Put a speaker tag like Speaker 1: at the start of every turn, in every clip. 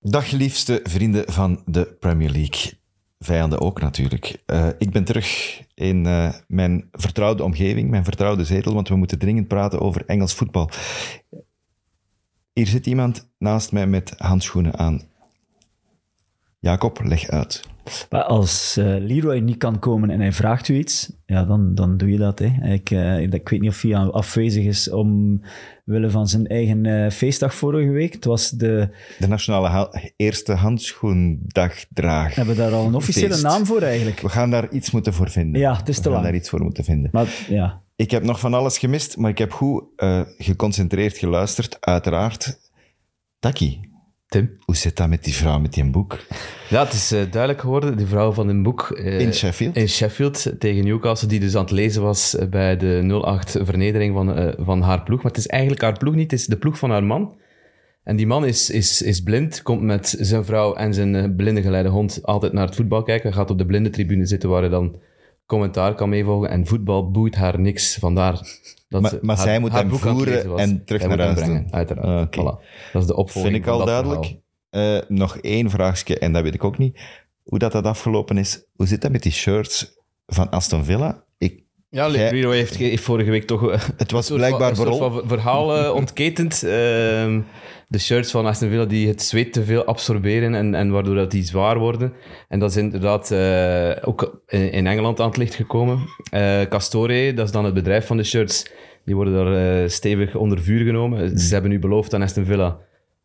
Speaker 1: Dag liefste vrienden van de Premier League. Vijanden ook natuurlijk. Eh, ik ben terug in eh, mijn vertrouwde omgeving, mijn vertrouwde zetel, want we moeten dringend praten over Engels voetbal. Hier zit iemand naast mij met handschoenen aan. Jacob, leg uit.
Speaker 2: Maar als eh, Leroy niet kan komen en hij vraagt u iets, ja, dan, dan doe je dat. Hè. Ik, eh, ik weet niet of hij afwezig is omwille van zijn eigen eh, feestdag vorige week. Het was de,
Speaker 1: De nationale ha- eerste handschoendagdraag.
Speaker 2: hebben we daar al een officiële
Speaker 1: Feest.
Speaker 2: naam voor eigenlijk?
Speaker 1: We gaan daar iets moeten voor vinden.
Speaker 2: Ja, het is
Speaker 1: we
Speaker 2: te
Speaker 1: gaan
Speaker 2: lang.
Speaker 1: daar iets voor moeten vinden.
Speaker 2: Maar ja,
Speaker 1: Ik heb nog van alles gemist, maar ik heb goed eh, geconcentreerd geluisterd, uiteraard. Taki,
Speaker 3: Tim?
Speaker 1: hoe zit dat met die vrouw met die boek?
Speaker 3: Ja, het is eh, duidelijk geworden. Die vrouw van een boek... eh,
Speaker 1: In Sheffield?
Speaker 3: In Sheffield eh, tegen Newcastle, die dus aan het lezen was eh, bij de 0-8 vernedering van, eh, van haar ploeg. Maar het is eigenlijk haar ploeg niet, het is de ploeg van haar man. En die man is, is, is blind, komt met zijn vrouw en zijn eh, blinde geleide hond altijd naar het voetbal kijken. Gaat op de blinde tribune zitten waar hij dan commentaar kan meevolgen. En voetbal boeit haar niks, vandaar dat
Speaker 1: Maar-
Speaker 3: ze
Speaker 1: maar
Speaker 3: haar-
Speaker 1: zij moet
Speaker 3: haar
Speaker 1: hem
Speaker 3: boek aan het
Speaker 1: voeren
Speaker 3: lezen was.
Speaker 1: en terug
Speaker 3: Hij
Speaker 1: naar
Speaker 3: moet hem
Speaker 1: huis doen. Ah,
Speaker 3: brengen, Uiteraard,
Speaker 1: Oké.
Speaker 3: voilà. Dat is de opvolging
Speaker 1: Vind ik
Speaker 3: van
Speaker 1: al
Speaker 3: dat
Speaker 1: duidelijk.
Speaker 3: verhaal.
Speaker 1: Eh, nog één vraagje, en dat weet ik ook niet. Hoe dat, dat afgelopen is, hoe zit dat met die shirts van Aston Villa? Ik,
Speaker 3: Ja,
Speaker 1: Jij-
Speaker 3: Leroy heeft, heeft vorige week toch eh,
Speaker 1: het was
Speaker 3: soort van-
Speaker 1: blijkbaar
Speaker 3: een soort
Speaker 1: verrol.
Speaker 3: van verhaal eh, ontketend. Ehm, de shirts van Aston Villa die het zweet te veel absorberen en, en waardoor dat die zwaar worden. En dat is inderdaad eh, ook in, in Engeland aan het licht gekomen. Eh, Castore, dat is dan het bedrijf van de shirts, die worden daar eh, stevig onder vuur genomen. Ze hebben nu beloofd aan Aston Villa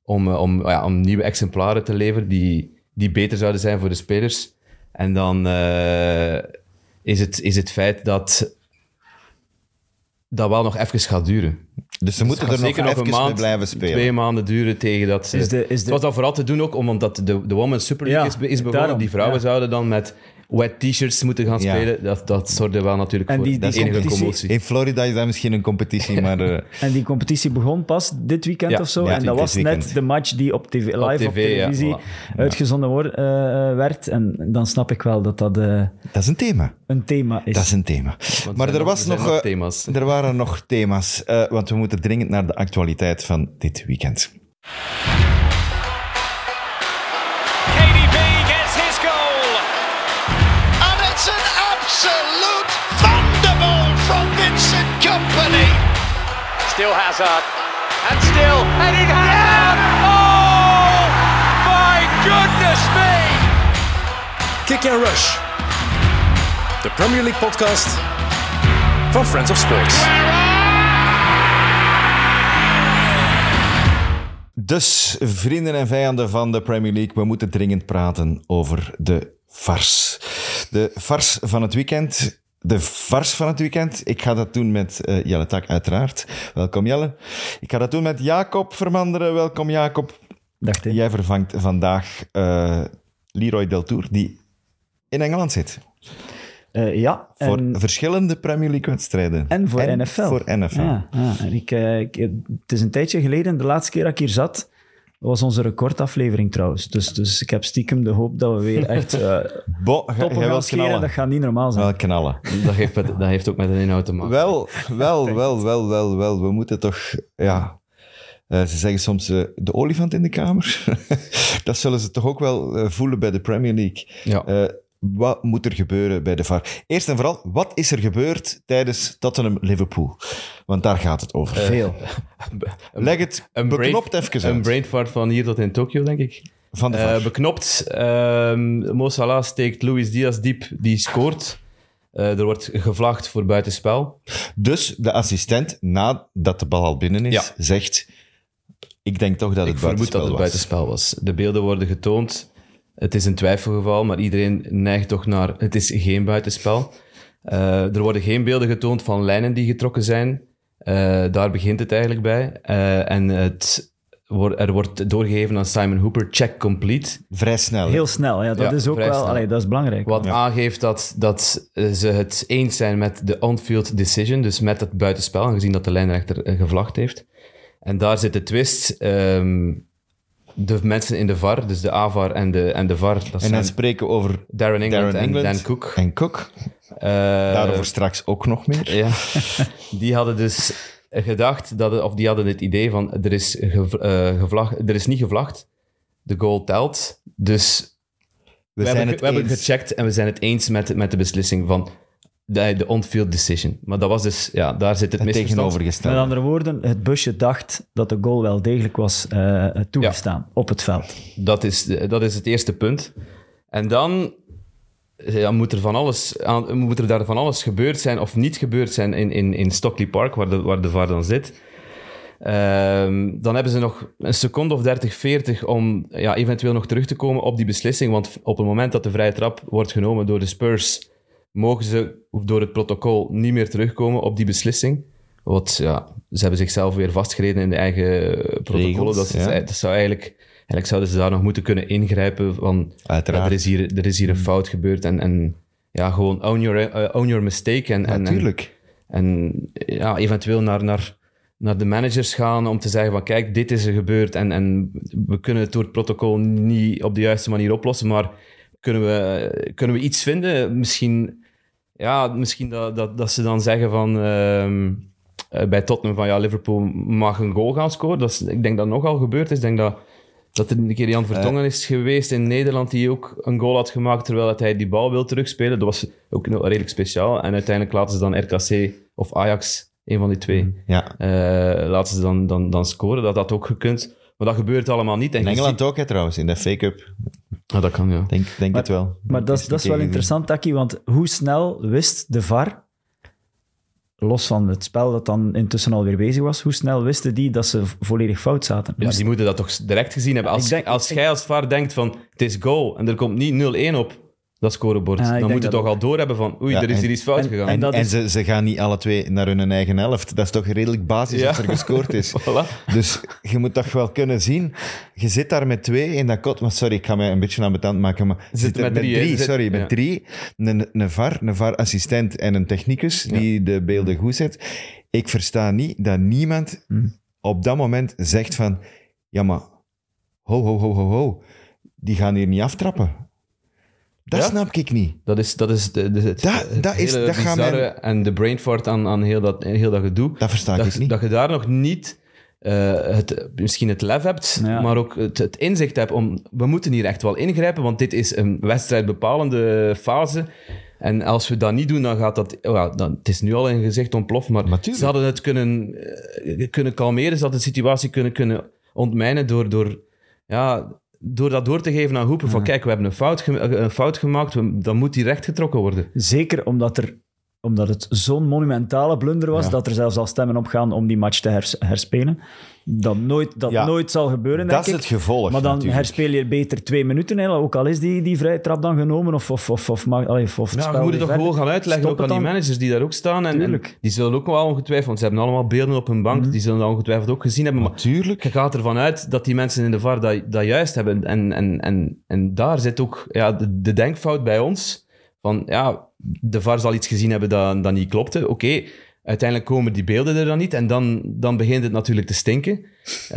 Speaker 3: om, eh, om, ja, om nieuwe exemplaren te leveren die, die beter zouden zijn voor de spelers. En dan eh, is, het, is het feit dat dat wel nog even gaat duren.
Speaker 1: Dus ze moeten
Speaker 3: Het
Speaker 1: er
Speaker 3: gaat
Speaker 1: nog
Speaker 3: zeker nog
Speaker 1: even
Speaker 3: een maand,
Speaker 1: mee blijven
Speaker 3: twee
Speaker 1: spelen.
Speaker 3: maanden duren tegen dat... ze-
Speaker 2: Is de- is de-
Speaker 3: Het was dan vooral te doen ook omdat de, de Women's Super League
Speaker 2: Ja,
Speaker 3: is, be- is begonnen.
Speaker 2: daarom,
Speaker 3: die vrouwen
Speaker 2: ja.
Speaker 3: zouden dan met wet t-shirts moeten gaan
Speaker 1: Ja.
Speaker 3: spelen. Dat, dat zorgde wel natuurlijk
Speaker 2: En
Speaker 3: voor
Speaker 2: die- die
Speaker 3: enige
Speaker 2: competitie-
Speaker 3: commotie.
Speaker 1: In Florida is dat misschien een competitie, maar... eh,
Speaker 2: en die competitie begon pas dit weekend
Speaker 3: Ja,
Speaker 2: of zo.
Speaker 1: ja,
Speaker 2: en dat
Speaker 1: dit
Speaker 2: was
Speaker 1: weekend.
Speaker 2: net de match die op tv, live op,
Speaker 3: TV, ja,
Speaker 2: televisie
Speaker 3: voilà.
Speaker 2: uitgezonden wor- eh, eh, werd. En dan snap ik wel dat dat eh,
Speaker 1: dat is een thema.
Speaker 2: een thema is.
Speaker 1: Dat is een thema.
Speaker 3: Want
Speaker 1: maar
Speaker 3: zijn
Speaker 1: er, was
Speaker 3: zijn
Speaker 1: nog, eh,
Speaker 3: thema's.
Speaker 1: er waren nog thema's, eh, want we moeten dringend naar de actualiteit van dit weekend.
Speaker 4: KDB gets his goal.
Speaker 5: And it's an absolute thunderbolt from Vincent Company.
Speaker 4: Still Hazard. And still Eden Hazard. Oh, my goodness me.
Speaker 6: Kick and Rush. De Premier League podcast van Friends of Sports.
Speaker 1: Dus, vrienden en vijanden van de Premier League, we moeten dringend praten over de VARS. De VARS van het weekend. De VARS van het weekend. Ik ga dat doen met eh, Jelle Tak, uiteraard. Welkom Jelle. Ik ga dat doen met Jacob Vermanderen. Welkom Jacob.
Speaker 2: Dacht ik.
Speaker 1: Jij vervangt vandaag eh, Leroy Deltour, die in Engeland zit.
Speaker 2: Eh, ja,
Speaker 1: Voor
Speaker 2: en-
Speaker 1: verschillende Premier League-wedstrijden.
Speaker 2: En voor NFL.
Speaker 1: Voor NFL.
Speaker 2: Ja, ja. En ik, eh, ik- het is een tijdje geleden, de laatste keer dat ik hier zat, was onze recordaflevering trouwens. Dus, dus ik heb stiekem de hoop dat we weer echt eh
Speaker 1: Bo, ga-
Speaker 2: toppen
Speaker 1: jij
Speaker 2: gaan
Speaker 1: wilt
Speaker 2: scheren.
Speaker 1: knallen.
Speaker 2: Dat gaat niet normaal zijn.
Speaker 1: Wel knallen.
Speaker 3: Dat, heeft, met- dat heeft ook met een inhoud te maken.
Speaker 1: Wel, wel, wel, wel, wel, wel. We moeten toch, ja... eh, ze zeggen soms eh, de olifant in de kamer. dat zullen ze toch ook wel eh, voelen bij de Premier League.
Speaker 3: ja.
Speaker 1: Eh, wat moet er gebeuren bij de VAR? Eerst en vooral, wat is er gebeurd tijdens Tottenham-Liverpool? Want daar gaat het over.
Speaker 2: Veel.
Speaker 1: Leg het
Speaker 3: een
Speaker 1: beknopt
Speaker 3: brain-
Speaker 1: even
Speaker 3: Een
Speaker 1: uit.
Speaker 3: brain fart van hier tot in Tokio, denk ik.
Speaker 1: Van de VAR.
Speaker 3: Eh, beknopt. Ehm Mo Salah steekt Luis Diaz diep, die scoort. Eh, er wordt gevlaagd voor buitenspel.
Speaker 1: Dus de assistent, nadat de bal al binnen is,
Speaker 3: Ja.
Speaker 1: zegt... Ik denk toch dat
Speaker 3: Ik
Speaker 1: het
Speaker 3: vermoed
Speaker 1: buitenspel
Speaker 3: dat
Speaker 1: was.
Speaker 3: het buitenspel was. De beelden worden getoond. Het is een twijfelgeval, maar iedereen neigt toch naar het is geen buitenspel. Eh, er worden geen beelden getoond van lijnen die getrokken zijn. Eh, daar begint het eigenlijk bij. Eh, en het, wor- er wordt doorgegeven aan Simon Hooper, check complete.
Speaker 1: Vrij snel. hè?
Speaker 2: Heel snel, ja, dat
Speaker 3: Ja,
Speaker 2: is ook
Speaker 3: vrij
Speaker 2: wel...
Speaker 3: snel.
Speaker 2: Allee, dat is belangrijk.
Speaker 3: Wat aangeeft dat, dat eh, ze het eens zijn met de on-field decision, dus met het buitenspel, aangezien dat de lijnrechter eh, gevlacht heeft. En daar zit de twist. ehm, de mensen in de VAR, dus de AVAR en de, en de VAR, dat
Speaker 1: En dan
Speaker 3: zijn
Speaker 1: spreken we over
Speaker 3: Darren England
Speaker 1: Darren
Speaker 3: en
Speaker 1: England
Speaker 3: Dan Cook.
Speaker 1: en Cook.
Speaker 3: Eh,
Speaker 1: Daarover straks ook nog meer.
Speaker 3: ja. Die hadden dus gedacht, dat, of die hadden het idee van, er is, gev- eh, gevlag, er is niet gevlacht. De goal telt. Dus we,
Speaker 1: zijn
Speaker 3: hebben,
Speaker 1: het
Speaker 3: we hebben
Speaker 1: eens.
Speaker 3: gecheckt en we zijn het eens met, met de beslissing van de, de on-field decision. Maar dat was dus, ja, daar zit het
Speaker 1: Het
Speaker 3: misverstand.
Speaker 2: Met
Speaker 1: tegenovergestelde.
Speaker 2: andere woorden, het busje dacht dat de goal wel degelijk was eh, toegestaan op het veld.
Speaker 3: Dat is, dat is het eerste punt. En dan ja, moet, er van alles, aan- moet er daar van alles gebeurd zijn of niet gebeurd zijn in, in, in Stockley Park, waar de, waar de VAR dan zit. Ehm, dan hebben ze nog een seconde of 30, 40 om ja, eventueel nog terug te komen op die beslissing. Want op het moment dat de vrije trap wordt genomen door de Spurs, mogen ze door het protocol niet meer terugkomen op die beslissing. Want ja, ze hebben zichzelf weer vastgereden in de eigen eh, protocollen.
Speaker 1: Regels,
Speaker 3: Dat, is-
Speaker 1: ja.
Speaker 3: dat zou eigenlijk, eigenlijk zouden ze daar nog moeten kunnen ingrijpen van
Speaker 1: Uiteraard.
Speaker 3: ja, er, is hier, er is hier een fout gebeurd en, en ja, gewoon own your, eh, own your mistake. En, en, en,
Speaker 1: Natuurlijk.
Speaker 3: en ja, eventueel naar, naar, naar de managers gaan om te zeggen van kijk, dit is er gebeurd en, en we kunnen het door het protocol niet op de juiste manier oplossen, maar kunnen we, kunnen we iets vinden? Misschien, ja, misschien dat, dat, dat ze dan zeggen van... ehm, eh, bij Tottenham van ja, Liverpool mag een goal gaan scoren. Dat is, ik denk dat nogal gebeurd is. Ik denk dat, dat er een keer Jan Vertongen is geweest in Nederland die ook een goal had gemaakt terwijl dat hij die bal wil terugspelen. Dat was ook nog redelijk speciaal. En uiteindelijk laten ze dan RKC of Ajax, een van die twee,
Speaker 1: Ja.
Speaker 3: eh, laten ze dan, dan, dan scoren. Dat had ook gekund. Maar dat gebeurt allemaal niet. En
Speaker 1: In
Speaker 3: je
Speaker 1: Engeland ook, hè, trouwens, in de fake-up.
Speaker 3: ziet- Ah, dat kan, ja.
Speaker 1: Denk, denk het wel.
Speaker 2: Maar dat, is- dat is wel interessant, Taki, want hoe snel wist de VAR, los van het spel dat dan intussen alweer bezig was, hoe snel wisten die dat ze v- volledig fout zaten? Dus
Speaker 3: Ja, die moeten dat toch direct gezien hebben. Als,
Speaker 2: Ik denk-
Speaker 3: als
Speaker 2: ik-
Speaker 3: jij als VAR denkt van het is goal en er komt niet 0-1 op dat scorebord,
Speaker 2: Ah, ik
Speaker 3: dan
Speaker 2: denk
Speaker 3: moet je
Speaker 2: dat
Speaker 3: toch al doorhebben van oei,
Speaker 1: Ja,
Speaker 3: er is
Speaker 1: en-
Speaker 3: hier iets fout
Speaker 2: en-
Speaker 3: gegaan.
Speaker 1: En,
Speaker 2: dat
Speaker 1: en
Speaker 2: is-
Speaker 1: ze, ze gaan niet alle twee naar hun eigen helft. Dat is toch redelijk basis
Speaker 3: Ja.
Speaker 1: dat er gescoord is.
Speaker 3: Voilà.
Speaker 1: Dus je moet toch wel kunnen zien. Je zit daar met twee in dat kot. Maar sorry, ik ga mij een beetje aan betand maken. Maar je zit
Speaker 3: zitten
Speaker 1: er
Speaker 3: met
Speaker 1: met
Speaker 3: drie,
Speaker 1: drie,
Speaker 3: hè? Ze zitten-
Speaker 1: sorry, met
Speaker 3: ja.
Speaker 1: drie. Een, een VAR, een VAR-assistent en een technicus die de beelden goed zet. Ik versta niet dat niemand
Speaker 3: Hmm.
Speaker 1: op dat moment zegt van... Ja, maar ho, ho, ho, ho, ho. Die gaan hier niet aftrappen. Dat
Speaker 3: Ja?
Speaker 1: snap ik niet.
Speaker 3: Dat is, dat is de, de, het,
Speaker 1: Dat-
Speaker 3: het
Speaker 1: dat is-
Speaker 3: hele
Speaker 1: dat gaan
Speaker 3: bizarre
Speaker 1: mijn-
Speaker 3: en de brain fart aan, aan heel, dat, heel dat gedoe.
Speaker 1: Dat versta ik
Speaker 3: dat,
Speaker 1: dus niet.
Speaker 3: dat je daar nog niet eh, het, misschien het lef hebt,
Speaker 2: Ja.
Speaker 3: maar ook het, het inzicht hebt om... We moeten hier echt wel ingrijpen, want dit is een wedstrijdbepalende fase. En als we dat niet doen, dan gaat dat... oh ja, dan, het is nu al in gezicht ontploft, maar
Speaker 1: Natuurlijk.
Speaker 3: ze hadden het kunnen, eh, kunnen kalmeren. Ze hadden de situatie kunnen, kunnen ontmijnen door... door ja, door dat door te geven aan Hoepen, van kijk, we hebben een fout, gem- eh, een fout gemaakt, we- dan moet die rechtgetrokken worden.
Speaker 2: Zeker omdat, er, omdat het zo'n monumentale blunder was, dat er zelfs al stemmen opgaan om die match te hers- herspelen. Dat nooit, dat
Speaker 1: Ja,
Speaker 2: nooit zal gebeuren,
Speaker 1: Dat is
Speaker 2: denk
Speaker 1: het
Speaker 2: ik.
Speaker 1: gevolg
Speaker 2: Maar dan
Speaker 1: natuurlijk.
Speaker 2: herspeel je beter twee minuten, hè, ook al is die, die vrije trap dan genomen. Of, of, of, of, mag- allee, of, of het
Speaker 3: Ja,
Speaker 2: spel
Speaker 3: we moeten
Speaker 2: weer
Speaker 3: toch gewoon
Speaker 2: verder.
Speaker 3: gaan uitleggen,
Speaker 2: Stop
Speaker 3: ook aan
Speaker 2: het
Speaker 3: die
Speaker 2: dan.
Speaker 3: managers die daar ook staan. En, en
Speaker 2: Tuurlijk. Mhm.
Speaker 3: die zullen ook wel ongetwijfeld, want ze hebben allemaal beelden op hun bank, die zullen dat ongetwijfeld ook gezien hebben. Maar
Speaker 1: Natuurlijk.
Speaker 3: je gaat ervan uit dat die mensen in de VAR dat, dat juist hebben. En, en, en, en daar zit ook ja, de, de denkfout bij ons. Van ja, de VAR zal iets gezien hebben dat, dat niet klopte. Oké, uiteindelijk komen die beelden er dan niet. En dan, dan begint het natuurlijk te stinken.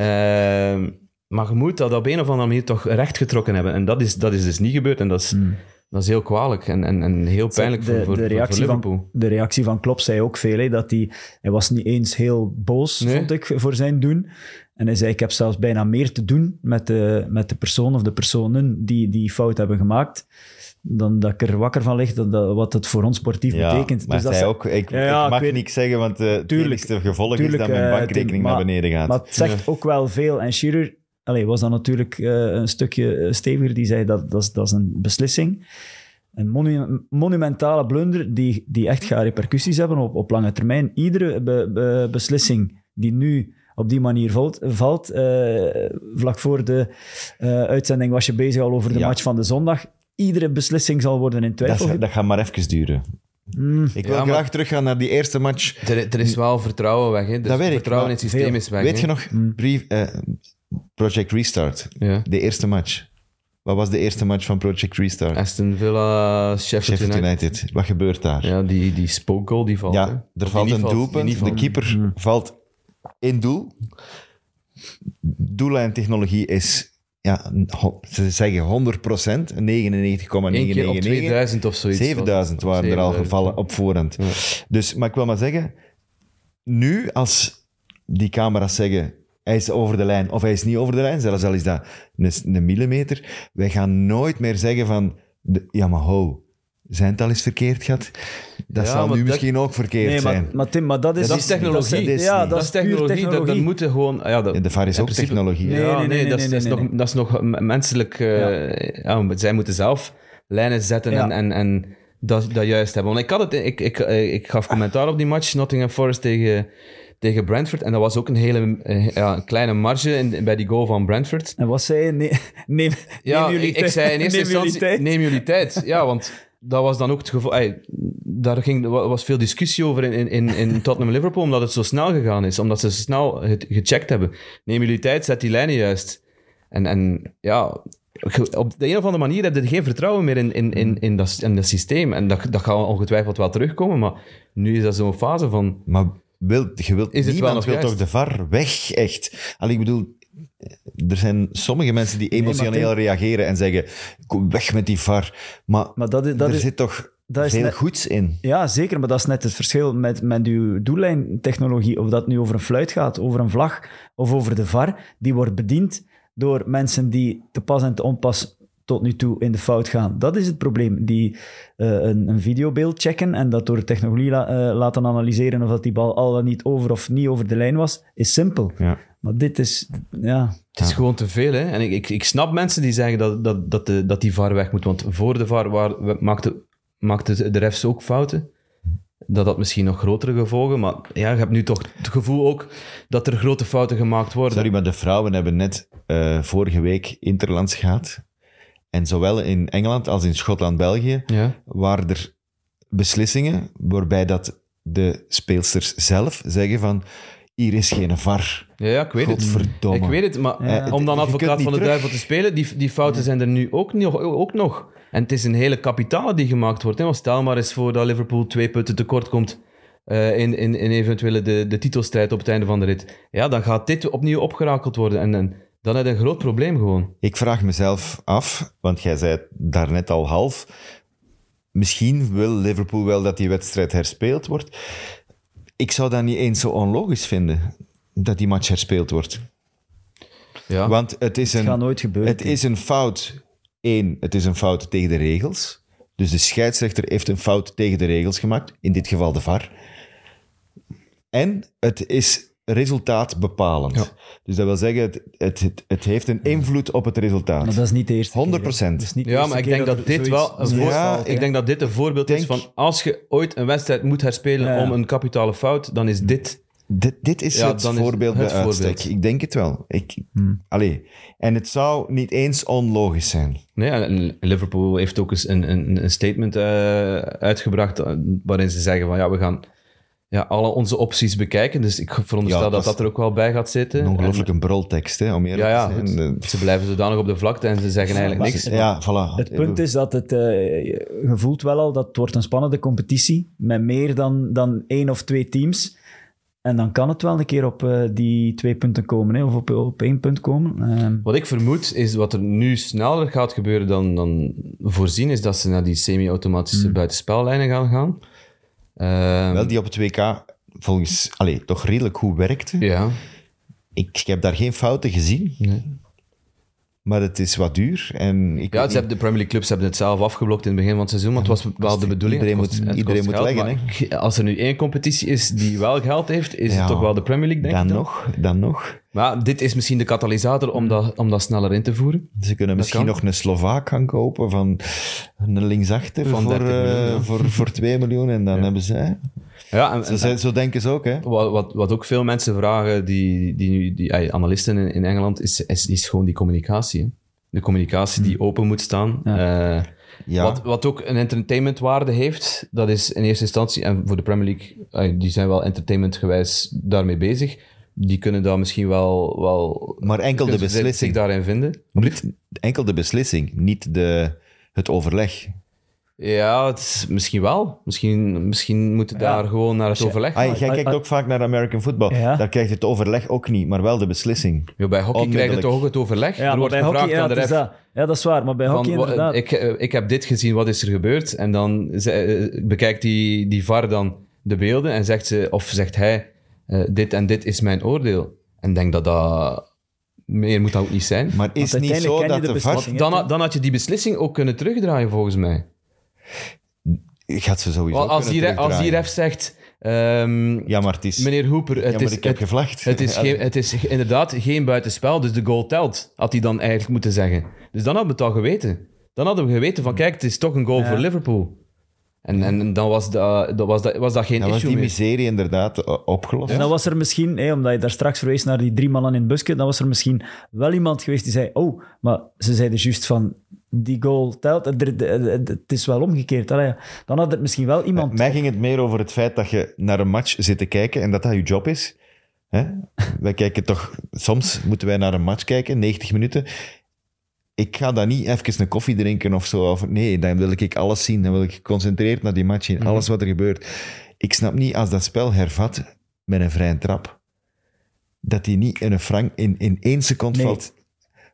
Speaker 3: Ehm, maar je moet dat op een of andere manier toch rechtgetrokken hebben. En dat is, dat is dus niet gebeurd. En dat is, dat is heel kwalijk en, en, en heel pijnlijk
Speaker 2: de,
Speaker 3: voor, voor,
Speaker 2: de
Speaker 3: voor- voor
Speaker 2: reactie
Speaker 3: Liverpool.
Speaker 2: van, de reactie van Klopp zei ook veel, hè, dat hij, hij was niet eens heel boos,
Speaker 3: Nee.
Speaker 2: vond ik, voor zijn doen. En hij zei, ik heb zelfs bijna meer te doen met de, met de persoon of de personen die die fout hebben gemaakt, dan dat ik er wakker van lig dat, dat- wat het voor ons sportief betekent. Dus
Speaker 1: Maar
Speaker 2: dat
Speaker 1: zij
Speaker 2: ze-
Speaker 1: ook, ik,
Speaker 2: Ja, ja,
Speaker 1: ik mag
Speaker 2: ik weet-
Speaker 1: niks zeggen, want eh, het
Speaker 2: Tuurlijk.
Speaker 1: enigste gevolg
Speaker 2: Tuurlijk,
Speaker 1: is dat mijn
Speaker 2: eh,
Speaker 1: bankrekening
Speaker 2: maar-
Speaker 1: naar beneden gaat.
Speaker 2: Maar het zegt ook wel veel. En Shearer allee, was dan natuurlijk eh, een stukje eh, steviger. Die zei dat dat is, dat is een beslissing. Een monu- monumentale blunder die, die echt gaat repercussies hebben op, op lange termijn. Iedere be- be- beslissing die nu op die manier valt. valt eh, vlak voor de eh, uitzending was je bezig al over de
Speaker 1: Ja.
Speaker 2: match van de zondag. Iedere beslissing zal worden in
Speaker 1: dat,
Speaker 2: twijfel. Hmm.
Speaker 1: is-
Speaker 2: ge-
Speaker 1: dat gaat maar even duren. Ik wil
Speaker 3: Ja, maar-
Speaker 1: graag teruggaan naar die eerste match.
Speaker 3: Er, er is wel vertrouwen weg. Hè. Dus
Speaker 1: Dat weet ik,
Speaker 3: vertrouwen
Speaker 1: maar
Speaker 3: in het systeem
Speaker 2: veel-
Speaker 3: is weg.
Speaker 1: Weet
Speaker 3: hè.
Speaker 1: je nog,
Speaker 2: Hmm.
Speaker 1: brief, eh, Project Restart,
Speaker 3: Ja.
Speaker 1: de eerste match. Wat was de eerste match van Project Restart?
Speaker 3: Aston Villa, Sheffield,
Speaker 1: Sheffield
Speaker 3: United.
Speaker 1: United. Wat gebeurt daar? Ja,
Speaker 3: Ja, die, die spookgoal die valt. hè. Die
Speaker 1: er valt
Speaker 3: niet
Speaker 1: een
Speaker 3: die niet
Speaker 1: doelpunt. De
Speaker 3: valt.
Speaker 1: keeper valt in doel. Doellijntechnologie is, ja, ho- ze zeggen 100%, 99,999.
Speaker 3: Eén keer op 2000 of zoiets.
Speaker 1: 7000 waren er al
Speaker 3: 7000,
Speaker 1: gevallen op voorhand. Dus, maar ik wil maar zeggen, nu als die camera's zeggen Hij is over de lijn of hij is niet over de lijn, zelfs al is dat een, een millimeter. Wij gaan nooit meer zeggen van, de- ja maar ho, zijn het al eens verkeerd gehad? Dat
Speaker 3: Ja,
Speaker 1: zal
Speaker 3: maar
Speaker 1: nu
Speaker 3: dat-
Speaker 1: misschien ook verkeerd
Speaker 2: Nee, maar,
Speaker 1: zijn.
Speaker 2: maar Tim, maar dat is...
Speaker 1: Ja,
Speaker 3: dat is technologie.
Speaker 1: dat is-
Speaker 2: ja,
Speaker 1: dat
Speaker 2: dat,
Speaker 3: Dat is
Speaker 2: is puur technologie.
Speaker 3: technologie. Dat, dat moet je gewoon... Ja, dat,
Speaker 1: Ja, de VAR is
Speaker 3: in
Speaker 1: ook
Speaker 3: principe-
Speaker 1: technologie. hè?
Speaker 2: Nee,
Speaker 3: ja,
Speaker 2: nee, nee,
Speaker 3: dat is-
Speaker 2: nee,
Speaker 3: dat is
Speaker 2: nee,
Speaker 3: nog-
Speaker 2: nee.
Speaker 3: dat is nog m- menselijk. eh, ja. maar zij moeten zelf lijnen zetten
Speaker 2: Ja.
Speaker 3: en, en, en dat, dat juist hebben. Want ik, had het, ik, ik, eh, ik gaf commentaar op die match, Nottingham Forest tegen, tegen Brentford. En dat was ook een hele eh, ja, een kleine marge in, bij die goal van Brentford.
Speaker 2: En wat zei je? Nee, neem,
Speaker 3: Ja,
Speaker 2: neem jullie
Speaker 3: ik, ik
Speaker 2: tijd.
Speaker 3: zei in eerste
Speaker 2: Neem jullie
Speaker 3: instantie,
Speaker 2: tijd.
Speaker 3: neem jullie tijd. Ja, want dat was dan ook het geval... ey, daar ging, wa- was veel discussie over in, in, in, in Tottenham-Liverpool, omdat het zo snel gegaan is. Omdat ze snel het gecheckt hebben. Neem jullie tijd, zet die lijnen juist. En, en ja, ge- op de een of andere manier heb je geen vertrouwen meer in, in, in, in, dat, in dat systeem. En dat, dat gaat ongetwijfeld wel terugkomen, maar nu is dat zo'n fase van...
Speaker 1: Maar wil, je wilt,
Speaker 3: Is het wel
Speaker 1: niemand
Speaker 3: nog
Speaker 1: wil
Speaker 3: juist?
Speaker 1: toch de VAR weg, echt? Allee, ik bedoel, er zijn sommige mensen die emotioneel
Speaker 2: Tim-
Speaker 1: reageren en zeggen, kom weg met die VAR. Maar,
Speaker 2: Maar dat is- dat
Speaker 1: er
Speaker 2: is-
Speaker 1: zit toch
Speaker 2: dat is
Speaker 1: veel
Speaker 2: net-
Speaker 1: goeds in.
Speaker 2: Ja, zeker, maar dat is net het verschil met, met uw doellijntechnologie. Of dat nu over een fluit gaat, over een vlag of over de VAR. Die wordt bediend door mensen die te pas en te onpas tot nu toe in de fout gaan. Dat is het probleem. Die eh, een, een videobeeld checken en dat door technologie la- eh, laten analyseren of dat die bal al dan niet over of niet over de lijn was, is simpel.
Speaker 1: Ja.
Speaker 2: Maar dit is... Ja,
Speaker 3: Het is gewoon te veel, hè. En ik, ik, ik snap mensen die zeggen dat, dat, dat, de, dat die VAR weg moet. Want voor de VAR waar, maakte, maakte de refs ook fouten. Dat had misschien nog grotere gevolgen. Maar ja, je hebt nu toch het gevoel ook dat er grote fouten gemaakt worden.
Speaker 1: Sorry, maar de vrouwen hebben net eh, vorige week interlands gehad. En zowel in Engeland als in Schotland-België
Speaker 3: Ja.
Speaker 1: waren er beslissingen waarbij dat de speelsters zelf zeggen van hier is geen VAR.
Speaker 3: Ja, ja, ik weet het.
Speaker 1: Godverdomme.
Speaker 3: Ik weet het, maar
Speaker 1: Ja.
Speaker 3: om dan
Speaker 1: Je kunt
Speaker 3: advocaat
Speaker 1: niet
Speaker 3: van de
Speaker 1: terug.
Speaker 3: duivel te spelen, die, die fouten zijn er nu ook, nog- ook nog. En het is een hele kapitale die gemaakt wordt. Hè? Want stel maar eens voor dat Liverpool twee punten tekort komt eh, in, in, in eventuele de, de titelstrijd op het einde van de rit. Ja, dan gaat dit opnieuw opgerakeld worden. En, en dan heb je een groot probleem gewoon.
Speaker 1: Ik vraag mezelf af, want jij zei het daarnet al half. Misschien wil Liverpool wel dat die wedstrijd herspeeld wordt. Ik zou dat niet eens zo onlogisch vinden, dat die match herspeeld wordt.
Speaker 3: Ja.
Speaker 1: Want het is
Speaker 2: Ah. het gaat
Speaker 1: een,
Speaker 2: nooit gebeuren.
Speaker 1: het is een fout. Eén, het is een fout tegen de regels. Dus de scheidsrechter heeft een fout tegen de regels gemaakt. In dit geval de VAR. En het is resultaatbepalend. Dus dat wil zeggen, het, het, het, het heeft een invloed op het resultaat.
Speaker 2: Maar dat is niet de eerste
Speaker 1: 100
Speaker 2: keer, hè. Dat is niet de
Speaker 3: Ja,
Speaker 2: eerste
Speaker 3: maar ik
Speaker 2: keer
Speaker 3: denk dat
Speaker 2: er
Speaker 3: dit
Speaker 2: zoiets-
Speaker 3: wel een
Speaker 2: zoiets
Speaker 3: voorbeeld
Speaker 1: Ja,
Speaker 2: valt, hè.
Speaker 3: Ik denk dat dit een voorbeeld is
Speaker 1: Denk-
Speaker 3: van als je ooit een wedstrijd moet herspelen
Speaker 2: Ja, ja.
Speaker 3: om een kapitale fout, dan is dit
Speaker 1: Dit, dit is
Speaker 3: Ja,
Speaker 1: het
Speaker 3: dan is
Speaker 1: voorbeeld
Speaker 3: het
Speaker 1: bij uitstek.
Speaker 3: voorbeeld.
Speaker 1: Ik denk het wel. Ik,
Speaker 2: Hmm.
Speaker 1: allee. En het zou niet eens onlogisch zijn.
Speaker 3: Nee, en Liverpool heeft ook eens een, een, een statement eh, uitgebracht eh, waarin ze zeggen van ja, we gaan ja, alle onze opties bekijken. Dus ik veronderstel
Speaker 1: Ja,
Speaker 3: dat
Speaker 1: dat
Speaker 3: dat,
Speaker 1: is
Speaker 3: er ook wel bij gaat
Speaker 1: Een
Speaker 3: zitten.
Speaker 1: ongelooflijk een brultekst, hè, om
Speaker 3: En-
Speaker 1: eerlijk
Speaker 3: Ja, ja.
Speaker 1: te zijn.
Speaker 3: goed. Ze blijven zodanig op de vlakte en ze zeggen eigenlijk niks.
Speaker 1: Eh, Ja, voilà.
Speaker 2: Het punt is dat het, eh, je voelt wel al dat het wordt een spannende competitie met meer dan, dan één of twee teams. En dan kan het wel een keer op eh, die twee punten komen, hè, of op, op één punt komen. Ehm,
Speaker 3: Wat ik vermoed is wat er nu sneller gaat gebeuren dan, dan voorzien, is dat ze naar die
Speaker 1: Mm.
Speaker 3: semi-automatische buitenspellijnen gaan gaan. Ehm,
Speaker 1: Wel, die op het WK volgens, allee, toch redelijk goed werkte.
Speaker 3: ja.
Speaker 1: Ik, ik heb daar geen fouten gezien. Maar het is wat duur. En ik
Speaker 3: Ja,
Speaker 1: weet
Speaker 3: ze hebben, de Premier League clubs hebben het zelf afgeblokt in het begin van het seizoen, want het was wel de bedoeling.
Speaker 1: iedereen
Speaker 3: Het kost-
Speaker 1: moet-
Speaker 3: het
Speaker 1: iedereen
Speaker 3: kost
Speaker 1: moet
Speaker 3: geld,
Speaker 1: leggen,
Speaker 3: maar Als er nu één competitie is die wel geld heeft, is
Speaker 1: Ja.
Speaker 3: het toch wel de Premier League,
Speaker 1: niet,
Speaker 3: denk
Speaker 1: dan
Speaker 3: ik. dan.
Speaker 1: nog, Mm. dan nog.
Speaker 3: Maar dit is misschien de katalysator om dat, om dat sneller in te voeren.
Speaker 1: Ze kunnen misschien
Speaker 3: kan.
Speaker 1: nog een Slovaak gaan kopen van een linksachter
Speaker 3: Van
Speaker 1: voor,
Speaker 3: 30 miljoen,
Speaker 1: eh,
Speaker 3: ja.
Speaker 1: voor, voor 2 miljoen. En dan hebben ze...
Speaker 3: Ja, en,
Speaker 1: Zo,
Speaker 3: en-
Speaker 1: zijn- zo denken ze ook, hè.
Speaker 3: wat, wat, wat ook veel mensen vragen, die, die, nu- die ey, analisten in, in Engeland, is, is, is gewoon die communicatie. hè. De communicatie die open moet staan. Eh,
Speaker 1: Mm. Ja.
Speaker 3: Wat, wat ook een entertainmentwaarde heeft, dat is in eerste instantie, en voor de Premier League, eh, die zijn wel entertainmentgewijs daarmee bezig. Die kunnen daar misschien wel. wel
Speaker 1: Maar enkel de
Speaker 3: kunnen ze
Speaker 1: beslissing.
Speaker 3: Zich daarin vinden.
Speaker 1: Niet, enkel de beslissing, niet de, het overleg.
Speaker 3: Ja, het is, misschien wel. Misschien, misschien moeten daar gewoon naar het overleg
Speaker 1: Ah,
Speaker 3: gaan.
Speaker 1: jij
Speaker 2: ah,
Speaker 1: kijkt
Speaker 2: ah.
Speaker 1: ook vaak naar American football.
Speaker 2: Ja.
Speaker 1: Daar krijg je het overleg ook niet, maar wel de beslissing.
Speaker 3: Ja, bij hockey krijg je
Speaker 1: Onmiddellijk.
Speaker 3: toch ook het overleg.
Speaker 2: ja,
Speaker 3: er
Speaker 2: maar
Speaker 3: wordt
Speaker 2: bij
Speaker 3: gevraagd
Speaker 2: hockey, ja,
Speaker 3: aan de
Speaker 2: dat is
Speaker 3: ref.
Speaker 2: dat. ja, dat is waar. Maar bij
Speaker 3: Van,
Speaker 2: hockey
Speaker 3: wa-
Speaker 2: inderdaad.
Speaker 3: ik, eh, ik heb dit gezien, wat is er gebeurd? En dan ze- eh, bekijkt die, die VAR dan de beelden en zegt ze, of zegt hij, eh, dit en dit is mijn oordeel. En ik denk dat dat... Meer moet dat ook niet zijn.
Speaker 1: Maar is het niet
Speaker 2: uiteindelijk
Speaker 1: zo
Speaker 2: ken je
Speaker 1: dat
Speaker 2: de
Speaker 1: de, VAR...
Speaker 2: beslissing.
Speaker 3: dan, had- dan had je die beslissing ook kunnen terugdraaien, volgens mij.
Speaker 1: Gaat ze sowieso
Speaker 3: Want als, die,
Speaker 1: kunnen
Speaker 3: re- als die
Speaker 1: terugdraaien.
Speaker 3: ref zegt... ehm,
Speaker 1: Ja, maar het is...
Speaker 3: Meneer Hooper, het
Speaker 1: ja, maar
Speaker 3: is...
Speaker 1: ik heb
Speaker 3: het-
Speaker 1: gevlacht.
Speaker 3: Het is, geen, het is inderdaad geen buitenspel, dus de goal telt, had hij dan eigenlijk moeten zeggen. Dus dan hadden we het al geweten. Dan hadden we geweten van, kijk, het is toch een goal voor Liverpool. En, en dan was, da- dat was, dat, was dat geen
Speaker 1: Dan was
Speaker 3: issue
Speaker 1: die
Speaker 3: meer.
Speaker 1: miserie inderdaad eh, opgelost.
Speaker 2: En dan was er misschien, hè, omdat je daar straks verwees naar die drie mannen in het busje, dan was er misschien wel iemand geweest die zei, oh, maar ze zeiden juist van, die goal telt, er- de- de- de- het is wel omgekeerd. Allee, ja. dan had er misschien wel iemand...
Speaker 1: Mij ging het meer over het feit dat je naar een match zit te kijken en dat dat je job is. Hè? Wij kijken toch... Soms moeten wij naar een match kijken, 90 minuten. Ik ga dan niet even een koffie drinken of zo. Of, nee, dan wil ik alles zien. Dan wil ik geconcentreerd naar die match in. Alles wat er gebeurt. Ik snap niet als dat spel hervat met een vrije trap. Dat die niet in, een frank, in, in één seconde
Speaker 2: Nee.
Speaker 1: valt.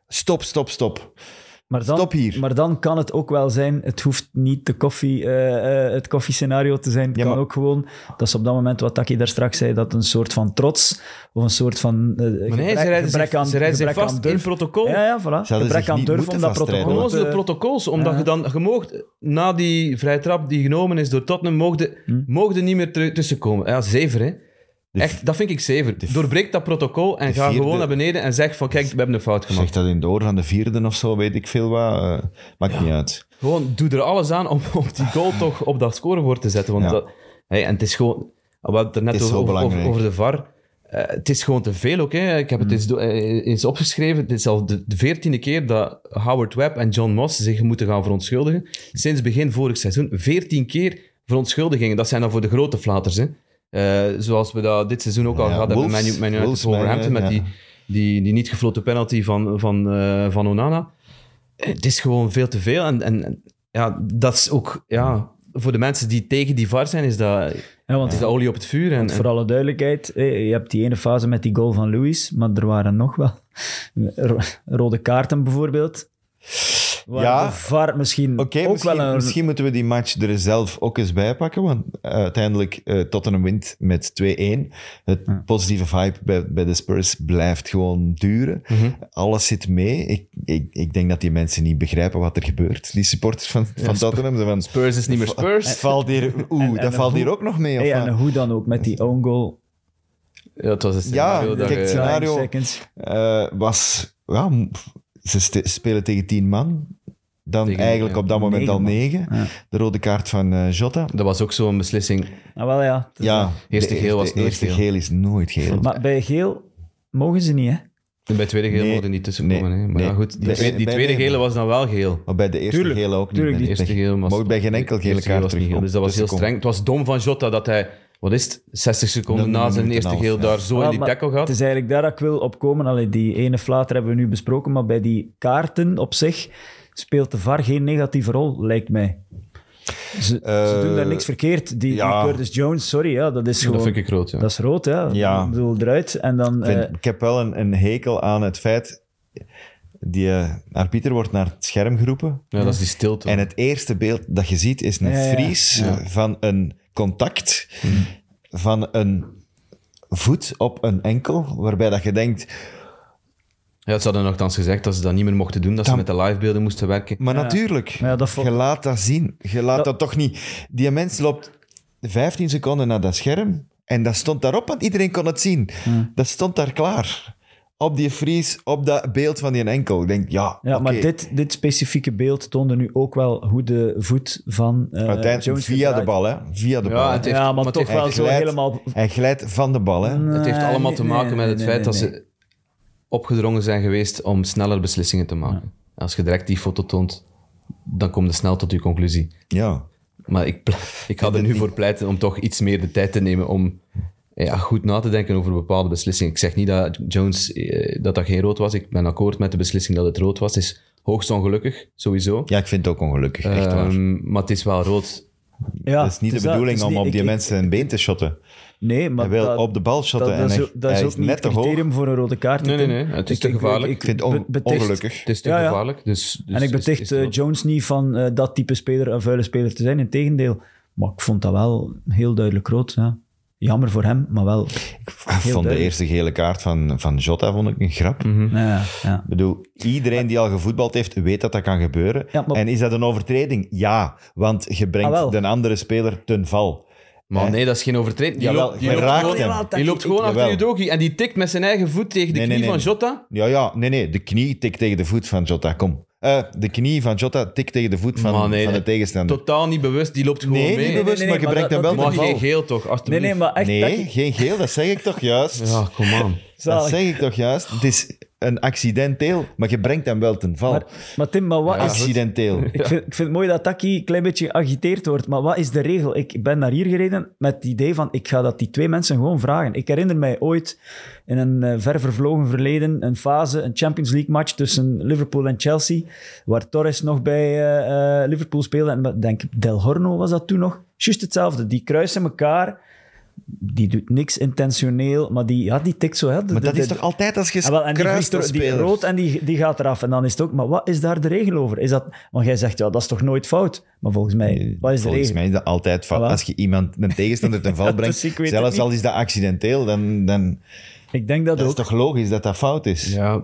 Speaker 1: Stop, stop, stop.
Speaker 2: Maar dan,
Speaker 1: Stop hier.
Speaker 2: Maar dan kan het ook wel zijn, het hoeft niet de koffie, eh, eh, het koffiescenario te zijn. Het
Speaker 1: Ja,
Speaker 2: kan
Speaker 1: maar-
Speaker 2: ook gewoon, dat is op dat moment wat Taki daar straks zei, dat een soort van trots of een soort van eh,
Speaker 3: Maar nee,
Speaker 2: gebrek-
Speaker 3: ze rijden
Speaker 2: gebrek
Speaker 3: zich,
Speaker 2: aan
Speaker 3: ze rijden zich
Speaker 2: gebrek aan
Speaker 3: vast in
Speaker 2: durf.
Speaker 3: protocol.
Speaker 2: Ja, eh, ja, voilà.
Speaker 1: hadden
Speaker 2: Gebrek
Speaker 1: zich
Speaker 2: aan
Speaker 1: niet
Speaker 2: durf
Speaker 1: moeten
Speaker 2: om dat
Speaker 1: vastrijden,
Speaker 2: protocol
Speaker 1: want-
Speaker 2: te-
Speaker 3: Onnozele protocols, omdat je dan, je moogt, na die vrije trap die genomen is door Tottenham, moogde,
Speaker 2: Hm.
Speaker 3: moogde niet meer ter- tussenkomen. Ja, zever, hè. Echt, dat vind ik zever. Doorbreek dat protocol en ga
Speaker 1: vierde-
Speaker 3: gewoon naar beneden en zeg van, kijk, we hebben een fout gemaakt.
Speaker 1: Zeg dat in de oor van de vierde of zo, weet ik veel wat. eh, maakt niet uit.
Speaker 3: Gewoon doe er alles aan om, om die goal toch op dat scorebord te zetten. Want
Speaker 1: Ja.
Speaker 3: dat, hey, en het is gewoon... We hadden het er net
Speaker 1: Het is
Speaker 3: over,
Speaker 1: zo
Speaker 3: over- over-
Speaker 1: belangrijk. Mm.
Speaker 3: over de VAR. Eh, het is gewoon te veel ook. Hè. Ik heb het eens, do- eh, eens opgeschreven. Het is al de veertiende keer dat Howard Webb en John Moss zich moeten gaan verontschuldigen. Sinds begin vorig seizoen. Veertien keer verontschuldigingen. Dat zijn dan voor de grote flaters. Hè. Eh, zoals we dat dit seizoen ook al
Speaker 1: Ja,
Speaker 3: gehad hebben.
Speaker 1: Wolves-
Speaker 3: Man U- Man United
Speaker 1: Wolves,
Speaker 3: Wolverhampton
Speaker 1: Man
Speaker 3: met
Speaker 1: U-
Speaker 3: die, die, die niet gefloten penalty van, van, eh, van Onana Eh, het is gewoon veel te veel. En, en en ja, dat is ook, ja, voor de mensen die tegen die VAR zijn, is dat,
Speaker 2: Ja, want
Speaker 3: is dat olie op het vuur. En,
Speaker 2: Voor alle duidelijkheid, eh, je hebt die ene fase met die goal van Louis, maar er waren nog wel ro- rode kaarten bijvoorbeeld. Waar
Speaker 1: Ja.
Speaker 2: de VAR misschien
Speaker 1: Oké,
Speaker 2: ook
Speaker 1: misschien,
Speaker 2: wel een...
Speaker 1: misschien moeten we die match er zelf ook eens bij pakken. Want eh, uiteindelijk, eh Tottenham wint met 2-1. Het positieve vibe bij, bij de Spurs blijft gewoon duren.
Speaker 2: Mhm.
Speaker 1: Alles zit mee. Ik, ik, ik denk dat die mensen niet begrijpen wat er gebeurt. Die supporters van, van Tottenham. Ze Van,
Speaker 3: Spurs is niet meer Spurs.
Speaker 1: valt hier, oeh,
Speaker 2: en
Speaker 1: dat valt
Speaker 2: hoe-
Speaker 1: hier ook nog mee. Of eh,
Speaker 2: Hey,
Speaker 1: wat?
Speaker 2: Eh, en hoe dan ook, met die own goal,
Speaker 3: Ja, het was een scenario
Speaker 1: Ja,
Speaker 3: dat eh,
Speaker 1: kijk,
Speaker 3: je-
Speaker 1: het scenario- Mario-
Speaker 2: seconds.
Speaker 1: eh, was, ja, m- ze st- spelen tegen tien man. Dan
Speaker 3: Tegen,
Speaker 1: eigenlijk
Speaker 3: ja,
Speaker 1: op dat moment
Speaker 2: negen
Speaker 1: al
Speaker 2: man.
Speaker 1: negen.
Speaker 2: Ja.
Speaker 1: De rode kaart van eh, Jota.
Speaker 3: dat was ook zo'n beslissing.
Speaker 2: Ah, wel ja. Het is-
Speaker 1: Ja,
Speaker 3: eh, eerste
Speaker 1: de
Speaker 3: geel was
Speaker 1: eerste-
Speaker 3: nooit
Speaker 1: eerste
Speaker 3: geel.
Speaker 1: geel is nooit geel.
Speaker 2: Maar bij geel mogen ze niet, hè?
Speaker 3: En bij tweede geel
Speaker 1: Nee,
Speaker 3: mochten niet tussenkomen.
Speaker 1: nee,
Speaker 3: hè. Maar ja,
Speaker 1: nee.
Speaker 3: goed, die,
Speaker 1: Bij-
Speaker 3: tweede, die
Speaker 1: bij-
Speaker 3: tweede
Speaker 1: nee,
Speaker 3: gele
Speaker 1: maar-
Speaker 3: was dan wel geel.
Speaker 1: Maar bij de eerste
Speaker 2: Tuurlijk,
Speaker 1: gele ook
Speaker 2: tuurlijk,
Speaker 1: niet. ben
Speaker 2: die
Speaker 1: ik
Speaker 3: eerste
Speaker 1: weg.
Speaker 3: geel was
Speaker 1: Maar ook bij geen enkel
Speaker 3: de
Speaker 1: gele
Speaker 3: eerste geel
Speaker 1: kaart
Speaker 3: was niet
Speaker 1: terug.
Speaker 3: geel,
Speaker 1: op
Speaker 3: Dus dat was heel
Speaker 1: tussenkomen.
Speaker 3: streng. Het was dom van Jota dat hij, wat is het, 60 seconden
Speaker 1: Een
Speaker 3: na zijn
Speaker 1: minuut en
Speaker 3: eerste
Speaker 1: half,
Speaker 3: geel
Speaker 1: ja.
Speaker 3: daar zo in
Speaker 2: Ah,
Speaker 3: die
Speaker 2: maar
Speaker 3: tackle gaat.
Speaker 2: Het is eigenlijk daar dat ik wil opkomen. Allee, die ene flater hebben we nu besproken, maar bij die kaarten op zich speelt de VAR geen negatieve rol, lijkt mij. Ze, ze
Speaker 1: Eh,
Speaker 2: doen daar niks verkeerd. Die,
Speaker 1: ja.
Speaker 2: die Curtis Jones, sorry, ja, dat is gewoon...
Speaker 3: dat vind ik rood, ja.
Speaker 2: dat is rood, ja.
Speaker 1: Ja.
Speaker 2: Ik bedoel, eruit. En dan...
Speaker 1: Ik vind-
Speaker 2: eh,
Speaker 1: ik heb wel een, een hekel aan het feit... Die eh, arbiter wordt naar het scherm geroepen.
Speaker 3: Ja, dat is die stilte.
Speaker 1: En het eerste beeld dat je ziet is een
Speaker 2: Ja, ja, ja.
Speaker 1: vries eh, van een contact
Speaker 3: Mhm.
Speaker 1: van een voet op een enkel, waarbij dat je denkt...
Speaker 3: ja, ze hadden nogthans gezegd dat ze dat niet meer mochten doen, dat ze
Speaker 1: Dan-
Speaker 3: met de livebeelden moesten werken.
Speaker 1: Maar natuurlijk,
Speaker 2: Ja, dat vo-
Speaker 1: je laat dat zien. Je laat dat...
Speaker 2: Dat-
Speaker 1: toch niet... Die mens loopt 15 seconden naar dat scherm en dat stond daarop, want iedereen kon het zien.
Speaker 2: Hmm.
Speaker 1: Dat stond daar klaar. Op die fries, op dat beeld van die enkel. Ik denk, ja,
Speaker 2: ja, maar
Speaker 1: oké.
Speaker 2: dit, dit specifieke beeld toonde nu ook wel hoe de voet van eh,
Speaker 1: Uiteindelijk
Speaker 2: Jones
Speaker 1: via de
Speaker 2: gedraaid-
Speaker 1: bal, hè. Via de bal.
Speaker 3: Ja, het heeft-
Speaker 2: Ja, maar
Speaker 3: maar
Speaker 2: toch
Speaker 3: het heeft-
Speaker 2: wel zo
Speaker 1: glijdt-
Speaker 2: helemaal
Speaker 1: Hij glijdt van de bal, hè.
Speaker 3: Het heeft
Speaker 2: Nee,
Speaker 3: allemaal te
Speaker 2: nee,
Speaker 3: maken
Speaker 2: nee,
Speaker 3: met het
Speaker 2: nee,
Speaker 3: feit
Speaker 2: nee,
Speaker 3: dat ze opgedrongen zijn geweest om sneller beslissingen te maken. Als je direct die foto toont, dan kom je snel tot je conclusie.
Speaker 1: Ja.
Speaker 3: Maar ik, pla- ik ga er nu voor pleiten om toch iets meer de tijd te nemen om ja, goed na te denken over bepaalde beslissingen. Ik zeg niet dat Jones eh, dat dat geen rood was. Ik ben akkoord met de beslissing dat het rood was. Het is hoogst ongelukkig, sowieso.
Speaker 1: ja, ik vind het ook ongelukkig, echt waar.
Speaker 3: Ehm, maar het is wel rood.
Speaker 2: Ja,
Speaker 1: dat is niet
Speaker 2: het
Speaker 1: de bedoeling
Speaker 2: het is
Speaker 1: om op
Speaker 2: dus niet-
Speaker 1: die
Speaker 2: ik- ik-
Speaker 1: mensen een been te shotten.
Speaker 2: Nee, maar
Speaker 1: Hij wil
Speaker 2: dat-
Speaker 1: op de bal shotten
Speaker 2: dat,
Speaker 1: en
Speaker 2: dat is
Speaker 1: hij-
Speaker 2: ook- dat is
Speaker 1: hij
Speaker 2: ook
Speaker 1: is
Speaker 2: niet
Speaker 1: net
Speaker 2: het
Speaker 1: te hoog.
Speaker 2: criterium voor een rode kaart.
Speaker 3: Nee,
Speaker 2: Tim.
Speaker 3: nee, nee, het is te
Speaker 2: ik-
Speaker 3: gevaarlijk.
Speaker 1: Ik vind het on-
Speaker 2: be- beticht-
Speaker 1: ongelukkig.
Speaker 3: Het is te
Speaker 2: Ja, ja.
Speaker 3: gevaarlijk. Dus, dus
Speaker 2: En ik
Speaker 3: is-
Speaker 2: beticht
Speaker 3: is
Speaker 2: eh,
Speaker 3: rood.
Speaker 2: Jones niet van eh, dat type speler een vuile speler te zijn. Integendeel. Maar ik vond dat wel heel duidelijk rood. Ja. Jammer voor hem, maar wel. heel
Speaker 1: Ah, Van de
Speaker 2: duidelijk. Mhm.
Speaker 1: eerste gele kaart van, van Jota vond ik een grap.
Speaker 3: Hm.
Speaker 2: Ja, ja.
Speaker 1: Ik bedoel, iedereen die al gevoetbald heeft, weet dat dat kan gebeuren.
Speaker 2: Ja, maar-
Speaker 1: En is dat een overtreding? Ja, want je brengt
Speaker 2: Ah, wel.
Speaker 1: de andere speler ten val.
Speaker 3: Maar nee, dat is geen overtreding. Die
Speaker 1: Jawel,
Speaker 3: loopt, die
Speaker 1: je
Speaker 3: loopt
Speaker 1: raakt
Speaker 3: gewoon,
Speaker 1: hem.
Speaker 3: die loopt gewoon achter
Speaker 1: Jawel.
Speaker 3: Udogi en die tikt met zijn eigen voet tegen de
Speaker 1: Nee,
Speaker 3: knie
Speaker 1: nee, nee,
Speaker 3: van
Speaker 1: nee.
Speaker 3: Jota.
Speaker 1: Ja, ja, nee, nee. De knie tikt tegen de voet van Jota, kom. Eh, de knie van Jota tikt tegen de voet
Speaker 3: Maar
Speaker 1: van,
Speaker 3: nee,
Speaker 1: van de
Speaker 3: nee.
Speaker 1: tegenstander.
Speaker 3: Totaal niet bewust, die loopt gewoon
Speaker 1: nee,
Speaker 3: mee.
Speaker 1: niet bewust,
Speaker 2: nee,
Speaker 1: maar je
Speaker 2: maar
Speaker 1: brengt
Speaker 2: dat-
Speaker 1: hem wel
Speaker 2: dat
Speaker 3: Maar
Speaker 1: ten val.
Speaker 3: geen geel toch,
Speaker 2: Nee,
Speaker 3: alstublieft.
Speaker 2: nee, maar echt. dat
Speaker 1: Nee,
Speaker 2: ik-
Speaker 1: geen geel, dat zeg ik toch juist.
Speaker 3: Ja, kom aan.
Speaker 1: dat
Speaker 2: zalig.
Speaker 1: zeg ik toch juist. Het is een accidenteel, maar je brengt hem wel ten val.
Speaker 2: Maar, Ah, maar Tim, maar wat is...
Speaker 1: accidenteel.
Speaker 2: Ik vind, ik vind het mooi dat Taki een klein beetje geagiteerd wordt, maar wat is de regel? Ik ben naar hier gereden met het idee van, ik ga dat die twee mensen gewoon vragen. Ik herinner mij ooit in een eh, ver vervlogen verleden een fase, een Champions League match tussen Liverpool en Chelsea, waar Torres nog bij eh, eh, Liverpool speelde. En ik denk Del Horno was dat toen nog. Juist hetzelfde, die kruisen elkaar, die doet niks intentioneel, maar die, ja, die tikt zo. Hè, De-
Speaker 1: Maar dat
Speaker 2: de-
Speaker 1: is toch altijd als je
Speaker 2: Ah, wel, en die,
Speaker 1: kruist
Speaker 2: vliegt er-
Speaker 1: als
Speaker 2: die
Speaker 1: speler?
Speaker 2: rood en die, die gaat eraf. En dan is het ook, maar wat is daar de regel over? Is dat, want jij zegt, ja, dat is toch nooit fout? Maar volgens mij, wat is de
Speaker 1: Eh, Volgens
Speaker 2: regel?
Speaker 1: mij is dat altijd fout.
Speaker 2: Ah, wel.
Speaker 1: Als je iemand een tegenstander ten val brengt,
Speaker 2: dus ik weet het
Speaker 1: zelfs
Speaker 2: niet.
Speaker 1: al is dat accidenteel, dan, dan
Speaker 2: Ik denk dat,
Speaker 1: dat is
Speaker 2: ook.
Speaker 1: toch logisch dat dat fout is.
Speaker 3: Ja.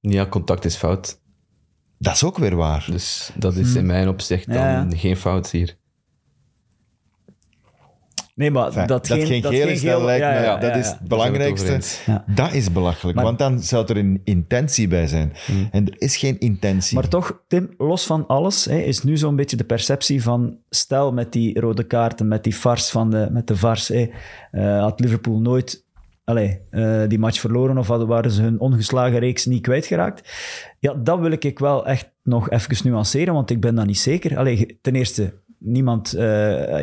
Speaker 3: ja, contact is fout.
Speaker 1: Dat is ook weer waar.
Speaker 3: Dus dat is in mijn opzicht dan
Speaker 2: Hm. Ja.
Speaker 3: geen fout hier.
Speaker 2: Nee, maar
Speaker 1: Enfin,
Speaker 2: dat, geen, dat
Speaker 1: geel
Speaker 2: geen
Speaker 1: is, dat
Speaker 2: geel-
Speaker 1: lijkt
Speaker 2: ja,
Speaker 1: me-
Speaker 2: ja, ja,
Speaker 1: dat
Speaker 2: ja,
Speaker 1: is
Speaker 2: ja.
Speaker 1: het belangrijkste.
Speaker 3: Daar zijn
Speaker 2: het over
Speaker 1: Dat is belachelijk,
Speaker 2: Maar- Hmm.
Speaker 1: want dan zou er een intentie bij zijn. En er is geen intentie.
Speaker 2: Maar toch, Tim, los van alles, hè, is nu zo'n beetje de perceptie van... Stel, met die rode kaarten, met die vars van de, met de vars, hè, eh, had Liverpool nooit allee, eh, die match verloren of hadden, waren ze hun ongeslagen reeks niet kwijtgeraakt. Ja, dat wil ik wel echt nog even nuanceren, want ik ben dat niet zeker. Allee, je- ten eerste, niemand... eh,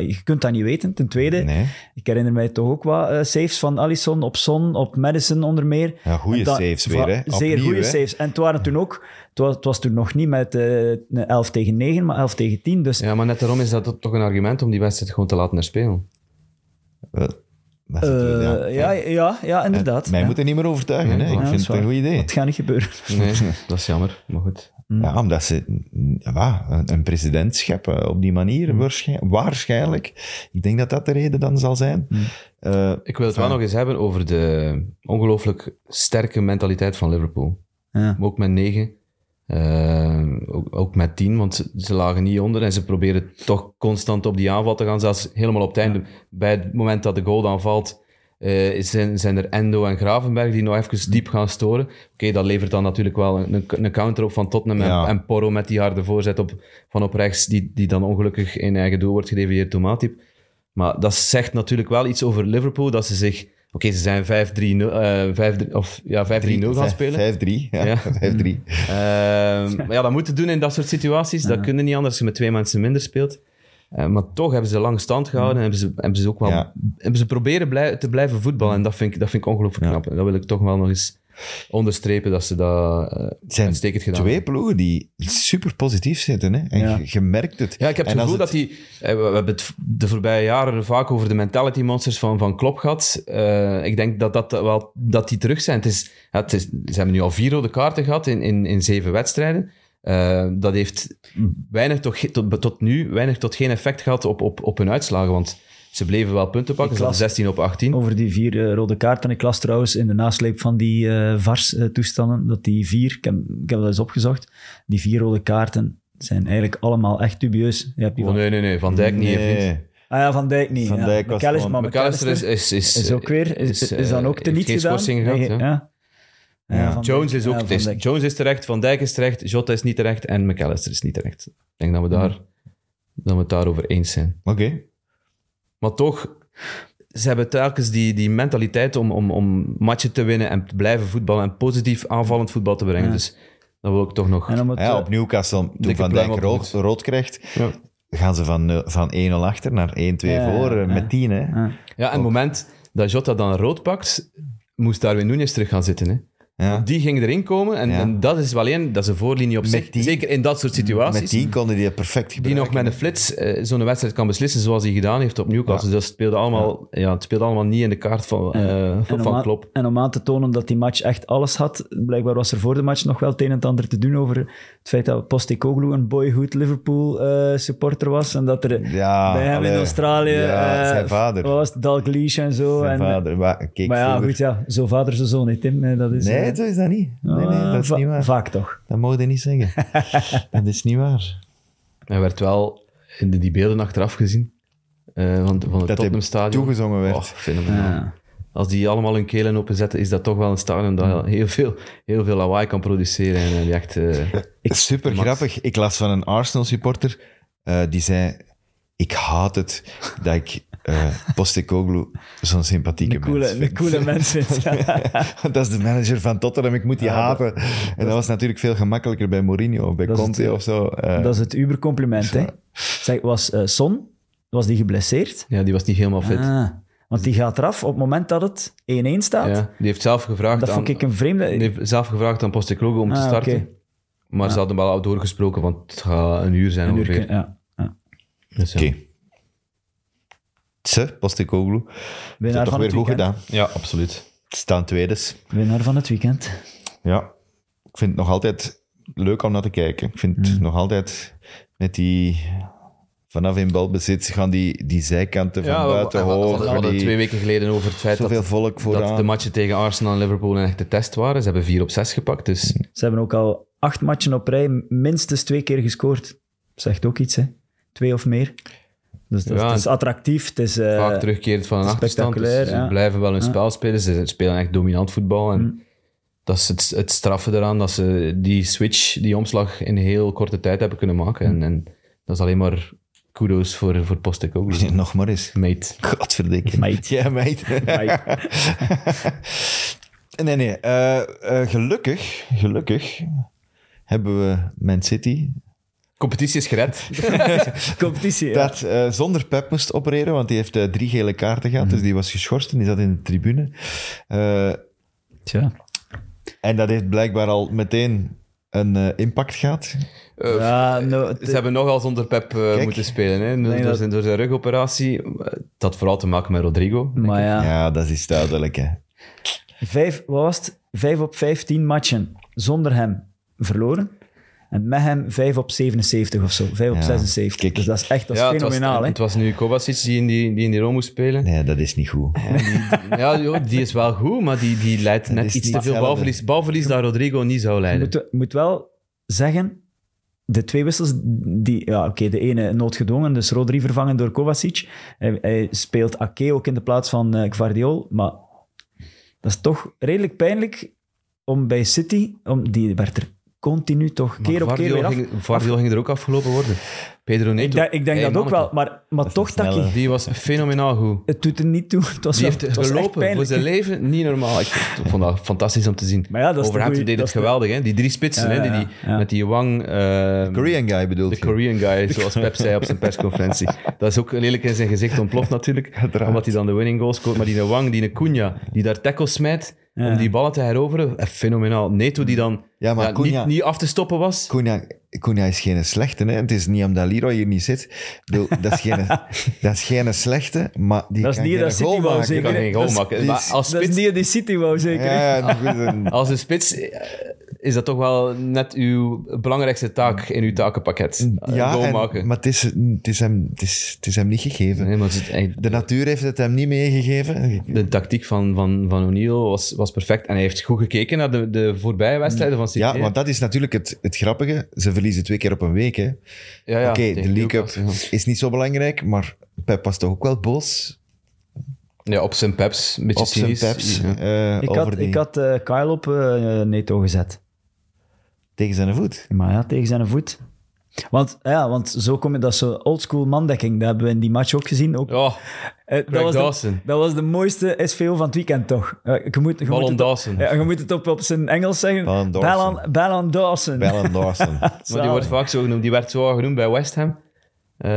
Speaker 2: je kunt dat niet weten. Ten tweede,
Speaker 1: Nee.
Speaker 2: ik herinner mij toch ook wat eh, saves van Allison op Son, op Madison onder meer.
Speaker 1: Ja, goeie
Speaker 2: En dat-
Speaker 1: saves
Speaker 2: va-
Speaker 1: weer, hè.
Speaker 2: Zeer
Speaker 1: Opnieuw,
Speaker 2: goede
Speaker 1: hè.
Speaker 2: saves. En het waren toen ook, het was, het was toen nog niet met eh, een 11 tegen 9, maar 11 tegen 10. Dus
Speaker 3: Ja, maar net daarom is dat toch- toch een argument om die wedstrijd gewoon te laten herspelen.
Speaker 1: Wel, dat is
Speaker 2: eh,
Speaker 1: natuurlijk,
Speaker 2: ja, ja. Ja, inderdaad.
Speaker 1: Mij
Speaker 2: ja.
Speaker 1: moet er niet meer overtuigen.
Speaker 3: Nee,
Speaker 1: hè. Ik
Speaker 2: Ja, dat
Speaker 1: vind
Speaker 2: is
Speaker 1: het een
Speaker 2: waar.
Speaker 1: goed idee.
Speaker 2: Het gaat niet gebeuren.
Speaker 3: Nee, dat is jammer. Maar goed.
Speaker 1: Ja, omdat ze ja, een een president scheppen op die
Speaker 3: Hm.
Speaker 1: manier, waarschijn- waarschijnlijk. Ik denk dat dat de reden dan zal zijn.
Speaker 3: Hm.
Speaker 1: Eh,
Speaker 3: Ik wil het wel
Speaker 1: Fijn.
Speaker 3: nog eens hebben over de ongelooflijk sterke mentaliteit van Liverpool.
Speaker 2: Ja.
Speaker 3: Maar ook met 9. ook, ook met 10, want ze, ze lagen niet onder en ze proberen toch constant op die aanval te gaan. Zelfs helemaal op het einde, bij het moment dat de goal dan valt, eh, zijn, zijn er Endo en Gravenberg die nog even diep gaan storen. Oké, dat levert dan natuurlijk wel een, een counter op van Tottenham en-
Speaker 1: Ja.
Speaker 3: en Porro met die harde voorzet op, van op rechts, die, die dan ongelukkig in eigen doel wordt gedevieerd door Matip. Maar dat zegt natuurlijk wel iets over Liverpool, dat ze zich... Oké, ze zijn 5-3-0 eh, 5-3 of ja, 5-3-0 gaan
Speaker 1: vijf-
Speaker 3: spelen.
Speaker 1: 5-3. Ja,
Speaker 3: Ja. Hm.
Speaker 1: 5-3.
Speaker 3: Ehm, maar ja, dat moet je doen in dat soort situaties. Dat kun je niet anders als je met twee mensen minder speelt. Eh, maar toch hebben ze lang stand gehouden en hebben ze, hebben ze ook wel
Speaker 1: Ja.
Speaker 3: hebben ze proberen blij- te blijven voetballen. En dat vind ik, dat vind ik ongelooflijk knap. En dat wil ik toch wel nog eens onderstrepen dat ze dat eh
Speaker 1: Het zijn
Speaker 3: uitstekend gedaan
Speaker 1: twee ploegen die super positief zitten. Hè? En
Speaker 2: Ja.
Speaker 1: je, je merkt het.
Speaker 3: Ja, ik heb het
Speaker 1: En als
Speaker 3: gevoel dat die... eh, We we hebben het v- de voorbije jaren vaak over de mentality monsters van, van Klopp gehad. Eh, ik denk dat, dat, wel, dat die terug zijn. Het is, ja, het is, ze hebben nu al vier rode kaarten gehad in, in, in zeven wedstrijden. Eh, dat heeft weinig tot, ge- tot, tot nu weinig tot geen effect gehad op, op, op hun uitslagen. Want ze bleven wel punten pakken. Ze
Speaker 2: las-
Speaker 3: hadden 16 op 18.
Speaker 2: Over die vier eh, rode kaarten. Ik las trouwens in de nasleep van die eh VARS-toestanden dat die vier, ik heb, ik heb dat eens opgezocht, die vier rode kaarten zijn eigenlijk allemaal echt dubieus. Je hebt die
Speaker 3: Van,
Speaker 2: van,
Speaker 3: Oh, nee, nee, nee. Van Dijk niet. hè, vriend.
Speaker 1: Nee.
Speaker 2: ah ja, Van Dijk niet.
Speaker 1: Oh, Van
Speaker 2: ja.
Speaker 1: Dijk was
Speaker 2: McAllister,
Speaker 1: gewoon-
Speaker 2: maar
Speaker 3: McAllister is,
Speaker 2: McAllister
Speaker 3: is, is,
Speaker 2: is ook weer, is, is dan
Speaker 3: eh,
Speaker 2: ook
Speaker 3: heeft
Speaker 2: teniet
Speaker 3: geen
Speaker 2: gedaan.
Speaker 3: schorsing gehad,
Speaker 2: Nee,
Speaker 3: hè.
Speaker 2: ja. Ja,
Speaker 1: Ja.
Speaker 2: Van
Speaker 3: Jones
Speaker 2: Dijk-
Speaker 3: is ook...
Speaker 2: ja,
Speaker 3: het
Speaker 2: Van
Speaker 3: is-
Speaker 2: Dijk.
Speaker 3: Jones is terecht, Van Dijk is terecht, Jota is niet terecht en McAllister is niet terecht. Ik denk dat we, daar, dat we het daarover eens zijn.
Speaker 1: Oké.
Speaker 3: Maar toch, ze hebben telkens die, die mentaliteit om, om, om matchen te winnen en te blijven voetballen en positief aanvallend voetbal te brengen.
Speaker 2: Ja.
Speaker 3: Dus dat wil ik toch nog...
Speaker 2: En om het,
Speaker 1: Ja,
Speaker 2: eh,
Speaker 1: op Newcastle, toen
Speaker 3: dikke
Speaker 1: Van
Speaker 3: pluim
Speaker 1: Dijk
Speaker 3: op de
Speaker 1: rood,
Speaker 3: hoed.
Speaker 1: rood krijgt,
Speaker 3: Ja.
Speaker 1: gaan ze van, eh, van 1-0 achter naar 1-2
Speaker 2: Ja,
Speaker 1: voor eh,
Speaker 2: ja.
Speaker 1: met 10. Hè?
Speaker 2: ja.
Speaker 3: Ja, en het moment dat Jota dan rood pakt, moest Darwin Nunes terug gaan zitten. Hè?
Speaker 1: Ja.
Speaker 3: Die ging erin komen. En,
Speaker 1: Ja.
Speaker 3: en dat is wel één, dat is een voorlinie op
Speaker 1: Met
Speaker 3: zich.
Speaker 1: die-
Speaker 3: Zeker in dat soort situaties.
Speaker 1: Met die konden die het perfect
Speaker 3: die
Speaker 1: gebruiken.
Speaker 3: nog met een flits eh, zo'n wedstrijd kan beslissen zoals hij gedaan heeft op Newcastle. Dus dat speelde allemaal, ja. het speelde allemaal niet in de kaart van, eh,
Speaker 2: En om,
Speaker 3: van
Speaker 2: aan,
Speaker 3: Klopp.
Speaker 2: en om aan te tonen dat die match echt alles had, blijkbaar was er voor de match nog wel het een en het ander te doen over het feit dat Postecoglou een boyhood Liverpool eh, supporter was en dat er
Speaker 1: Ja,
Speaker 2: bij hem in
Speaker 1: allee.
Speaker 2: Australië
Speaker 1: Ja,
Speaker 2: eh,
Speaker 1: zijn vader.
Speaker 3: oh,
Speaker 2: wat was het, Dalglish en zo.
Speaker 1: Zijn
Speaker 2: en,
Speaker 1: vader, eh, maar, kijk,
Speaker 2: Maar ja,
Speaker 1: vroeger-
Speaker 2: goed, ja, zo vader, zo zoon, hè, Tim. Eh, Dat is, eh, Ah,
Speaker 1: Nee, zo is Ah. dat niet. Nee, nee, dat is
Speaker 2: va-
Speaker 1: niet waar.
Speaker 2: Vaak toch.
Speaker 1: Dat mogen we niet zeggen. dat is niet waar.
Speaker 3: Hij werd wel in de- die beelden achteraf gezien. eh, van, van het
Speaker 1: Dat hij
Speaker 3: Tottenham Stadion.
Speaker 1: toegezongen werd.
Speaker 3: Oh, fenomenaal. Als die allemaal hun kelen openzetten, is dat toch wel een stadion dat heel veel, heel veel lawaai kan produceren. En eh, die echt, eh,
Speaker 1: Super
Speaker 3: Max.
Speaker 1: grappig. Ik las van een Arsenal supporter eh, die zei: Ik haat het dat ik eh Postecoglou zo'n sympathieke
Speaker 2: Een coole,
Speaker 1: mens
Speaker 2: een
Speaker 1: vind.
Speaker 2: coole mens vindt. ja.
Speaker 1: dat is de manager van Tottenham, ik moet die
Speaker 2: Ah,
Speaker 1: haten. en dat, was natuurlijk veel gemakkelijker bij Mourinho of bij
Speaker 2: Dat is
Speaker 1: Conte
Speaker 2: het-
Speaker 1: of zo. Eh,
Speaker 2: Dat is het ubercompliment, hè. Zeg, was eh, Son, was die geblesseerd?
Speaker 3: ja, die was niet helemaal fit.
Speaker 2: Ah, want die gaat eraf op het moment dat het 1-1 staat.
Speaker 3: ja, die heeft zelf gevraagd
Speaker 2: Dat
Speaker 3: aan,
Speaker 2: vond ik een vreemde...
Speaker 3: die heeft zelf gevraagd aan Postecoglou om te
Speaker 2: Ah,
Speaker 3: starten.
Speaker 2: oké.
Speaker 3: Maar ze hadden wel al doorgesproken, want het gaat een uur zijn
Speaker 2: Een
Speaker 3: ongeveer.
Speaker 2: uur, ja. ja.
Speaker 3: Dus ja.
Speaker 1: Oké. Ze, Postecoglou. Dat
Speaker 2: Winnaar
Speaker 1: toch
Speaker 2: van
Speaker 1: weer
Speaker 2: het
Speaker 1: goed
Speaker 2: weekend.
Speaker 1: gedaan.
Speaker 3: ja, absoluut.
Speaker 1: Staan tweedes.
Speaker 2: Winnaar van het weekend.
Speaker 1: Ja, ik vind het nog altijd leuk om naar te kijken. Ik vind
Speaker 3: Mm.
Speaker 1: het nog altijd met die... Vanaf in balbezit gaan die, die zijkanten van
Speaker 3: we-
Speaker 1: buiten
Speaker 3: we- we- we-
Speaker 1: hoog.
Speaker 3: we hadden
Speaker 1: die-
Speaker 3: twee weken geleden over het feit
Speaker 1: Zoveel
Speaker 3: dat,
Speaker 1: volk
Speaker 3: dat de
Speaker 1: vooraan.
Speaker 3: matchen tegen Arsenal en Liverpool een echte test waren. Ze hebben 4 op 6 gepakt, dus
Speaker 2: Ze hebben ook al acht matchen op rij minstens twee keer gescoord. Zegt ook iets, hè. Twee of meer. Dus dat,
Speaker 3: Ja,
Speaker 2: het is attractief. Het is, eh,
Speaker 3: vaak terugkerend van een achterstand. Dus
Speaker 2: spectaculair,
Speaker 3: ze
Speaker 2: ja.
Speaker 3: blijven wel hun spel spelen. Ze spelen echt dominant voetbal. En
Speaker 1: Mm.
Speaker 3: dat is het, het straffen eraan dat ze die switch, die omslag, in heel korte tijd hebben kunnen maken.
Speaker 1: Mm.
Speaker 3: En, en dat is alleen maar kudos voor, voor Postecoglou.
Speaker 1: Nog maar eens.
Speaker 3: Mate.
Speaker 1: Godverdikke.
Speaker 2: Meid.
Speaker 1: Ja, meid.
Speaker 2: Meid.
Speaker 1: nee, nee. eh, eh, gelukkig, gelukkig hebben we Man City,
Speaker 3: Competitie is gered.
Speaker 2: competitie. ja.
Speaker 1: dat eh, zonder Pep moest opereren, want die heeft eh, drie gele kaarten gehad,
Speaker 3: Mhm.
Speaker 1: dus die was geschorst en die zat in de tribune. Eh,
Speaker 2: Tja.
Speaker 1: En dat heeft blijkbaar al meteen een eh, impact gehad.
Speaker 3: Eh,
Speaker 2: Ja, nou, het-
Speaker 3: Ze hebben nogal zonder Pep eh,
Speaker 1: Kijk.
Speaker 3: moeten spelen. Hè? Door,
Speaker 2: Nee,
Speaker 3: door
Speaker 2: dat-
Speaker 3: zijn, door zijn rugoperatie. eh, Dat had vooral te maken met Rodrigo.
Speaker 2: maar ja,
Speaker 1: Ja, dat is duidelijk. Hè.
Speaker 2: Vijf, wat was het? Vijf op 15 matchen zonder hem verloren. En met hem vijf op 77 of zo. Vijf op
Speaker 1: Ja,
Speaker 2: 76.
Speaker 1: kijk.
Speaker 2: Dus dat is echt dat is
Speaker 3: ja, het,
Speaker 2: fenomenaal,
Speaker 3: was,
Speaker 2: hè.
Speaker 3: het was nu Kovacic die in die, die, in die rol moest spelen.
Speaker 1: Nee, dat is niet goed.
Speaker 3: Ja, joh, die is wel goed, maar die, die leidt
Speaker 1: is
Speaker 3: net iets
Speaker 1: niet
Speaker 3: te veel
Speaker 1: hetzelfde.
Speaker 3: balverlies. Balverlies dat Rodrigo niet zou leiden.
Speaker 2: moet, moet wel zeggen, de twee wissels, die, ja, oké, de ene noodgedwongen, dus Rodri vervangen door Kovacic. Hij, hij speelt Ake ook in de plaats van eh Guardiol, maar dat is toch redelijk pijnlijk om bij City, om, die werd er continu toch
Speaker 3: Maar
Speaker 2: keer op keer weer
Speaker 3: Guardiola
Speaker 2: af.
Speaker 3: ging, Guardiola ging er ook afgelopen worden. Pedro Neto.
Speaker 2: Ik denk, ik denk
Speaker 3: Hey,
Speaker 2: dat ook wel,
Speaker 3: manneke.
Speaker 2: maar, maar toch,
Speaker 1: snelle.
Speaker 2: Taki,
Speaker 3: Die was fenomenaal goed.
Speaker 2: het doet er niet toe. Het was
Speaker 3: Die
Speaker 2: wel-
Speaker 3: heeft
Speaker 2: het was echt
Speaker 3: gelopen voor
Speaker 2: pijnlijk.
Speaker 3: zijn leven. Niet normaal. Ik vond dat fantastisch om te zien.
Speaker 2: Maar ja, dat is de
Speaker 3: Overhampton
Speaker 2: goeie-
Speaker 3: deed
Speaker 2: dat
Speaker 3: het
Speaker 2: is de-
Speaker 3: geweldig. Hè? Die drie spitsen.
Speaker 2: Ja,
Speaker 3: hè? Die,
Speaker 2: ja,
Speaker 3: die,
Speaker 2: ja.
Speaker 3: Met die Wang... eh,
Speaker 1: Korean guy bedoel
Speaker 3: De
Speaker 1: je?
Speaker 3: Korean guy, zoals Pep zei op zijn persconferentie. Dat is ook lelijk in zijn gezicht ontploft natuurlijk. Omdat hij dan de winning goal scoort. Maar die Wang, die Cunha, die daar tackles smijt om die ballen te heroveren. eh, Fenomenaal. Neto die dan
Speaker 1: Ja, maar
Speaker 3: niet,
Speaker 1: Cunha-
Speaker 3: niet af te stoppen was.
Speaker 1: Cunha, Cunha is geen slechte. Hè? Het is niet omdat Leroy hier niet zit. Ik bedoel, Dat is geen, dat is geen slechte, maar die
Speaker 2: Dat is
Speaker 1: kan
Speaker 2: niet
Speaker 1: geen
Speaker 2: dat
Speaker 1: goal
Speaker 2: City wou
Speaker 1: maken.
Speaker 3: Je
Speaker 2: zeker.
Speaker 3: kan geen goal
Speaker 2: Dus-
Speaker 3: maken. Maar als
Speaker 2: Dat is
Speaker 3: spits,
Speaker 2: niet die City wou, zeker. hè?
Speaker 1: Ja, ja, dat is een-
Speaker 3: als een spits eh, is dat toch wel net uw belangrijkste taak in uw takenpakket. Een
Speaker 1: ja,
Speaker 3: goal
Speaker 1: en-
Speaker 3: maken.
Speaker 1: maar het is, het, is hem, het, is, het is hem niet gegeven.
Speaker 3: Nee, maar het is echt-
Speaker 1: De natuur heeft het hem niet meegegeven.
Speaker 3: de tactiek van, van, van O'Neill was, was perfect. En hij heeft goed gekeken naar de, de voorbije wedstrijden van City.
Speaker 1: Ja, want dat is natuurlijk het, het grappige. Ze verliezen twee keer op een week. Hè.
Speaker 3: Ja, ja,
Speaker 1: Oké, de
Speaker 3: tegen
Speaker 1: League Cup
Speaker 3: Newcastle, ja.
Speaker 1: is niet zo belangrijk, maar Pep was toch ook wel boos
Speaker 3: Ja, op zijn peps. Een beetje
Speaker 1: op zijn
Speaker 3: cynisch.
Speaker 1: peps
Speaker 3: Ja.
Speaker 1: eh,
Speaker 2: Ik
Speaker 1: over
Speaker 2: had,
Speaker 1: die,
Speaker 2: ik had eh, Kyle op eh, Neto gezet.
Speaker 1: tegen zijn voet.
Speaker 2: Maar ja, tegen zijn voet. Want, ja, want zo kom je, dat is zo'n oldschool mandekking. Dat hebben we in die match ook gezien. Ook,
Speaker 3: Ja,
Speaker 2: Eh,
Speaker 3: Craig
Speaker 2: dat, was de,
Speaker 3: Dawson.
Speaker 2: dat was de mooiste SVO van het weekend, toch? Eh, je moet, je
Speaker 3: Ballon
Speaker 2: moet het,
Speaker 3: Dawson.
Speaker 2: Ja, je moet het op, op zijn Engels zeggen.
Speaker 1: Ballon Dawson.
Speaker 2: Ballon- Ballon Dawson.
Speaker 1: Bellen Dawson.
Speaker 3: maar die wordt vaak zo genoemd. Die werd zo al genoemd bij West Ham. Ehm,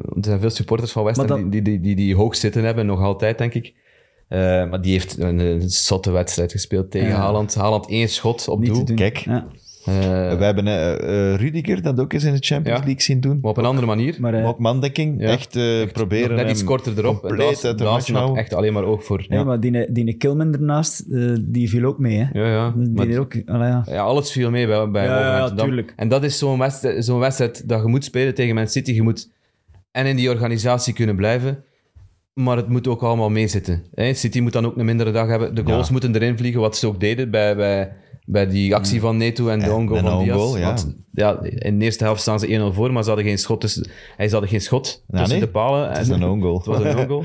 Speaker 3: er zijn veel supporters van West
Speaker 2: Maar
Speaker 3: Ham
Speaker 2: dat-
Speaker 3: die, die, die, die, die hoog zitten hebben, nog altijd, denk ik. Eh, maar die heeft een, een zotte wedstrijd gespeeld tegen
Speaker 2: Ja.
Speaker 3: Haaland. Haaland één schot op
Speaker 2: Niet
Speaker 3: doel.
Speaker 2: te doen.
Speaker 1: Kijk.
Speaker 2: Ja.
Speaker 3: Eh,
Speaker 1: We hebben eh, eh, Rudiger dat ook eens in de Champions
Speaker 3: Ja.
Speaker 1: League zien doen.
Speaker 3: maar op een andere manier.
Speaker 2: Maar, eh,
Speaker 1: Maar ook mandekking.
Speaker 3: Ja.
Speaker 1: Echt, eh,
Speaker 3: Nog
Speaker 1: proberen
Speaker 3: net iets
Speaker 1: hem
Speaker 3: korter erop. En
Speaker 1: compleet
Speaker 3: Dawson-
Speaker 1: uit de match nou.
Speaker 3: Dawson had
Speaker 1: houden.
Speaker 3: echt alleen maar oog voor.
Speaker 2: hey, maar die, die Kilman ernaast, eh, die viel ook mee. Hè.
Speaker 3: Ja, ja.
Speaker 2: Die
Speaker 3: Maar-
Speaker 2: er ook, allee, ja.
Speaker 3: Ja, alles viel mee bij, bij
Speaker 2: Ja,
Speaker 3: Wolverhampton.
Speaker 2: ja,
Speaker 3: Dat-
Speaker 2: tuurlijk.
Speaker 3: En dat is zo'n wedstrijd, zo'n wedstrijd dat je moet spelen tegen Man City. Je moet en in die organisatie kunnen blijven, maar het moet ook allemaal meezitten. hè. City moet dan ook een mindere dag hebben. De goals moeten erin vliegen, wat ze ook deden bij, bij, bij die actie van Neto en de
Speaker 1: En-
Speaker 3: ongoal
Speaker 1: en
Speaker 3: van
Speaker 1: de
Speaker 3: Diaz.
Speaker 1: on-goal, ja.
Speaker 3: Want, ja, in de eerste helft staan ze 1-0 voor, maar ze hadden geen schot tussen, hij hadden geen schot
Speaker 1: Ja,
Speaker 3: tussen
Speaker 1: Nou, nee.
Speaker 3: de palen.
Speaker 1: Het is een own-goal.
Speaker 3: Het was een own goal.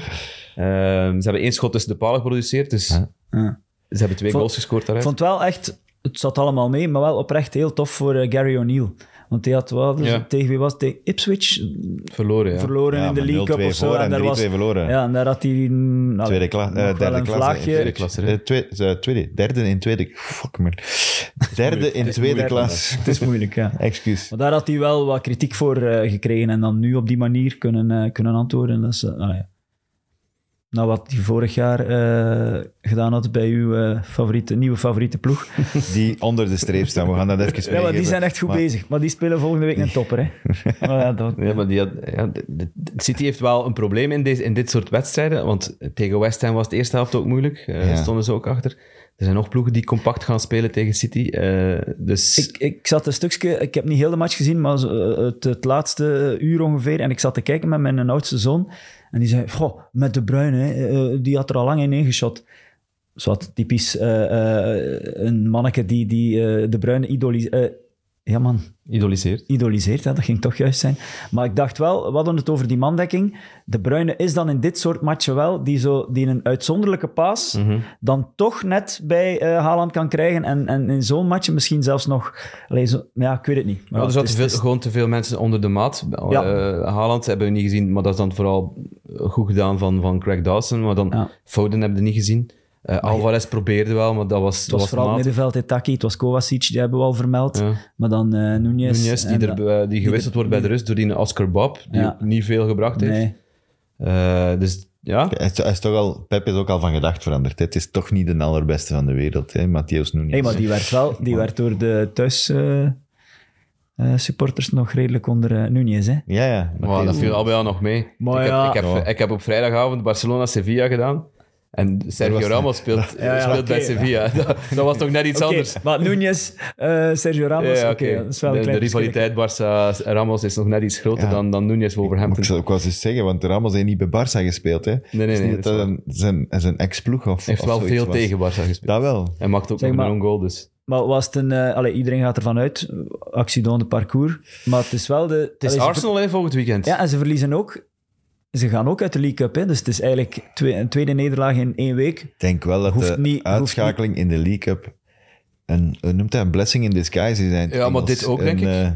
Speaker 3: Ehm, ze hebben één schot tussen de palen geproduceerd, dus
Speaker 2: Ja.
Speaker 3: ze hebben twee
Speaker 2: Vond-
Speaker 3: goals gescoord daaruit.
Speaker 2: Ik vond het wel echt, het zat allemaal mee, maar wel oprecht heel tof voor eh, Gary O'Neill. Want hij had wel, dus
Speaker 3: Ja.
Speaker 2: tegen wie was het? Tegen Ipswich
Speaker 3: Verloren, ja.
Speaker 2: verloren
Speaker 1: Ja,
Speaker 2: in de
Speaker 1: maar
Speaker 2: League Cup
Speaker 1: 0-2
Speaker 2: of zo.
Speaker 1: voor en
Speaker 2: daar
Speaker 1: 3-2 verloren.
Speaker 2: Ja, en daar had hij een, nou,
Speaker 1: Tweede klas,
Speaker 2: nog
Speaker 1: eh,
Speaker 2: wel
Speaker 1: derde
Speaker 2: een
Speaker 1: klasse.
Speaker 2: vlaagje.
Speaker 1: Tweede
Speaker 3: Tweede klasse, hè?
Speaker 1: Eh, tweede, eh, tweede, derde in tweede. Fuck me. Derde in tweede klas.
Speaker 2: Het is moeilijk, ja.
Speaker 1: Excuus.
Speaker 2: Maar daar had hij wel wat kritiek voor eh, gekregen en dan nu op die manier kunnen, eh, kunnen antwoorden. Dat is, eh, nou ja. Na wat hij vorig jaar eh, gedaan had bij uw eh, favoriete, nieuwe favoriete ploeg.
Speaker 1: Die onder de streep staan. We gaan dat even
Speaker 2: Ja, maar die
Speaker 1: meegeven.
Speaker 2: zijn echt goed
Speaker 1: Maar
Speaker 2: bezig. Maar die spelen volgende week een topper, hè. Maar ja, dat-
Speaker 3: Ja, maar die had, ja, de- de- de- City heeft wel een probleem in, deze, in dit soort wedstrijden. Want tegen West Ham was de eerste helft ook moeilijk. eh,
Speaker 1: Ja.
Speaker 3: Stonden ze ook achter. Er zijn nog ploegen die compact gaan spelen tegen City. eh, dus
Speaker 2: Ik, ik zat een stukje, ik heb niet heel de match gezien, maar zo, eh, het, het laatste eh, uur ongeveer. En ik zat te kijken met mijn oudste zoon. En die zei: Goh, met de Bruyne, hè, eh, die had er al lang in ingeschot. Zoals typisch eh, eh, een manneke die, die eh, de Bruyne idoliseert. ja, man,
Speaker 3: idoliseert.
Speaker 2: idoliseert, hè, dat ging toch juist zijn. Maar ik dacht wel, we hadden het over die mandekking. De Bruyne is dan in dit soort matchen wel, die, zo, die een uitzonderlijke paas
Speaker 3: Mhm.
Speaker 2: dan toch net bij eh, Haaland kan krijgen. En, en in zo'n match misschien zelfs nog... allee, zo- ja, ik weet het niet. Maar
Speaker 3: Ja, er
Speaker 2: het
Speaker 3: zaten
Speaker 2: is-
Speaker 3: veel,
Speaker 2: het is-
Speaker 3: gewoon te veel mensen onder de maat.
Speaker 2: Ja.
Speaker 3: Eh, Haaland hebben we niet gezien, maar dat is dan vooral goed gedaan van, van Craig Dawson. Maar dan
Speaker 2: Ja.
Speaker 3: Foden hebben we niet gezien. Eh, Alvarez probeerde wel, maar dat was,
Speaker 2: het was
Speaker 3: dat was
Speaker 2: vooral
Speaker 3: de
Speaker 2: het
Speaker 3: maat.
Speaker 2: middenveld, Itaki, het was Kovacic, die hebben we al vermeld.
Speaker 3: Ja.
Speaker 2: Maar dan eh Nunez.
Speaker 3: Nunez, die,
Speaker 2: en
Speaker 3: er,
Speaker 2: dan-
Speaker 3: eh, die gewisseld wordt bij de rust door die Oscar Bob, die
Speaker 2: Ja.
Speaker 3: ook niet veel gebracht heeft.
Speaker 2: Nee.
Speaker 3: Eh, dus ja,
Speaker 1: hij is, hij is toch al, Pep is ook al van gedacht veranderd. hè. Het is toch niet de allerbeste van de wereld. Hè? Matheus Nunes.
Speaker 2: Hey, maar die werd wel die werd door de thuis... eh, eh, supporters nog redelijk onder eh, Nunez, hè?
Speaker 1: Ja, ja.
Speaker 3: Wow,
Speaker 1: Matheus.
Speaker 3: dat viel al bij jou nog mee.
Speaker 2: Maar
Speaker 3: ik,
Speaker 2: ja.
Speaker 3: heb, ik, heb,
Speaker 1: Ja.
Speaker 3: ik heb op vrijdagavond Barcelona-Sevilla gedaan. En Sergio
Speaker 1: Dat was-
Speaker 3: Ramos speelt,
Speaker 2: ja,
Speaker 3: speelt bij
Speaker 2: oké.
Speaker 3: Sevilla. Dat, dat was toch net iets
Speaker 2: Oké,
Speaker 3: anders.
Speaker 2: Maar Nunez, eh, Sergio Ramos,
Speaker 3: Ja, ja,
Speaker 2: oké,
Speaker 3: oké.
Speaker 2: dat is wel een
Speaker 3: de, de
Speaker 2: klein
Speaker 3: rivaliteit Barça-Ramos is nog net iets groter
Speaker 1: Ja.
Speaker 3: dan, dan Nunez
Speaker 1: Maar Ik
Speaker 3: Wolverhampton.
Speaker 1: zou ook wel eens zeggen, want Ramos heeft niet bij Barça gespeeld. Hè?
Speaker 3: nee,
Speaker 1: Het is
Speaker 3: nee,
Speaker 1: niet
Speaker 3: dat
Speaker 1: dat
Speaker 3: is
Speaker 1: dat een, zijn, zijn ex-ploeg of
Speaker 3: Hij heeft
Speaker 1: of
Speaker 3: wel
Speaker 1: zoiets
Speaker 3: veel
Speaker 1: was.
Speaker 3: tegen Barça gespeeld.
Speaker 1: Dat wel.
Speaker 3: En maakt ook
Speaker 2: Zeg
Speaker 3: nog
Speaker 2: maar-
Speaker 3: een own goal, dus...
Speaker 2: Maar was het een... eh, allee, iedereen gaat ervan uit, eh, accident de parcours. Maar het is wel de...
Speaker 3: Het is Arsenal hè, volgend weekend.
Speaker 2: Ja, en ze verliezen ook... Ze gaan ook uit de League Cup, hè. Dus het is eigenlijk twee- een tweede nederlaag in één week.
Speaker 1: Ik denk wel dat
Speaker 2: Hoeft
Speaker 1: de
Speaker 2: niet- hoeft
Speaker 1: uitschakeling in de League Cup een, hoe noemt dat, een blessing in disguise is.
Speaker 3: Ja, maar dit ook, denk ik.
Speaker 1: eh,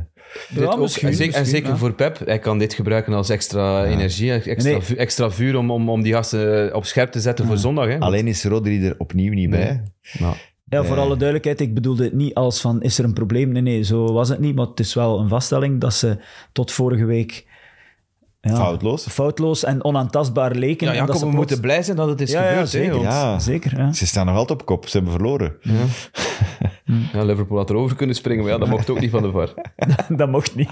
Speaker 3: Dit
Speaker 2: Ja,
Speaker 3: ook.
Speaker 2: misschien,
Speaker 3: en zeker, en
Speaker 2: misschien,
Speaker 3: zeker
Speaker 2: ja.
Speaker 3: voor Pep. Hij kan dit gebruiken als extra energie, extra,
Speaker 2: Nee.
Speaker 3: vu- extra vuur om, om, om die gasten eh, op scherp te zetten voor zondag. Hè.
Speaker 1: alleen is Rodri er opnieuw niet
Speaker 3: Nee.
Speaker 1: bij.
Speaker 3: Nou.
Speaker 2: Ja, voor
Speaker 1: Nee.
Speaker 2: alle duidelijkheid, ik bedoelde het niet als van, is er een probleem? Nee, nee, zo was het niet. Maar het is wel een vaststelling dat ze tot vorige week... ja,
Speaker 1: Foutloos.
Speaker 2: Foutloos en onaantastbaar leken.
Speaker 3: Ja,
Speaker 2: en dat
Speaker 3: Jacob,
Speaker 2: ze
Speaker 3: we
Speaker 2: plots-
Speaker 3: moeten blij zijn dat het is
Speaker 2: Ja, ja,
Speaker 3: gebeurd. hè,
Speaker 2: zeker.
Speaker 3: want-
Speaker 1: Ja,
Speaker 2: Zeker, ja.
Speaker 1: ze staan nog altijd op kop. Ze hebben verloren.
Speaker 3: Ja, Liverpool had erover kunnen springen, maar ja, dat mocht ook niet van de VAR.
Speaker 1: Eh,
Speaker 2: dat mocht niet.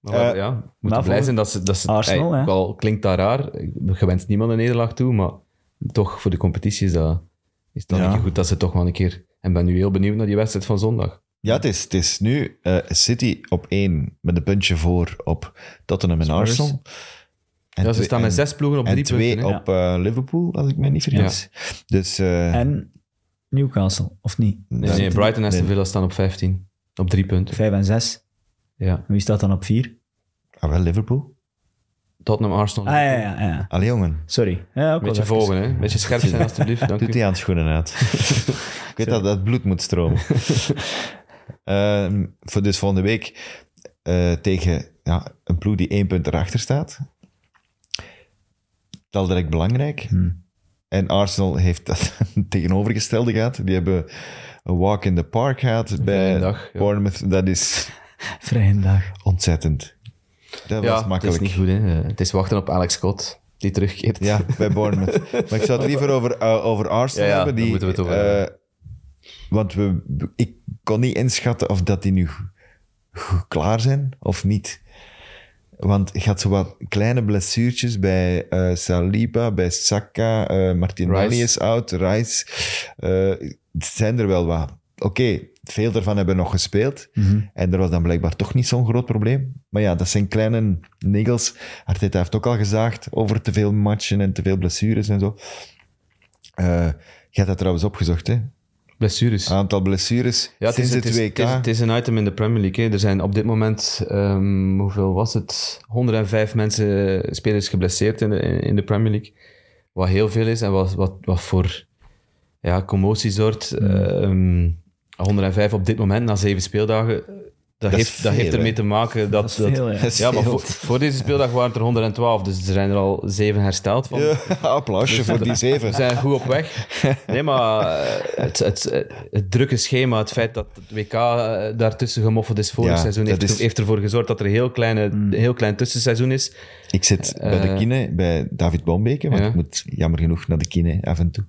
Speaker 3: Maar
Speaker 1: Eh,
Speaker 3: ja, we moeten
Speaker 2: maar
Speaker 3: blij
Speaker 2: voor-
Speaker 3: zijn dat ze... Dat ze
Speaker 2: Arsenal,
Speaker 3: ey,
Speaker 2: hè.
Speaker 3: ook al klinkt dat raar, je wenst niemand een nederlaag toe, maar toch, voor de competitie is dat, is dat
Speaker 1: Ja.
Speaker 3: een keer goed dat ze toch wel een keer... En ben nu heel benieuwd naar die wedstrijd van zondag.
Speaker 1: Ja, het is, het is nu eh, City op één met een puntje voor op Tottenham en Arsenal. En
Speaker 3: ja, ze
Speaker 1: twee-
Speaker 3: staan met
Speaker 1: en-
Speaker 3: zes ploegen op
Speaker 1: En
Speaker 3: drie
Speaker 1: twee
Speaker 3: punten. hè.
Speaker 1: op eh, Liverpool, als ik me niet vergis. Dus eh,
Speaker 2: En Newcastle, of niet?
Speaker 3: Nee, nee, Brighton en Aston
Speaker 1: Nee.
Speaker 3: Villa staan op 15. Op drie punten.
Speaker 2: Vijf en zes.
Speaker 3: Ja.
Speaker 2: En Wie staat dan op vier?
Speaker 1: ah, wel Liverpool.
Speaker 3: Tottenham,
Speaker 2: Ah,
Speaker 3: Arsenal.
Speaker 2: ja, ja, ja, ja.
Speaker 1: Allee, jongen.
Speaker 2: Sorry. Ja, ook
Speaker 3: Beetje
Speaker 2: wel even.
Speaker 3: volgen, hè. Beetje scherp zijn, alstublieft. Dank
Speaker 1: Doet
Speaker 3: u.
Speaker 1: die handschoenen uit. ik weet dat dat bloed moet stromen. Ehm, voor dus volgende week eh, tegen ja, een ploeg die één punt erachter staat. Dat is direct belangrijk.
Speaker 3: Hmm.
Speaker 1: En Arsenal heeft dat tegenovergestelde gehad. Die hebben een walk in the park gehad bij
Speaker 3: dag, ja.
Speaker 1: Bournemouth. Dat is
Speaker 2: Vrijdag.
Speaker 1: ontzettend. Dat
Speaker 3: Ja,
Speaker 1: was
Speaker 3: het is
Speaker 1: makkelijk.
Speaker 3: niet goed, hè. Eh, Het is wachten op Alex Scott. die terugkeert.
Speaker 1: Ja, bij Bournemouth. maar ik zou het liever over, eh, over Arsenal
Speaker 3: Ja, ja,
Speaker 1: hebben.
Speaker 3: daar
Speaker 1: Die,
Speaker 3: moeten we het over hebben.
Speaker 1: eh, want we, ik kon niet inschatten of dat die nu goed klaar zijn of niet. Want je had zo wat kleine blessuurtjes bij eh, Saliba, bij Saka, eh Martinelli
Speaker 3: Rice.
Speaker 1: is out, Rice. Eh, het zijn er wel wat. Oké, veel daarvan hebben nog gespeeld.
Speaker 3: Mhm.
Speaker 1: En er was dan blijkbaar toch niet zo'n groot probleem. Maar ja, dat zijn kleine niggels. Arteta heeft ook al gezaagd over te veel matchen en te veel blessures en zo. Eh je hebt dat trouwens opgezocht, hè?
Speaker 3: Blessures.
Speaker 1: Aantal blessures
Speaker 3: Ja, het is,
Speaker 1: sinds
Speaker 3: het,
Speaker 1: het,
Speaker 3: is,
Speaker 1: WK.
Speaker 3: het is- het is een item in de Premier League. hè. Er zijn op dit moment, ehm, hoeveel was het? 105 mensen, eh, spelers geblesseerd in de, in de Premier League. Wat heel veel is en wat, wat, wat voor ja, commotie zorgt.
Speaker 1: Hmm.
Speaker 3: Ehm, 105 op dit moment, na zeven speeldagen. Dat,
Speaker 1: is
Speaker 3: heeft, dat
Speaker 1: veel,
Speaker 3: heeft ermee
Speaker 1: hè?
Speaker 3: te maken dat...
Speaker 2: Dat is veel, ja.
Speaker 1: Dat is
Speaker 3: Ja, maar
Speaker 1: veel.
Speaker 3: voor, voor deze speeldag waren het er 112, dus er zijn er al zeven hersteld van.
Speaker 1: Ja, applausje voor die zeven.
Speaker 3: We zijn goed op weg. Nee, maar eh, het, het, het drukke schema, het feit dat het WK eh, daartussen gemoffeld is vorig
Speaker 1: Ja,
Speaker 3: seizoen, heeft,
Speaker 1: dat is- Mm.
Speaker 3: heeft ervoor gezorgd dat er een heel, kleine, een heel klein tussenseizoen is.
Speaker 1: Ik zit bij de kine, bij David Boombeke, want
Speaker 3: Ja.
Speaker 1: ik moet jammer genoeg naar de kine af en toe.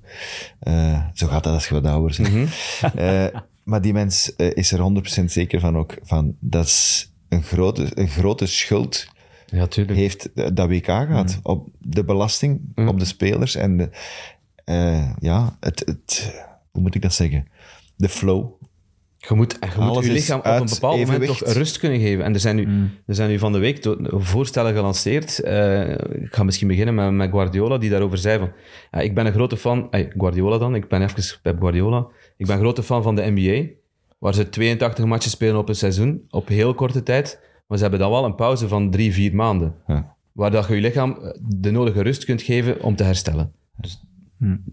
Speaker 1: Eh, zo gaat dat als je wat ouder bent. Eh, maar die mens eh, is er 100% zeker van ook. Van, dat is een grote, een grote schuld
Speaker 3: Ja, tuurlijk.
Speaker 1: heeft eh, dat WK gehad. Op de belasting, op de spelers en de, eh, ja, het, het, hoe moet ik dat zeggen? De flow.
Speaker 3: Je moet, je moet
Speaker 1: Alles
Speaker 3: je
Speaker 1: is
Speaker 3: lichaam op een
Speaker 1: uit
Speaker 3: bepaald moment
Speaker 1: evenwicht.
Speaker 3: toch rust kunnen geven. En er zijn nu, er zijn nu van de week to- voorstellen gelanceerd. Eh, ik ga misschien beginnen met, met Guardiola, die daarover zei van... ja, ik ben een grote fan... eh, Guardiola dan, ik ben even bij Guardiola. Ik ben een grote fan van de NBA, waar ze 82 matchen spelen op een seizoen, op heel korte tijd. Maar ze hebben dan wel een pauze van drie, vier maanden.
Speaker 1: Ja.
Speaker 3: Waar dat je je lichaam eh, de nodige rust kunt geven om te herstellen. Dus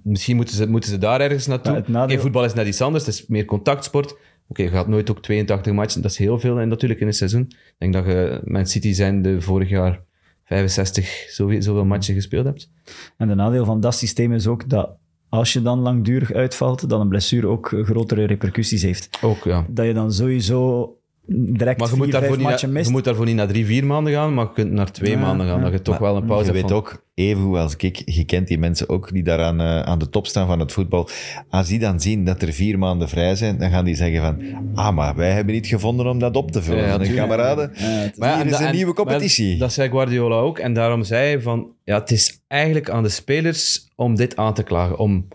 Speaker 3: Misschien moeten ze, moeten ze daar ergens naartoe.
Speaker 2: Hmm. Ja, het nadeel-
Speaker 3: Oké, voetbal is net iets anders, het is meer contactsport. Oké, je gaat nooit ook 82 matchen, dat is heel veel en natuurlijk in een seizoen. Ik denk dat je Man City zijn de vorig jaar 65 zoveel, zoveel matchen gespeeld hebt.
Speaker 2: En de nadeel van dat systeem is ook dat als je dan langdurig uitvalt, dan een blessure ook grotere repercussies heeft.
Speaker 3: Ook, ja.
Speaker 2: Dat je dan sowieso direct
Speaker 3: Maar je
Speaker 2: vier,
Speaker 3: moet, daarvoor
Speaker 2: vijf
Speaker 3: niet,
Speaker 2: matchen
Speaker 3: naar, je
Speaker 2: mist.
Speaker 3: moet daarvoor niet naar drie, vier maanden gaan, maar je kunt naar twee
Speaker 2: Ja,
Speaker 3: maanden gaan,
Speaker 2: ja.
Speaker 3: dat je toch
Speaker 1: Maar
Speaker 3: wel een pauze
Speaker 1: Je
Speaker 3: hebt.
Speaker 1: weet
Speaker 3: van-
Speaker 1: ook, evengoed als ik, je kent die mensen ook die daar aan, eh, aan de top staan van het voetbal. Als die dan zien dat er vier maanden vrij zijn, dan gaan die zeggen van, ah, maar wij hebben niet gevonden om dat op te vullen.
Speaker 3: Ja,
Speaker 1: Ja,
Speaker 3: tuurlijk.
Speaker 1: kameraden,
Speaker 3: Maar ja,
Speaker 1: hier
Speaker 3: en
Speaker 1: is
Speaker 3: da-
Speaker 1: een
Speaker 3: en-
Speaker 1: nieuwe competitie.
Speaker 3: maar dat zei Guardiola ook. En daarom zei hij van... Ja, het is eigenlijk aan de spelers om dit aan te klagen. Om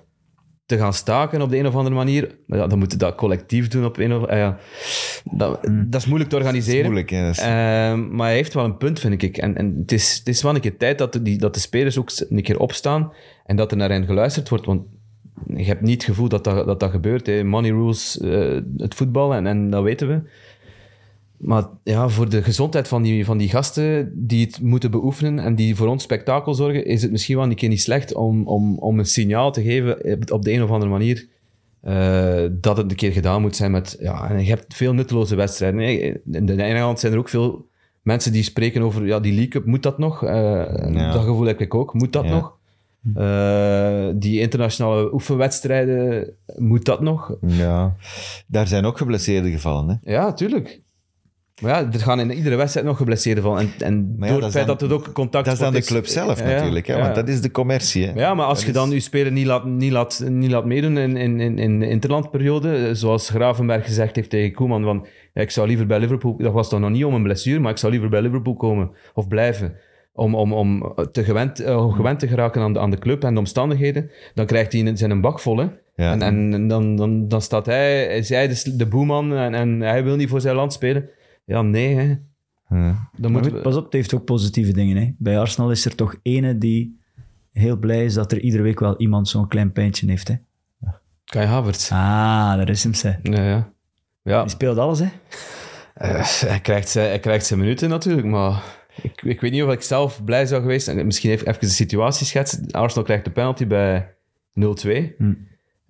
Speaker 3: te gaan staken op de een of andere manier. Ja, dan moeten dat collectief doen op een of... eh, ja. dat, dat is moeilijk te organiseren.
Speaker 1: is moeilijk, hè. Hmm. Dat is-
Speaker 3: Ehm, maar hij heeft wel een punt, vind ik. En, en het, is, het is wel een keer tijd dat de, die, dat de spelers ook een keer opstaan en dat er naar hen geluisterd wordt. Want je hebt niet het gevoel dat dat, dat, dat gebeurt. Hè. Money rules eh, het voetbal en, en dat weten we. Maar ja, voor de gezondheid van die, van die gasten die het moeten beoefenen en die voor ons spektakel zorgen, is het misschien wel een keer niet slecht om, om, om een signaal te geven op- op de een of andere manier eh, dat het een keer gedaan moet zijn met... Ja, en je hebt veel nutteloze wedstrijden. Nee, In de ene hand zijn er ook veel mensen die spreken over ja, die League Cup, moet dat nog? Eh,
Speaker 1: Ja.
Speaker 3: Dat gevoel heb ik ook. Moet dat
Speaker 1: Ja.
Speaker 3: nog? Eh, die internationale oefenwedstrijden, moet dat nog?
Speaker 1: ja, daar zijn ook geblesseerde gevallen. Hè.
Speaker 3: Ja, tuurlijk. Maar ja, er gaan in iedere wedstrijd nog geblesseerden van. En, en
Speaker 1: ja,
Speaker 3: door
Speaker 1: dat
Speaker 3: het
Speaker 1: is
Speaker 3: feit
Speaker 1: dan-
Speaker 3: dat het ook contact
Speaker 1: Dat is dan de club zelf natuurlijk, hè, want dat is de commercie. Hè.
Speaker 3: Ja, maar als je dan je speler niet laat, niet laat, niet laat meedoen in, in, in, in de interlandperiode, eh, zoals Gravenberg gezegd heeft tegen Koeman, van ja, ik zou liever bij Liverpool, dat was dan nog niet om een blessure, maar ik zou liever bij Liverpool komen of blijven. Om, om, om te gewend, eh,
Speaker 1: Hmm.
Speaker 3: om gewend te geraken aan de, aan de club en de omstandigheden, dan krijgt hij zijn een bak vol. Hè?
Speaker 1: Ja.
Speaker 3: En, eh, en, en dan, dan, dan staat hij, is hij de, s- de boeman en, en hij wil niet voor zijn land spelen. Ja, nee. Hè.
Speaker 1: Ja.
Speaker 3: Dan
Speaker 2: Maar
Speaker 3: moeten
Speaker 2: goed,
Speaker 3: we-
Speaker 2: pas op, het heeft ook positieve dingen. Hè. Bij Arsenal is er toch ene die heel blij is dat er iedere week wel iemand zo'n klein pijntje heeft. Hè.
Speaker 3: Kai Havertz.
Speaker 2: Ah, daar is hem, ze.
Speaker 3: Ja, ja. ja.
Speaker 2: Die speelt alles, hè.
Speaker 3: Eh, hij, krijgt zijn, hij krijgt zijn minuten natuurlijk, maar ik, ik weet niet of ik zelf blij zou geweest zijn. Misschien even, even de situatie schetsen. Arsenal krijgt de penalty bij 0-2.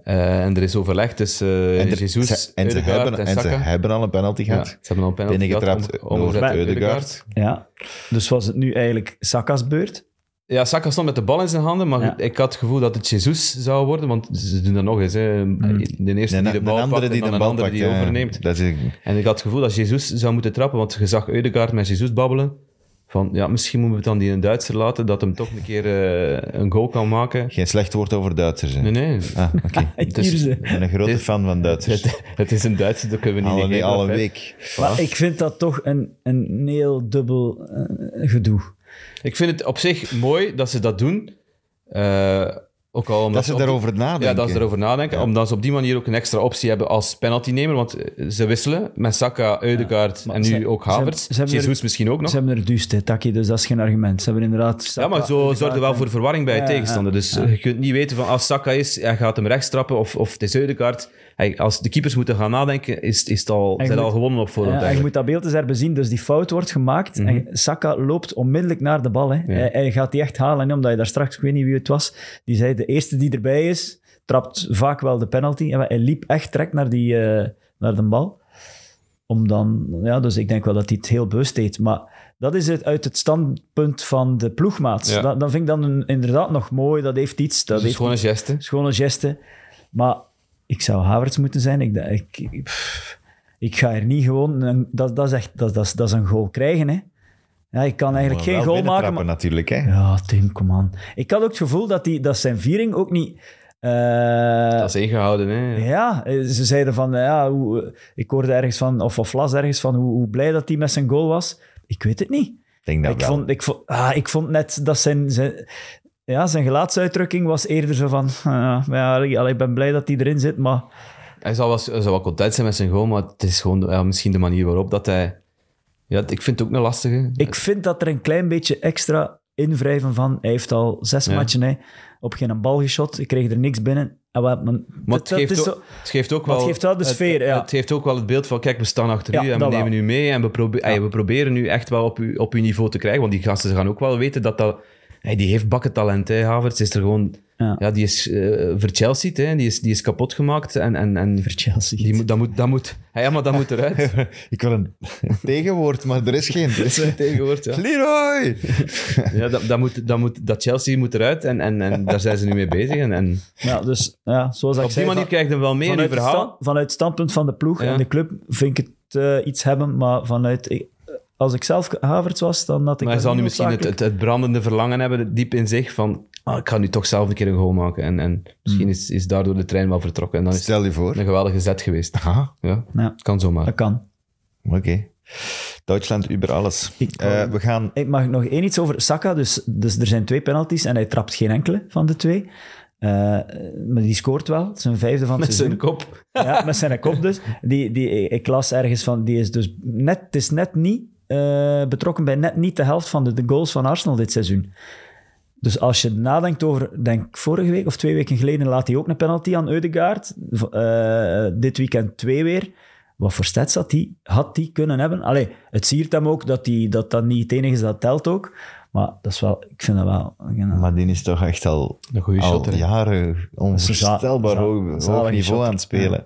Speaker 3: Eh, en er is overleg tussen eh,
Speaker 1: Hmm. En, er-
Speaker 3: Jesus,
Speaker 1: ze, en, ze
Speaker 3: Ødegaard
Speaker 1: hebben,
Speaker 3: en
Speaker 1: en ze
Speaker 3: Saka.
Speaker 1: hebben al een penalty
Speaker 3: ja,
Speaker 1: gehad.
Speaker 3: ze hebben al een penalty
Speaker 1: Binnengetrapt
Speaker 3: gehad, om- omgezet
Speaker 1: door
Speaker 3: door
Speaker 1: Eudegaard.
Speaker 2: Ja. Dus was het nu eigenlijk Saka's beurt?
Speaker 3: Ja, Saka stond met de bal in zijn handen, maar
Speaker 2: Ja.
Speaker 3: ik had het gevoel dat het Jesus zou worden, want ze doen dat nog eens. Hè. De eerste
Speaker 1: Een,
Speaker 3: die de
Speaker 1: Hmm. een
Speaker 3: bal pakt
Speaker 1: andere
Speaker 3: en
Speaker 1: die
Speaker 3: dan
Speaker 1: de
Speaker 3: een
Speaker 1: bal
Speaker 3: andere
Speaker 1: pakt.
Speaker 3: die
Speaker 1: ja.
Speaker 3: overneemt.
Speaker 1: Dat is,
Speaker 3: En ik had het gevoel dat Jesus zou moeten trappen, want je zag Eudegaard met Jesus babbelen. Van, ja, misschien moeten we dan die een Duitser laten, dat hem toch een keer eh, een goal kan maken.
Speaker 1: Geen slecht woord over Duitsers. hè?
Speaker 3: Nee, nee.
Speaker 1: Ah, oké.
Speaker 2: Het
Speaker 3: is-
Speaker 2: Ierse.
Speaker 1: Ik ben een grote
Speaker 3: Dit-
Speaker 1: fan van Duitsers.
Speaker 3: Het, het is een Duitser, dat kunnen we niet
Speaker 1: alle,
Speaker 3: negeren,
Speaker 1: alle
Speaker 3: hè.
Speaker 1: week.
Speaker 2: Maar ik vind dat toch een, een heel dubbel eh, gedoe.
Speaker 3: Ik vind het op zich mooi dat ze dat doen. Eh, ook al omdat
Speaker 1: Dat ze
Speaker 3: op
Speaker 1: daarover nadenken.
Speaker 3: Ja, dat ze erover nadenken.
Speaker 1: Ja.
Speaker 3: Omdat ze op die manier ook een extra optie hebben als penaltynemer. Want eh, ze wisselen met Saka, Eudegaard
Speaker 2: maar
Speaker 3: en nu
Speaker 2: ze-
Speaker 3: ook
Speaker 2: ze hebben-
Speaker 3: Havertz.
Speaker 2: ze hebben
Speaker 3: Jesus
Speaker 2: er-
Speaker 3: misschien ook nog.
Speaker 2: Ze hebben er duist, hè, Taki, dus dat is geen argument. Ze hebben inderdaad...
Speaker 3: Ja, maar zo zorgt er wel voor verwarring bij je
Speaker 2: Ja,
Speaker 3: tegenstander.
Speaker 2: ja,
Speaker 3: Dus
Speaker 2: ja.
Speaker 3: je kunt niet weten van als Saka is, hij gaat hem rechts trappen of, of het is Eudegaard. Hij- Als de keepers moeten gaan nadenken, is, is het al,
Speaker 2: je
Speaker 3: zijn
Speaker 2: moet-
Speaker 3: al gewonnen op voorhand.
Speaker 2: Ja, en je moet dat beeld eens herbezien. Dus die fout wordt gemaakt.
Speaker 3: Mhm.
Speaker 2: En Saka loopt onmiddellijk naar de bal. Hè. Hij, hij gaat die echt halen. En omdat je daar straks, ik weet niet wie het was, die zei de eerste die erbij is, trapt vaak wel de penalty. En hij liep echt direct naar, die, eh, naar de bal. Om dan, ja, dus ik denk wel dat hij het heel bewust deed. Maar dat is het uit het standpunt van de ploegmaat.
Speaker 3: Ja.
Speaker 2: Dat, dat vind ik dan een- inderdaad nog mooi. Dat heeft iets. Dat
Speaker 3: dat is
Speaker 2: heeft
Speaker 3: gewoon een geste.
Speaker 2: schone geste. Maar ik zou Havertz moeten zijn. Ik, d- ik, ik- pff, ik ga er niet gewoon... een- Dat, dat, is echt, dat, dat, is- dat is een goal krijgen, hè. Ja, ik kan eigenlijk
Speaker 1: Maar
Speaker 2: geen
Speaker 1: wel
Speaker 2: goal maken.
Speaker 1: binnentrappen
Speaker 2: maar-
Speaker 1: natuurlijk, hè.
Speaker 2: Ja, Tim, kom aan. Ik had ook het gevoel dat, die, dat zijn viering ook niet... eh,
Speaker 3: Dat is ingehouden. Hè.
Speaker 2: ja, eh, ze zeiden van, eh, ja, hoe, eh, ik hoorde ergens van, of, of las ergens van, hoe, hoe blij dat hij met zijn goal was. Ik weet het niet.
Speaker 1: Ik denk dat
Speaker 2: ik,
Speaker 1: wel.
Speaker 2: vond, ik, vond, ah, ik vond net dat zijn, zijn, ja, zijn gelaatsuitdrukking was eerder zo van, ah, ja, allee, ik ben blij dat hij erin zit, maar
Speaker 3: Hij zal wel, hij zal wel content zijn met zijn goal, maar het is gewoon ja, misschien de manier waarop dat hij... Ja, ik vind het ook een lastige.
Speaker 2: ik vind dat er een klein beetje extra invrijven van, hij heeft al zes
Speaker 3: Ja.
Speaker 2: matchen hè, op geen bal geschot, ik kreeg er niks binnen. En wat, maar, dat-
Speaker 3: maar het
Speaker 2: dat
Speaker 3: geeft,
Speaker 2: is
Speaker 3: ook,
Speaker 2: zo-
Speaker 3: het geeft ook
Speaker 2: maar
Speaker 3: wel...
Speaker 2: het geeft wel de sfeer,
Speaker 3: Het,
Speaker 2: ja.
Speaker 3: het geeft ook wel het beeld van, kijk, we staan achter
Speaker 2: Ja,
Speaker 3: u en we
Speaker 2: dat
Speaker 3: nemen
Speaker 2: wel.
Speaker 3: u mee en we, probe- ey, we proberen u echt wel op, u, op uw niveau te krijgen. Want die gasten ze gaan ook wel weten dat dat... ey, die heeft bakkentalent, hè, Havertz is er gewoon...
Speaker 2: Ja.
Speaker 3: Ja, die is eh verchelsea'd, hè. Die is, die is kapot gemaakt en... en, en
Speaker 2: Voor Chelsea.
Speaker 3: die moet, dat moet... Dat moet hey, ja, maar dat moet eruit.
Speaker 1: Ik wil een tegenwoord, maar er is geen. Er is geen
Speaker 3: Tegenwoordig, ja.
Speaker 1: Leroy!
Speaker 3: ja dat, dat, moet, dat, moet, dat Chelsea moet eruit en, en, en daar zijn ze nu mee bezig. En, en
Speaker 2: Ja, dus ja, zoals ik
Speaker 3: op die
Speaker 2: zei,
Speaker 3: manier
Speaker 2: van-
Speaker 3: krijg je hem wel mee in je
Speaker 2: vanuit, het
Speaker 3: verhaal.
Speaker 2: stand- vanuit het standpunt van de ploeg
Speaker 3: Ja.
Speaker 2: en de club vind ik het eh, iets hebben, maar vanuit... ik- als ik zelf Havertz was, dan had ik...
Speaker 3: Maar hij
Speaker 2: dat
Speaker 3: zal nu
Speaker 2: niet
Speaker 3: misschien het,
Speaker 2: noodzakelijk-
Speaker 3: het, het brandende verlangen hebben diep in zich van ah, ik ga nu toch zelf een keer een goal maken. En, en misschien is, is daardoor de trein wel vertrokken. En dan is het
Speaker 1: Stel je voor.
Speaker 3: een geweldige zet geweest.
Speaker 1: Aha,
Speaker 3: Ja,
Speaker 2: Ja,
Speaker 3: kan
Speaker 2: dat
Speaker 3: zomaar.
Speaker 2: kan.
Speaker 1: oké. Duitsland über alles.
Speaker 2: Ik-
Speaker 1: Eh, we gaan...
Speaker 2: Ik mag nog één iets over Saka. Dus, dus er zijn twee penalties en hij trapt geen enkele van de twee. Eh, maar die scoort wel. Zijn vijfde van het
Speaker 3: Met zijn
Speaker 2: seizoen.
Speaker 3: kop.
Speaker 2: Ja, met zijn kop dus. Die, die, ik las ergens van, die is dus net, het is net niet eh, betrokken bij net niet de helft van de, de goals van Arsenal dit seizoen. Dus als je nadenkt over, denk ik, vorige week of twee weken geleden laat hij ook een penalty aan Eudegaard. V- eh, dit weekend twee weer. Wat voor stats had hij had die kunnen hebben? Allee, het siert hem ook dat, die, dat dat niet het enige is dat telt ook. Maar dat is wel, ik vind dat wel...
Speaker 1: Maar die is toch echt al,
Speaker 3: Een goede
Speaker 1: al
Speaker 3: shot. hè.
Speaker 1: jaren onvoorstelbaar
Speaker 2: za-
Speaker 1: hoog,
Speaker 2: zalige
Speaker 1: hoog niveau
Speaker 2: shot.
Speaker 1: aan het spelen.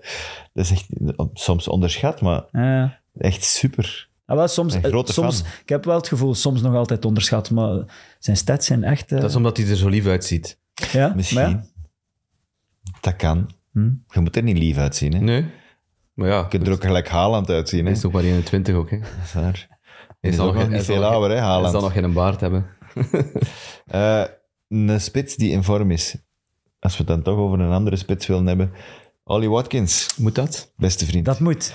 Speaker 1: Dat is echt soms onderschat, maar
Speaker 2: Eh.
Speaker 1: echt super.
Speaker 2: Ja, wel, soms,
Speaker 1: Een grote
Speaker 2: eh, soms,
Speaker 1: fan.
Speaker 2: Ik heb wel het gevoel, soms nog altijd onderschat, maar zijn stats zijn echt... eh,
Speaker 3: Dat is omdat hij er zo lief uitziet.
Speaker 2: ja,
Speaker 1: Misschien.
Speaker 2: maar ja.
Speaker 1: Dat kan.
Speaker 2: Hm.
Speaker 1: Je moet er niet lief uitzien. Hè?
Speaker 3: Nee. Maar ja,
Speaker 1: Je kunt er ook gelijk Haaland uitzien.
Speaker 3: hij
Speaker 1: Hè?
Speaker 3: is nog maar 21 ook. Hè.
Speaker 1: Dat is waar.
Speaker 3: Hij
Speaker 1: is
Speaker 3: zal
Speaker 1: ook nog
Speaker 3: geen-
Speaker 1: niet
Speaker 3: hij
Speaker 1: veel
Speaker 3: zal nog-
Speaker 1: ouder, hè,
Speaker 3: Hij zal
Speaker 1: Haaland.
Speaker 3: nog geen baard hebben.
Speaker 1: Eh, een spits die in vorm is. Als we het dan toch over een andere spits willen hebben. Ollie Watkins,
Speaker 3: Moet dat?
Speaker 1: beste vriend.
Speaker 2: Dat
Speaker 1: Dat,
Speaker 2: moet.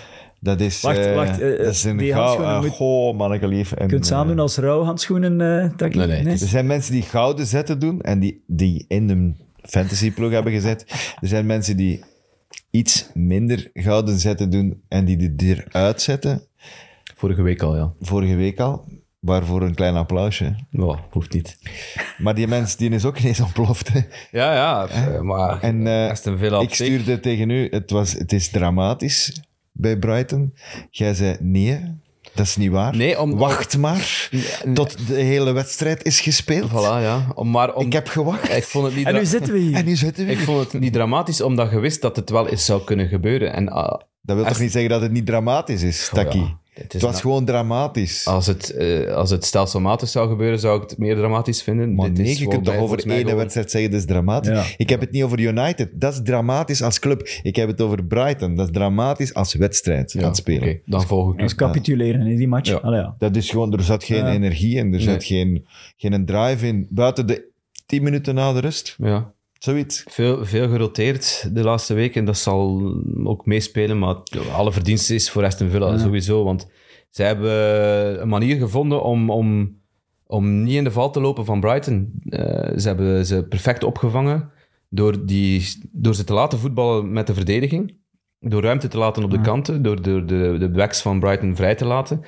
Speaker 1: is...
Speaker 2: Wacht,
Speaker 1: eh,
Speaker 2: wacht, eh,
Speaker 1: dat is een
Speaker 2: die
Speaker 1: gouden...
Speaker 2: handschoenen moet-
Speaker 1: goh, manneke lief. En, eh,
Speaker 2: Je kunt het samen doen als rouwhandschoenen, eh Taki.
Speaker 3: Nee, nee, het
Speaker 1: Er zijn mensen die gouden zetten doen en die, die in een fantasyploeg hebben gezet. Er zijn mensen die iets minder gouden zetten doen en die die eruit zetten.
Speaker 3: Vorige week al, ja.
Speaker 1: Vorige week al. Waarvoor een klein applausje.
Speaker 3: Nou, hoeft niet.
Speaker 1: Maar die mens die is ook ineens ontploft. hè.
Speaker 3: Ja, ja. eh, Maar
Speaker 1: En eh,
Speaker 3: Aston Villa op
Speaker 1: ik
Speaker 3: zich.
Speaker 1: stuurde tegen u, het, was, het is dramatisch bij Brighton. Jij zei nee, dat is niet waar.
Speaker 3: Nee, om-
Speaker 1: Wacht maar tot de hele wedstrijd is gespeeld.
Speaker 3: Voilà, ja. Om, maar om,
Speaker 1: Ik heb gewacht.
Speaker 3: ik vond het niet
Speaker 2: En
Speaker 3: dra-
Speaker 2: nu zitten we hier.
Speaker 1: En nu zitten we
Speaker 3: Ik
Speaker 1: hier.
Speaker 3: vond het niet dramatisch, omdat je wist dat het wel eens zou kunnen gebeuren. En ah,
Speaker 1: Dat wil
Speaker 3: Als-
Speaker 1: toch niet zeggen dat het niet dramatisch is, Taki?
Speaker 3: Oh, ja. Het
Speaker 1: Het
Speaker 3: is
Speaker 1: was
Speaker 3: na-
Speaker 1: gewoon dramatisch.
Speaker 3: als, het, eh, als het stelselmatig zou gebeuren, zou ik het meer dramatisch vinden.
Speaker 1: maar
Speaker 3: Dit
Speaker 1: nee,
Speaker 3: is
Speaker 1: je
Speaker 3: gewoon
Speaker 1: kunt toch
Speaker 3: bij-
Speaker 1: over
Speaker 3: volgens mij
Speaker 1: één
Speaker 3: gewoon-
Speaker 1: wedstrijd zeggen, dat is dramatisch.
Speaker 2: Ja.
Speaker 1: Ik heb het niet over United. Dat is dramatisch als club. Ik heb het over Brighton. Dat is dramatisch als wedstrijd aan het spelen.
Speaker 3: Oké, dan volg ik
Speaker 2: Dus
Speaker 3: het.
Speaker 2: capituleren in die match.
Speaker 3: Ja.
Speaker 2: Allee, ja.
Speaker 1: Dat is gewoon, er zat geen
Speaker 2: Ja.
Speaker 1: energie in, er zat
Speaker 3: Nee.
Speaker 1: geen, geen drive in. Buiten de tien minuten na de rust,
Speaker 3: Ja.
Speaker 1: zoiets.
Speaker 3: Veel, veel geroteerd de laatste week en dat zal ook meespelen, maar alle verdienste is voor Aston Villa sowieso, want zij hebben een manier gevonden om, om, om niet in de val te lopen van Brighton. Eh, ze hebben ze perfect opgevangen door, die, door ze te laten voetballen met de verdediging, door ruimte te laten op de kanten, door, door de, de backs van Brighton vrij te laten.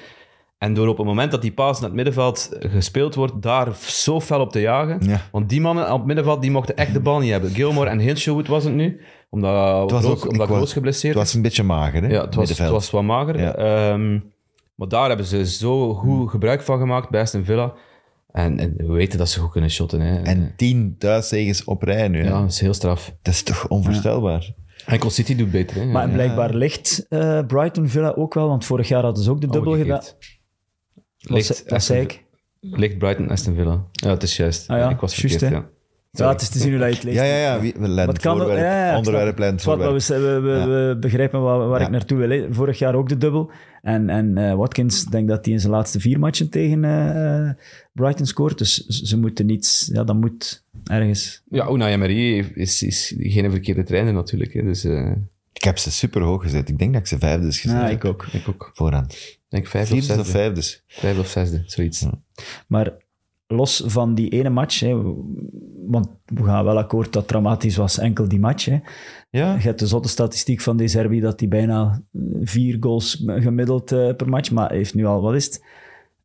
Speaker 3: En door op het moment dat die paas naar het middenveld gespeeld wordt, daar zo fel op te jagen.
Speaker 1: Ja.
Speaker 3: Want die mannen op het middenveld, die mochten echt de bal niet hebben. Gilmore en Hinshelwood was het nu, omdat,
Speaker 1: was
Speaker 3: Roos,
Speaker 1: ook-
Speaker 3: omdat
Speaker 1: ik
Speaker 3: Roos
Speaker 1: was-
Speaker 3: geblesseerd
Speaker 1: Het was een beetje mager, hè?
Speaker 3: ja, het was, het
Speaker 1: middenveld.
Speaker 3: was wat mager.
Speaker 1: Ja. Hmm.
Speaker 3: Ehm, maar daar hebben ze zo goed gebruik van gemaakt bij Aston Villa. En, en we weten dat ze goed kunnen shotten. Hè.
Speaker 1: En tien thuiszegens op rij nu. hè.
Speaker 3: ja, dat is heel straf.
Speaker 1: Dat is toch onvoorstelbaar?
Speaker 3: Enkel City doet beter. Hè.
Speaker 2: Maar en blijkbaar ligt eh, Brighton Villa ook wel, want vorig jaar hadden ze
Speaker 1: Oh,
Speaker 2: ook de dubbel gedaan. Wat ze-
Speaker 3: Ligt,
Speaker 2: Dat zei ik.
Speaker 3: ligt Brighton Aston Villa. Ja, het is juist.
Speaker 2: Ah ja,
Speaker 3: ik was
Speaker 2: juist,
Speaker 3: verkeerd,
Speaker 2: hè.
Speaker 3: ja.
Speaker 2: Ja, het is te zien hoe dat je het leest.
Speaker 1: Ja, ja, ja. Wie, we leiden
Speaker 2: Wat
Speaker 1: het
Speaker 2: kan er-
Speaker 1: voorwerp,
Speaker 2: ja, ja, ik snap
Speaker 1: onderwerp, leiden het
Speaker 2: Het is wat, maar
Speaker 1: voorwerp.
Speaker 2: we, we, we-
Speaker 1: Ja.
Speaker 2: we begrijpen waar, waar
Speaker 1: Ja.
Speaker 2: ik naartoe wil. hè. Vorig jaar ook de dubbel. En, en eh, Watkins, denk dat hij in zijn laatste vier matchen tegen eh, eh, Brighton scoort. Dus ze ze moeten niets... Ja, dat moet ergens...
Speaker 3: Ja, Unai Emery is, is geen verkeerde trainer natuurlijk. Hè. Dus eh,
Speaker 1: Ik heb ze super hoog gezet. Ik denk dat ik ze vijfdes gezet
Speaker 2: Ja,
Speaker 1: heb.
Speaker 2: ik ook.
Speaker 3: ik ook.
Speaker 1: Vooraan.
Speaker 3: denk vijfde of
Speaker 1: Vierdes
Speaker 3: zesde.
Speaker 1: of vijfdes.
Speaker 3: Vijfde of zesde, zoiets.
Speaker 2: Maar los van die ene match... Hè, want we gaan wel akkoord dat het dramatisch was, enkel die match. Hè.
Speaker 1: Ja?
Speaker 2: Je hebt de zotte statistiek van De Zerbi dat hij bijna eh, vier goals gemiddeld eh, per match, maar hij heeft nu al, wat is het?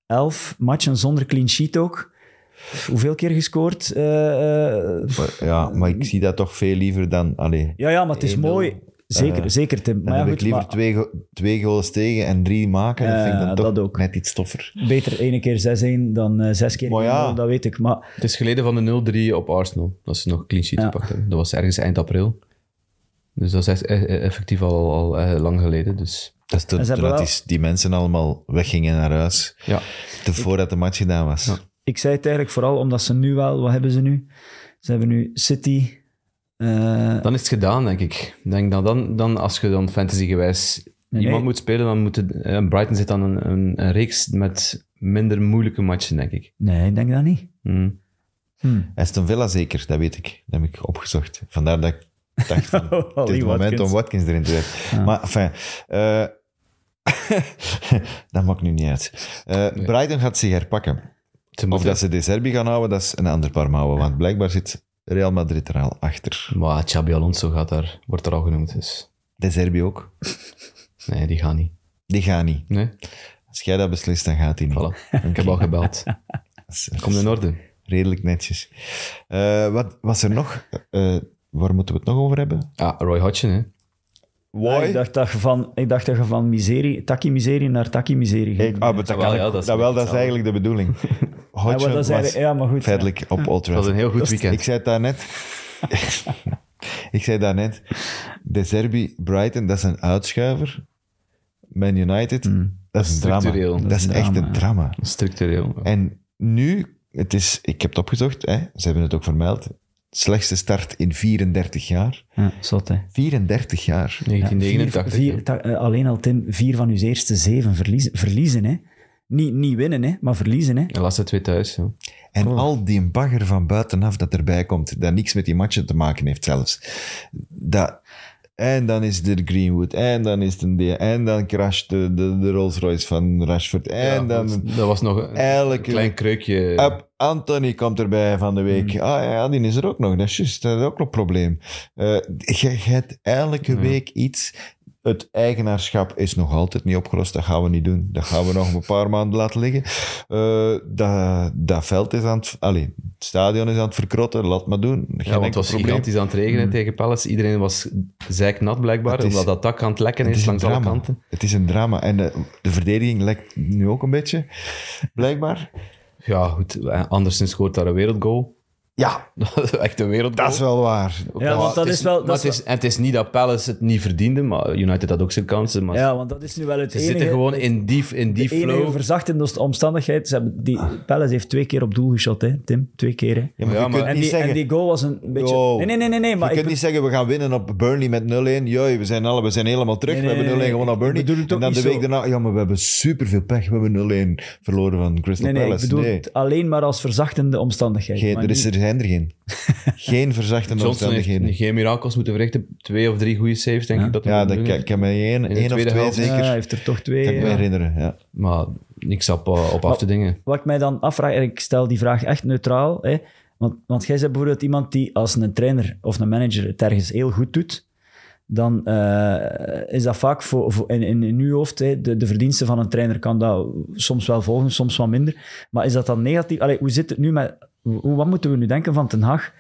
Speaker 2: Elf matchen zonder clean sheet ook. Hoeveel keer gescoord? Eh, eh,
Speaker 1: Maar, ja, maar ik zie dat toch veel liever dan... Allee,
Speaker 2: ja, ja, maar het is
Speaker 1: 1-0.
Speaker 2: mooi. Zeker,
Speaker 1: Eh,
Speaker 2: zeker Tim.
Speaker 1: dan
Speaker 2: Maar ja,
Speaker 1: heb
Speaker 2: goed,
Speaker 1: ik liever
Speaker 2: maar
Speaker 1: twee, go- twee goals tegen en drie maken. Dat
Speaker 2: Ja,
Speaker 1: vind ik dan toch
Speaker 2: dat ook.
Speaker 1: net iets toffer.
Speaker 2: beter één keer 6-1 dan eh, zes keer
Speaker 1: Maar ja.
Speaker 2: 1-0, dat weet ik. Maar
Speaker 3: Het is geleden van de 0-3 op Arsenal, dat ze nog een clean sheet
Speaker 2: Ja.
Speaker 3: gepakt hebben. Dat was ergens eind april. Dus dat is echt, eh, eh, effectief al, al eh, lang geleden. Dus
Speaker 1: Dat is toen,
Speaker 2: En ze
Speaker 1: toen
Speaker 2: hebben
Speaker 1: dat
Speaker 2: wel-
Speaker 1: is- die mensen allemaal weggingen naar huis.
Speaker 3: ja,
Speaker 1: Te voordat de match gedaan was.
Speaker 3: Ja.
Speaker 2: ik zei het eigenlijk vooral omdat ze nu wel, wat hebben ze nu? Ze hebben nu City. eh,
Speaker 3: dan is het gedaan, denk ik. Ik Denk dat dan, dan, als je dan fantasygewijs
Speaker 2: Nee,
Speaker 3: iemand
Speaker 2: nee.
Speaker 3: moet spelen, dan moet het, eh, Brighton zit dan een, een, een reeks met minder moeilijke matchen, denk ik.
Speaker 2: nee, ik denk dat niet.
Speaker 3: Hm.
Speaker 2: Hm.
Speaker 1: Aston Villa zeker, dat weet ik. Dat heb ik opgezocht. Vandaar dat ik dacht van,
Speaker 2: Oh,
Speaker 1: het is
Speaker 2: Lee
Speaker 1: het moment
Speaker 2: Watkins.
Speaker 1: om Watkins erin te zetten. Maar, enfin, eh, dat maakt nu niet uit. Eh, Brighton gaat zich herpakken.
Speaker 3: Ze
Speaker 1: Of
Speaker 3: moeten-
Speaker 1: dat ze de Serbi gaan houden, dat is een ander paar mouwen. Want blijkbaar zit Real Madrid er al achter.
Speaker 3: Maar Xabi Alonso gaat daar, wordt er al genoemd, dus
Speaker 1: De Serbi ook.
Speaker 3: nee, die gaat niet.
Speaker 1: Die gaat niet.
Speaker 3: Nee,
Speaker 1: Als jij dat beslist, dan gaat hij niet.
Speaker 3: voilà. ik heb al gebeld.
Speaker 1: Dat is- dat
Speaker 3: Komt
Speaker 1: is
Speaker 3: in orde.
Speaker 1: Redelijk netjes. Eh, wat was er nog? Eh, waar moeten we het nog over hebben?
Speaker 3: Ah, Roy Hodgson, hè.
Speaker 2: Ah,
Speaker 1: Why?
Speaker 2: ik, dacht dat je van, ik dacht dat je van miserie, takkie miserie naar takkie miserie ging.
Speaker 1: Ik, ah, maar dat,
Speaker 3: Jawel,
Speaker 1: kan ik-
Speaker 3: ja, dat is
Speaker 1: dat wel,
Speaker 3: niet
Speaker 1: dat is eigenlijk de bedoeling.
Speaker 2: Ja,
Speaker 1: Hodgson
Speaker 2: maar dat
Speaker 1: was
Speaker 2: is eigenlijk- ja, maar goed.
Speaker 1: feitelijk op Old
Speaker 3: Dat was
Speaker 1: Trafford.
Speaker 3: een heel goed
Speaker 1: Ik
Speaker 3: weekend.
Speaker 1: zei het daarnet. ik zei daarnet. De Serbi Brighton, dat is een uitschuiver. Man United, dat is een drama.
Speaker 3: Structureel.
Speaker 1: Dat,
Speaker 3: Dat
Speaker 1: is
Speaker 2: is een
Speaker 1: echt
Speaker 2: drama,
Speaker 1: een
Speaker 2: ja.
Speaker 1: drama.
Speaker 3: Structureel.
Speaker 1: En nu, het is, ik heb het opgezocht, hè, ze hebben het ook vermeld. Slechtste start in 34 jaar.
Speaker 2: Ja, zot, hè.
Speaker 1: 34 jaar.
Speaker 3: 1989.
Speaker 2: Vier-
Speaker 3: hè.
Speaker 2: vier- ta- eh, alleen al, Tim, vier van uw eerste zeven verliezen. verliezen hè. Niet, niet winnen, hè, maar verliezen. Hè.
Speaker 3: De laatste twee thuis, ja.
Speaker 1: En
Speaker 3: Oh.
Speaker 1: al die bagger van buitenaf dat erbij komt, dat niks met die matchen te maken heeft zelfs. Dat, en dan is er Greenwood, en dan is het een D, en dan crasht de, de, de Rolls Royce van Rashford, en
Speaker 3: Ja,
Speaker 1: dan...
Speaker 3: goed. Dat was nog een,
Speaker 1: Elke-
Speaker 3: een klein kreukje.
Speaker 1: Up, Anthony komt erbij van de week.
Speaker 3: Mm.
Speaker 1: Ah ja, die is er ook nog. Dat is juist, dat is ook nog een probleem. Eh, je je hebt elke week iets. Het eigenaarschap is nog altijd niet opgelost. Dat gaan we niet doen. Dat gaan we nog een paar maanden laten liggen. Eh, dat, dat veld is aan het... Allee, het stadion is aan het verkrotten. Laat maar doen. Geen
Speaker 3: Ja, want het
Speaker 1: enkel
Speaker 3: was gigantisch aan het regenen tegen Palace. Iedereen was zeiknat blijkbaar,
Speaker 1: Het is-
Speaker 3: omdat dat dak aan het lekken
Speaker 1: Het
Speaker 3: is,
Speaker 1: is een
Speaker 3: langs alle
Speaker 1: drama.
Speaker 3: kanten.
Speaker 1: Het is een drama. En de, de verdediging lekt nu ook een beetje. Blijkbaar.
Speaker 3: eh, Ja, goed. Andersen scoort daar een wereldgoal.
Speaker 1: Ja,
Speaker 3: Dat is echt een wereld.
Speaker 1: dat is wel waar.
Speaker 2: Ja, want dat
Speaker 3: het
Speaker 2: is wel- dat
Speaker 3: maar
Speaker 2: is
Speaker 3: het, is, en het is niet dat Palace het niet verdiende, maar United had ook zijn kansen. Maar
Speaker 2: Ja, want dat is nu wel het
Speaker 3: ze
Speaker 2: enige...
Speaker 3: zitten gewoon in die, in die
Speaker 2: de enige
Speaker 3: flow.
Speaker 2: verzachtende omstandigheid. Ze hebben die, Palace heeft twee keer op doel geschot, hè, Tim. Twee keer, hè.
Speaker 1: Ja, maar
Speaker 3: Ja,
Speaker 1: je
Speaker 3: maar-
Speaker 1: kunt
Speaker 2: En
Speaker 1: niet
Speaker 2: die,
Speaker 1: zeggen...
Speaker 2: en die goal was een beetje...
Speaker 1: Yo.
Speaker 2: Nee, nee, nee, nee, nee,
Speaker 1: je
Speaker 2: maar
Speaker 1: kunt
Speaker 2: ik
Speaker 1: niet zeggen, we gaan winnen op Burnley met 0-1. Joi, we zijn, alle, we zijn helemaal terug.
Speaker 2: Nee,
Speaker 1: we
Speaker 2: nee,
Speaker 1: hebben 0-1
Speaker 2: nee,
Speaker 1: gewonnen op
Speaker 2: ik
Speaker 1: Burnley.
Speaker 2: bedoel het
Speaker 1: En
Speaker 2: ook
Speaker 1: dan de
Speaker 2: niet
Speaker 1: week
Speaker 2: zo.
Speaker 1: daarna, ja, maar we hebben superveel pech. We hebben 0-1 verloren van Crystal
Speaker 2: Nee, nee, ik
Speaker 1: Palace.
Speaker 2: bedoel
Speaker 1: nee,
Speaker 2: het alleen maar als verzachtende omstandigheid.
Speaker 1: geen,
Speaker 2: maar
Speaker 1: er, is,
Speaker 2: niet-
Speaker 1: er zijn er geen. Geen verzachtende
Speaker 3: Johnson
Speaker 1: omstandigheden.
Speaker 3: heeft geen mirakels moeten verrichten. Twee of drie goede saves, denk ik. Dat hij
Speaker 1: Ja,
Speaker 3: moet
Speaker 1: dat
Speaker 3: doen.
Speaker 1: kan, kan mij één,
Speaker 3: de
Speaker 1: één of
Speaker 3: tweede
Speaker 1: twee
Speaker 3: helft.
Speaker 1: zeker.
Speaker 2: Ja, hij
Speaker 1: kan
Speaker 2: heeft er toch twee.
Speaker 1: ik me
Speaker 2: ja.
Speaker 1: herinneren, ja.
Speaker 3: Maar niks op, eh, op af te dingen.
Speaker 2: Wat ik mij dan afvraag, en ik stel die vraag echt neutraal. Hè, want, want jij bent bijvoorbeeld iemand die als een trainer of een manager het ergens heel goed doet. Dan eh, is dat vaak voor, voor- in, in, in uw hoofd, hè, de, de verdiensten van een trainer kan dat soms wel volgen, soms wat minder. Maar is dat dan negatief? Allee, hoe zit het nu met, hoe, wat moeten we nu denken van Ten Haag?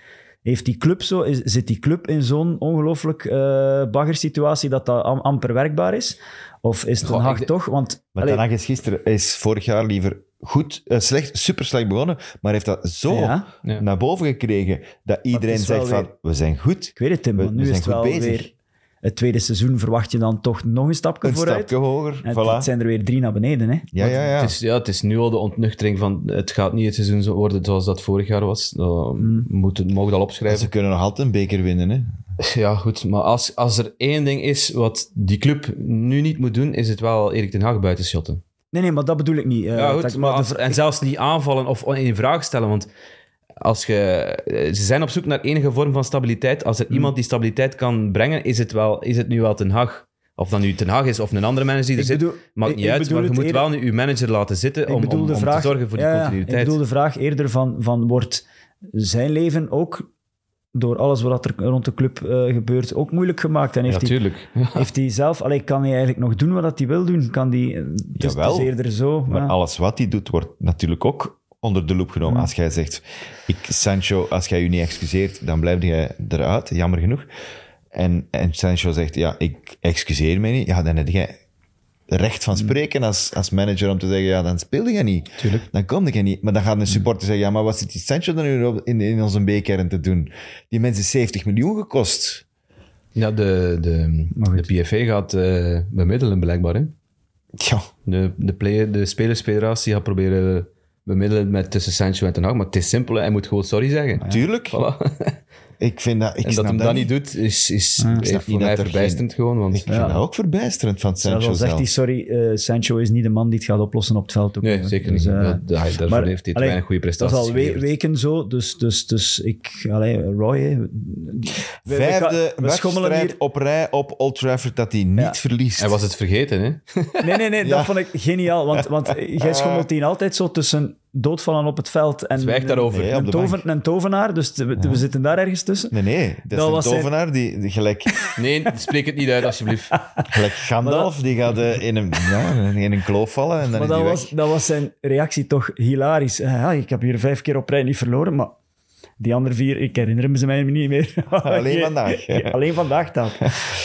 Speaker 2: Heeft die club zo, is, zit die club in zo'n ongelooflijk eh baggersituatie dat dat am- amper werkbaar is? Of is Ten
Speaker 3: Goh,
Speaker 2: Haag
Speaker 3: ik de-
Speaker 2: toch? Want,
Speaker 1: Maar
Speaker 2: allee,
Speaker 1: daarna is gisteren, is vorig jaar liever goed, eh, slecht, super slecht begonnen, maar heeft dat zo
Speaker 2: Ja.
Speaker 3: Ja.
Speaker 1: naar boven gekregen dat iedereen
Speaker 2: is wel
Speaker 1: zegt van,
Speaker 2: weer-
Speaker 1: we zijn goed.
Speaker 2: Ik weet het, Tim.
Speaker 1: We-
Speaker 2: want
Speaker 1: we
Speaker 2: nu
Speaker 1: zijn
Speaker 2: is het wel
Speaker 1: goed bezig.
Speaker 2: weer... Het tweede seizoen verwacht je dan toch nog een stapje
Speaker 1: Een
Speaker 2: vooruit.
Speaker 1: stapje hoger,
Speaker 2: En
Speaker 1: voilà.
Speaker 2: het zijn er weer drie naar beneden, hè.
Speaker 1: Ja, ja, ja.
Speaker 3: Het, is, ja, het is nu al de ontnuchtering van het gaat niet het seizoen zo worden zoals dat vorig jaar was. Dat moet, mogen we dat
Speaker 1: En
Speaker 3: opschrijven.
Speaker 1: Ze kunnen nog altijd een beker winnen, hè.
Speaker 3: Ja, goed. Maar als, als er één ding is wat die club nu niet moet doen, is het wel Erik ten Hag buitenschotten.
Speaker 2: Nee, nee, maar dat bedoel ik niet. eh,
Speaker 3: Ja,
Speaker 2: dat
Speaker 3: goed.
Speaker 2: ik-
Speaker 3: Maar
Speaker 2: de
Speaker 3: als-
Speaker 2: vra-
Speaker 3: en zelfs niet aanvallen of in vraag stellen. Want als je, eh, ze zijn op zoek naar enige vorm van stabiliteit. Als
Speaker 2: Hmm.
Speaker 3: er iemand die stabiliteit kan brengen, is het, wel, is het nu wel Ten Hag. Of dat nu Ten Hag is of een andere manager die er
Speaker 2: Ik
Speaker 3: zit,
Speaker 2: bedoel-
Speaker 3: maakt
Speaker 2: ik-
Speaker 3: niet
Speaker 2: ik
Speaker 3: uit.
Speaker 2: bedoel
Speaker 3: Maar je
Speaker 2: het
Speaker 3: moet
Speaker 2: eerder-
Speaker 3: wel nu uw manager laten zitten om, om,
Speaker 2: bedoel de
Speaker 3: om
Speaker 2: vraag-
Speaker 3: te zorgen voor
Speaker 2: Ja,
Speaker 3: die
Speaker 2: ja, ik
Speaker 3: continuïteit.
Speaker 2: bedoel de vraag eerder van, van wordt zijn leven ook door alles wat er rond de club eh, gebeurt ook moeilijk gemaakt? En heeft, hij,
Speaker 3: Natuurlijk. Ja,
Speaker 2: heeft hij zelf... Allee, kan hij eigenlijk nog doen wat dat hij wil doen? Kan die, het, is- het
Speaker 1: Jawel.
Speaker 2: is eerder zo.
Speaker 1: Maar
Speaker 2: ja.
Speaker 1: alles wat hij doet, wordt natuurlijk ook onder de loep genomen. Als jij zegt, ik, Sancho, als jij je niet excuseert, dan blijf jij eruit, jammer genoeg. En, en Sancho zegt, ja, ik excuseer mij niet. Ja, dan heb jij recht van spreken als, als manager om te zeggen, ja, dan speelde jij niet. Tuurlijk. Dan kom jij niet. Maar dan gaat een supporter zeggen, ja, maar wat zit die Sancho dan nu op- in, in onze B-kern te doen? Die mensen 70 miljoen gekost.
Speaker 3: ja de, de, de PFA gaat eh, bemiddelen blijkbaar. Hè?
Speaker 1: Ja,
Speaker 3: De, de, player, de spelersfederatie gaat proberen bemiddelen met tussen Sancho en Ten Hag. Maar het is simpel, hè. hij moet gewoon sorry zeggen.
Speaker 1: tuurlijk.
Speaker 3: Voilà.
Speaker 1: Ik vind dat, ik
Speaker 3: en dat
Speaker 1: snap
Speaker 3: hem
Speaker 1: dat
Speaker 3: dat niet doet, is, is is
Speaker 1: snap
Speaker 3: voor
Speaker 1: niet
Speaker 3: mij
Speaker 1: dat er
Speaker 3: verbijsterend gewoon. Want,
Speaker 1: Ik vind dat ook verbijsterend van Sancho
Speaker 2: Zelfs al zegt
Speaker 1: zelf.
Speaker 2: hij, sorry, eh, Sancho is niet de man die het gaat oplossen op het veld. Ook,
Speaker 3: nee,
Speaker 2: hè.
Speaker 3: zeker niet.
Speaker 2: Dus, eh,
Speaker 3: dat, dat, daarvoor
Speaker 2: maar,
Speaker 3: heeft hij te
Speaker 2: allee,
Speaker 3: weinig goede
Speaker 2: Dat is
Speaker 3: prestaties
Speaker 2: al we-
Speaker 3: geleverd.
Speaker 2: weken zo, dus, dus, dus ik... Allee, Roy, hè. We- we-
Speaker 1: Vijfde
Speaker 2: we schommelen
Speaker 1: wedstrijd
Speaker 2: hier-
Speaker 1: op rij op Old Trafford dat hij niet
Speaker 2: Ja.
Speaker 1: verliest.
Speaker 3: Hij was het vergeten, hè?
Speaker 2: Nee, nee, nee,
Speaker 1: Ja.
Speaker 2: dat vond ik geniaal, want, want jij schommelt hier altijd zo tussen doodvallen op het veld en...
Speaker 3: Zwijg daarover.
Speaker 1: Nee, op
Speaker 2: Een,
Speaker 1: de
Speaker 2: toven, een tovenaar, dus te- we, we zitten daar ergens tussen.
Speaker 1: Nee, nee, dat,
Speaker 2: Dat
Speaker 1: is
Speaker 2: was
Speaker 1: een
Speaker 2: zijn-
Speaker 1: tovenaar die, die gelijk,
Speaker 3: Nee, spreek het niet uit, alsjeblieft.
Speaker 1: gelijk Gandalf, die gaat eh, in, een, ja, in een kloof vallen en dan
Speaker 2: Maar
Speaker 1: is
Speaker 2: dat
Speaker 1: hij
Speaker 2: was,
Speaker 1: weg.
Speaker 2: dat was zijn reactie toch hilarisch. Eh, Ja, ik heb hier vijf keer op rij niet verloren, maar die andere vier, ik herinner me ze mij niet meer.
Speaker 1: Alleen vandaag.
Speaker 2: Ja, alleen vandaag dat.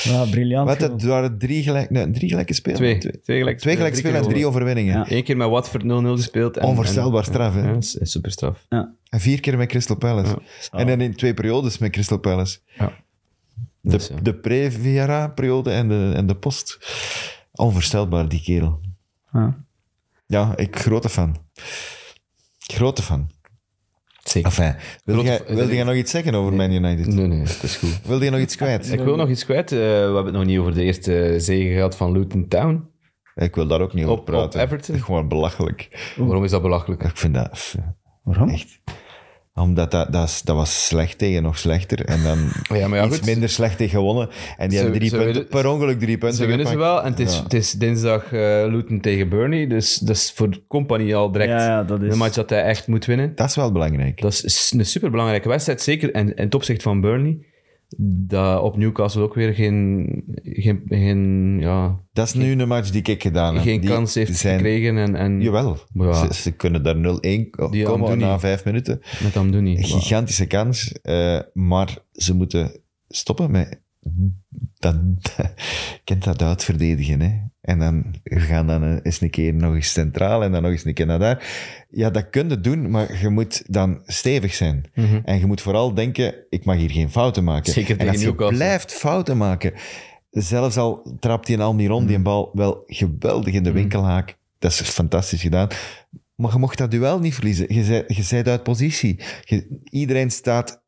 Speaker 2: Ja, briljant.
Speaker 1: Wat,
Speaker 2: gewoon.
Speaker 1: het waren drie, gelijk, nee, drie gelijke spelen.
Speaker 3: Twee. Twee gelijke
Speaker 1: Twee
Speaker 3: spelen,
Speaker 1: gelijke
Speaker 3: drie
Speaker 1: spelen en
Speaker 3: keer
Speaker 1: drie overwinningen.
Speaker 2: Ja.
Speaker 3: Eén keer met Watford 0-0 gespeeld. En,
Speaker 1: Onvoorstelbaar straf, hè?
Speaker 3: En, ja, dat is- is super straf.
Speaker 2: Ja.
Speaker 1: En vier keer met Crystal Palace. En
Speaker 2: Ah.
Speaker 1: dan in twee periodes met Crystal Palace. De,
Speaker 3: Dus, ja.
Speaker 1: de pre-Viera-periode en de, en de post. Onvoorstelbaar, die kerel.
Speaker 2: Ja.
Speaker 1: Ja, ik grote fan. Grote fan.
Speaker 3: Zeker.
Speaker 1: Enfin, wilde
Speaker 3: Grote
Speaker 1: jij,
Speaker 3: fan.
Speaker 1: wilde jij nog iets zeggen over Man United?
Speaker 3: Ah, Nee, nee, dat is goed.
Speaker 1: Wilde je nog iets kwijt?
Speaker 3: Ik wil nog iets kwijt. Eh, we hebben het nog niet over de eerste zege gehad van Luton Town.
Speaker 1: Ik wil daar ook niet
Speaker 3: Op-
Speaker 1: over praten.
Speaker 3: op Everton?
Speaker 1: Gewoon belachelijk.
Speaker 3: Waarom is dat belachelijk?
Speaker 1: Ik vind dat... pff,
Speaker 2: Waarom?
Speaker 1: Echt. Omdat dat, dat, is- dat was slecht tegen nog slechter. En dan
Speaker 3: Oh Ja, maar ja,
Speaker 1: iets
Speaker 3: goed.
Speaker 1: minder slecht tegen gewonnen. En die
Speaker 3: Ze-
Speaker 1: hebben drie
Speaker 3: ze
Speaker 1: punten,
Speaker 3: willen-
Speaker 1: per ongeluk drie punten
Speaker 3: Ze winnen ze
Speaker 1: gepakt.
Speaker 3: wel. En het is,
Speaker 1: Ja.
Speaker 3: het is dinsdag eh, Luton tegen Burnley. Dus dat is voor Company al direct
Speaker 2: Ja, ja, dat is-
Speaker 3: een match dat hij echt moet winnen.
Speaker 1: Dat is wel belangrijk.
Speaker 3: Dat is een superbelangrijke wedstrijd, zeker en, en het opzicht van Burnley. Dat op Newcastle ook weer geen, geen, geen, ja,
Speaker 1: Dat is nu een match die ik gedaan heb.
Speaker 3: geen
Speaker 1: Die
Speaker 3: kans heeft
Speaker 1: zijn-
Speaker 3: gekregen. En, en
Speaker 1: Jawel.
Speaker 3: Ja.
Speaker 1: Ze, ze kunnen daar 0-1 ko-
Speaker 3: Die
Speaker 1: komen
Speaker 3: Andouni.
Speaker 1: na vijf minuten.
Speaker 3: met Amdouni.
Speaker 1: Een gigantische kans. eh, maar ze moeten stoppen met dat, dat, kent dat uitverdedigen. Hè? En dan gaan dan eh, eens een keer nog eens centraal en dan nog eens een keer naar daar. Ja, dat kun je doen, maar je moet dan stevig zijn. En je moet vooral denken, ik mag hier geen fouten maken.
Speaker 3: Mhm. Zeker
Speaker 1: en
Speaker 3: tegen
Speaker 1: als je
Speaker 3: Newcastle.
Speaker 1: blijft fouten maken, zelfs al trapt hij een Almiron
Speaker 3: Mhm.
Speaker 1: die een bal wel geweldig in de winkelhaak. Dat is fantastisch gedaan. Maar je mocht dat duel niet verliezen. Je zei, je zijt uit positie. Je- iedereen staat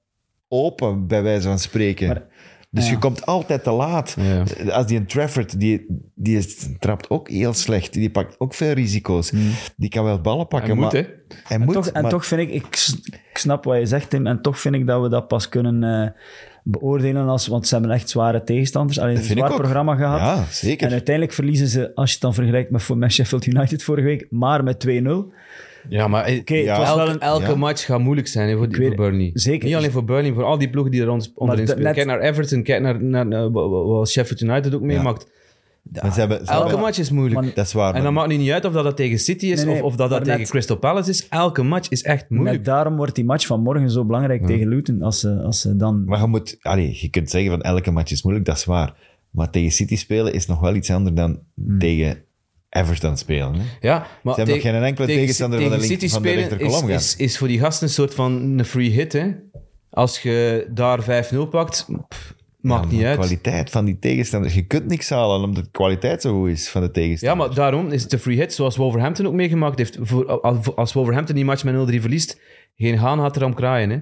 Speaker 1: open, bij wijze van spreken.
Speaker 2: Maar-
Speaker 1: dus
Speaker 2: ja.
Speaker 1: je komt altijd te laat.
Speaker 3: Ja.
Speaker 1: Als die een Trafford, die, die is- trapt ook heel slecht. Die pakt ook veel risico's. Die kan wel ballen pakken,
Speaker 3: Hmm. Hij moet,
Speaker 1: maar...
Speaker 3: hè.
Speaker 1: Hij moet,
Speaker 2: toch, en
Speaker 1: maar-
Speaker 2: toch vind ik, ik, s- ik snap wat je zegt, Tim, en toch vind ik dat we dat pas kunnen eh, beoordelen, als, want ze hebben echt zware tegenstanders. Alleen een
Speaker 1: vind ik
Speaker 2: zwaar
Speaker 1: ook.
Speaker 2: programma gehad.
Speaker 1: Ja, zeker.
Speaker 2: En uiteindelijk verliezen ze, als je het dan vergelijkt met, voor- met Sheffield United vorige week, maar met 2-0.
Speaker 3: Ja, maar eh,
Speaker 2: Oké, het was
Speaker 3: elke,
Speaker 2: wel een-
Speaker 3: elke
Speaker 1: Ja.
Speaker 3: match gaat moeilijk zijn hè, voor, die,
Speaker 2: weet-
Speaker 3: voor Burnley.
Speaker 2: zeker.
Speaker 3: Niet alleen voor Burnley, voor al die ploegen die er ons- onderin
Speaker 2: dat-
Speaker 3: spelen.
Speaker 2: net-
Speaker 3: Kijk naar Everton, kijk naar, naar, naar wat- wat wat Sheffield United ook meemaakt.
Speaker 1: maar ze hebben, ze
Speaker 3: Elke
Speaker 1: hebben-
Speaker 3: match is moeilijk.
Speaker 2: Maar-
Speaker 1: Dat is waar.
Speaker 3: en
Speaker 1: maar-
Speaker 3: dan maakt het niet uit of dat, dat tegen City is
Speaker 2: Nee, nee,
Speaker 3: of, of dat, dat
Speaker 2: maar
Speaker 3: tegen
Speaker 2: net-
Speaker 3: Crystal Palace is. Elke match is echt moeilijk.
Speaker 2: Net daarom wordt die match van morgen zo belangrijk tegen Luton, als ze, als ze dan...
Speaker 1: Maar je, moet, allee, je kunt zeggen van elke match is moeilijk, dat is waar. Maar tegen City spelen is nog wel iets anders dan
Speaker 3: Hmm.
Speaker 1: tegen Everton spelen. Hè?
Speaker 3: Ja, maar
Speaker 1: Ze hebben nog geen enkele tegenstander van de link-
Speaker 3: City
Speaker 1: van de
Speaker 3: spelen
Speaker 1: rechterkolom
Speaker 3: is,
Speaker 1: gaan.
Speaker 3: is, is voor die gasten een soort van een free hit. Hè? Als je daar 5-0 pakt, pff, maakt niet
Speaker 1: Maar
Speaker 3: uit.
Speaker 1: De kwaliteit van die tegenstander. Je kunt niks halen omdat de kwaliteit zo goed is van de
Speaker 3: Ja,
Speaker 1: tegenstander.
Speaker 3: maar daarom is het een free hit, zoals Wolverhampton ook meegemaakt heeft. Voor, als Wolverhampton die match met 0-3 verliest, geen haan had er om kraaien. Hè?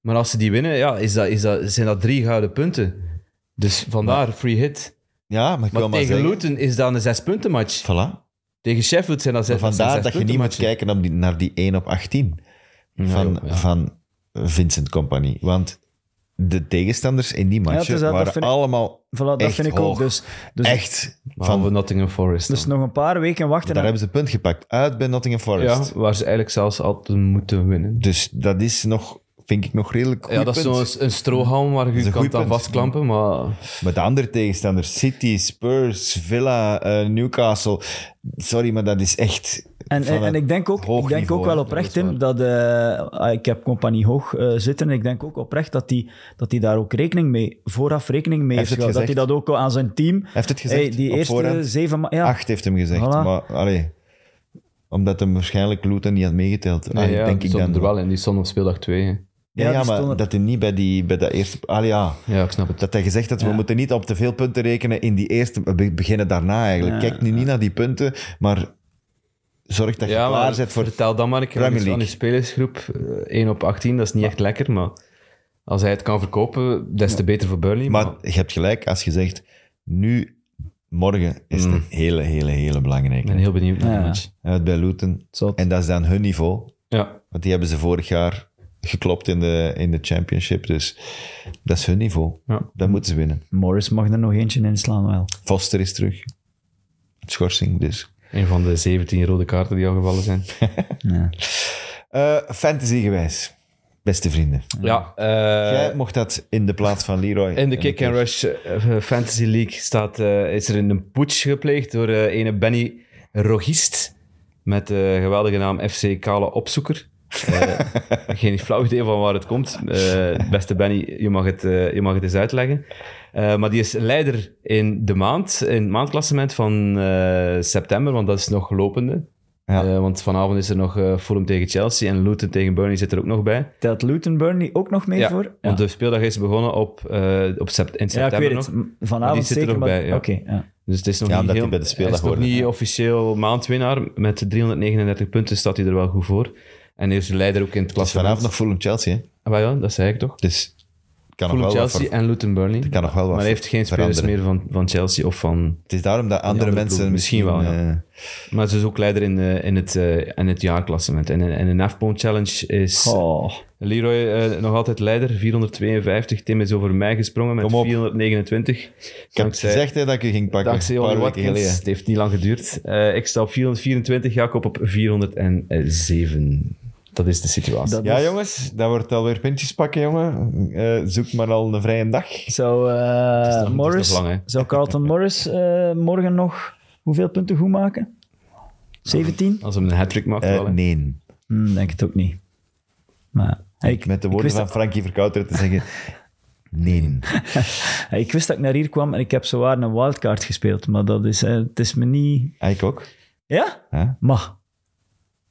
Speaker 3: Maar als ze die winnen, ja, is dat, is dat, zijn dat drie gouden punten. Dus vandaar free hit.
Speaker 1: ja, maar ik
Speaker 3: Maar
Speaker 1: wil maar
Speaker 3: tegen
Speaker 1: zeggen...
Speaker 3: Luton is dat een zes-punten match.
Speaker 1: Voilà.
Speaker 3: Tegen Sheffield zijn dat zes
Speaker 1: Maar vandaar
Speaker 3: zes
Speaker 1: dat je
Speaker 3: punten
Speaker 1: niet moet
Speaker 3: matchen.
Speaker 1: kijken op die- naar die 1 op 18 van,
Speaker 3: joh, ja.
Speaker 1: van Vincent Company. Want de tegenstanders in die match
Speaker 2: het is dat, dat
Speaker 1: waren
Speaker 2: vind ik-
Speaker 1: allemaal
Speaker 2: Voilà, dat
Speaker 1: echt
Speaker 2: vind ik
Speaker 1: hoog.
Speaker 2: ook. Dus, dus,
Speaker 1: echt
Speaker 3: Van
Speaker 1: van...
Speaker 3: Nottingham Forest.
Speaker 2: dus
Speaker 3: dan.
Speaker 2: nog een paar weken wachten.
Speaker 1: Daar
Speaker 2: en-
Speaker 1: hebben ze punt gepakt. Uit bij Nottingham Forest.
Speaker 3: ja, waar ze eigenlijk zelfs altijd moeten winnen.
Speaker 1: Dus dat is nog, vind ik nog redelijk goed
Speaker 3: ja, dat is
Speaker 1: punt.
Speaker 3: zo'n een strohalm waar
Speaker 1: is
Speaker 3: je
Speaker 1: een
Speaker 3: kan
Speaker 1: goed
Speaker 3: aan
Speaker 1: punt.
Speaker 3: vastklampen, maar...
Speaker 1: Met de andere tegenstanders, City, Spurs, Villa, eh, Newcastle. Sorry, maar dat is echt...
Speaker 2: En,
Speaker 1: van
Speaker 2: en, en
Speaker 1: een
Speaker 2: ik denk ook,
Speaker 1: hoog
Speaker 2: ik denk
Speaker 1: niveau,
Speaker 2: ook wel
Speaker 1: hè.
Speaker 2: oprecht, Tim, dat eh, ik heb compagnie hoog eh, zitten. En ik denk ook oprecht dat hij dat die daar ook rekening mee, vooraf rekening mee
Speaker 1: Heeft
Speaker 2: heeft.
Speaker 1: het
Speaker 2: gehouden. dat
Speaker 1: gezegd?
Speaker 2: hij dat ook al aan zijn team.
Speaker 1: Heeft het gezegd
Speaker 2: Hey, die
Speaker 1: op
Speaker 2: eerste
Speaker 1: voorhand?
Speaker 2: zeven ma- ja,
Speaker 1: Acht heeft hem gezegd,
Speaker 2: Voilà.
Speaker 1: maar allee, omdat hem waarschijnlijk Luton niet had meegeteld.
Speaker 3: Nee,
Speaker 1: Allee,
Speaker 3: ah, ja,
Speaker 1: denk
Speaker 3: die
Speaker 1: ik
Speaker 3: stonden
Speaker 1: dan.
Speaker 3: er wel in. Die stonden op speeldag 2.
Speaker 1: Ja,
Speaker 2: Ja,
Speaker 1: ja,
Speaker 2: die
Speaker 1: maar
Speaker 2: stonden-
Speaker 1: dat hij niet bij, die, bij dat eerste... Allee, ja.
Speaker 3: Ja, ik snap het.
Speaker 1: Dat hij gezegd had, we moeten niet op te veel punten rekenen in die eerste... We beginnen daarna eigenlijk. Kijk nu niet naar die punten, maar zorg dat je
Speaker 3: Ja,
Speaker 1: klaar
Speaker 3: maar
Speaker 1: bent voor...
Speaker 3: vertel dan maar een keer aan
Speaker 1: Premier
Speaker 3: die- aan
Speaker 1: League.
Speaker 3: die spelersgroep. eh, 1 op 18, dat is niet echt lekker, maar als hij het kan verkopen, des te beter voor Burnley. Maar,
Speaker 1: Maar je hebt gelijk als je zegt, nu, morgen is
Speaker 3: Mm.
Speaker 1: het een hele, hele, hele belangrijke.
Speaker 3: ik ben heel benieuwd naar
Speaker 2: Ja.
Speaker 3: die match.
Speaker 1: Uit bij Luton.
Speaker 2: Zot.
Speaker 1: En dat is dan hun niveau.
Speaker 3: Ja.
Speaker 1: Want die hebben ze vorig jaar geklopt in de, in de championship. Dus dat is hun niveau.
Speaker 3: Ja.
Speaker 1: Dat moeten ze winnen.
Speaker 2: Morris mag er nog eentje in slaan wel.
Speaker 1: Foster is terug. Schorsing dus.
Speaker 3: Een van de 17 rode kaarten die al gevallen zijn.
Speaker 2: Ja.
Speaker 1: Eh, fantasy gewijs. Beste vrienden.
Speaker 3: Ja, eh,
Speaker 1: Jij mocht dat in de plaats van Leroy.
Speaker 3: in de Kick and Rush eh, Fantasy League staat, eh, is er een putsch gepleegd door eh, ene Benny Rogist met de geweldige naam FC Kale Opzoeker. Eh, geen flauw idee van waar het komt. Eh, beste Benny, je mag het, eh, je mag het eens uitleggen. Eh, maar die is leider in de maand, in het maandklassement van eh, september, want dat is nog lopende.
Speaker 1: Ja.
Speaker 3: Eh, want vanavond is er nog eh Fulham tegen Chelsea en Luton tegen Burnley zit er ook nog bij.
Speaker 2: Telt Luton Burnley ook nog mee
Speaker 3: Ja,
Speaker 2: voor? Ja.
Speaker 3: Want de speeldag is begonnen op, eh, op sept- in
Speaker 2: Ja, ik
Speaker 3: september
Speaker 2: weet
Speaker 3: nog.
Speaker 2: het. Vanavond
Speaker 3: zit er
Speaker 2: zeker.
Speaker 3: ook
Speaker 2: maar-
Speaker 3: bij, ja.
Speaker 2: Oké, ja.
Speaker 3: Dus het is nog
Speaker 1: Ja,
Speaker 3: niet,
Speaker 1: omdat
Speaker 3: heel,
Speaker 1: hij bij de speeldag
Speaker 3: hij is nog
Speaker 1: hoorde,
Speaker 3: niet
Speaker 1: ja.
Speaker 3: officieel maandwinnaar. Met 339 punten staat hij er wel goed voor. En hij is leider ook in het
Speaker 1: Dus
Speaker 3: klassement.
Speaker 1: vanavond nog Fulham Chelsea. Hè?
Speaker 3: Ah, ja, dat zei ik toch?
Speaker 1: Dus het kan nog
Speaker 3: Fulham
Speaker 1: wel wat
Speaker 3: Chelsea
Speaker 1: ver-
Speaker 3: en Luton Burnley.
Speaker 1: kan nog wel wat
Speaker 3: maar hij heeft geen spelers
Speaker 1: veranderen.
Speaker 3: meer van, van Chelsea of van...
Speaker 1: Het is daarom dat andere,
Speaker 3: andere
Speaker 1: mensen
Speaker 3: ploeg misschien wel, ja.
Speaker 1: eh,
Speaker 3: Maar hij is dus ook leider in, eh, in, het, eh, in het jaarklassement. En, in- en in de Afpond Challenge is
Speaker 2: Oh,
Speaker 3: Leroy eh, nog altijd leider. 452. Tim is over mij gesprongen met
Speaker 1: Kom op.
Speaker 3: 429.
Speaker 1: ik heb gezegd hè, dat ik je ging pakken.
Speaker 3: Dankzij
Speaker 1: een
Speaker 3: Oliver
Speaker 1: paar weken
Speaker 3: Watkins.
Speaker 1: geleden.
Speaker 3: Het heeft niet lang geduurd. Eh, ik sta op 424, Jacob op 407. Dat is de situatie.
Speaker 2: dat
Speaker 1: Ja,
Speaker 2: is-
Speaker 1: jongens, dat wordt alweer puntjes pakken, jongen. Eh, zoek maar al een vrije dag.
Speaker 2: Zou eh,
Speaker 3: nog- het is
Speaker 2: Morris,
Speaker 3: nog lang, hè.
Speaker 2: zou Carlton Morris eh, morgen nog hoeveel punten goed maken? 17?
Speaker 3: Als hem een hat-trick maakt,
Speaker 1: Eh,
Speaker 3: wel, hè.
Speaker 1: nee.
Speaker 2: Hmm, denk het ook niet. Maar ik,
Speaker 1: Met de
Speaker 2: ik
Speaker 1: woorden
Speaker 2: wist
Speaker 1: van Frankie Verkouter te zeggen: Nee.
Speaker 2: Ja, Ik wist dat ik naar hier kwam en ik heb zowaar een wildcard gespeeld, maar dat is, eh, het is me niet...
Speaker 1: Ah, Ik ook.
Speaker 2: Ja?
Speaker 1: Ja.
Speaker 2: Maar.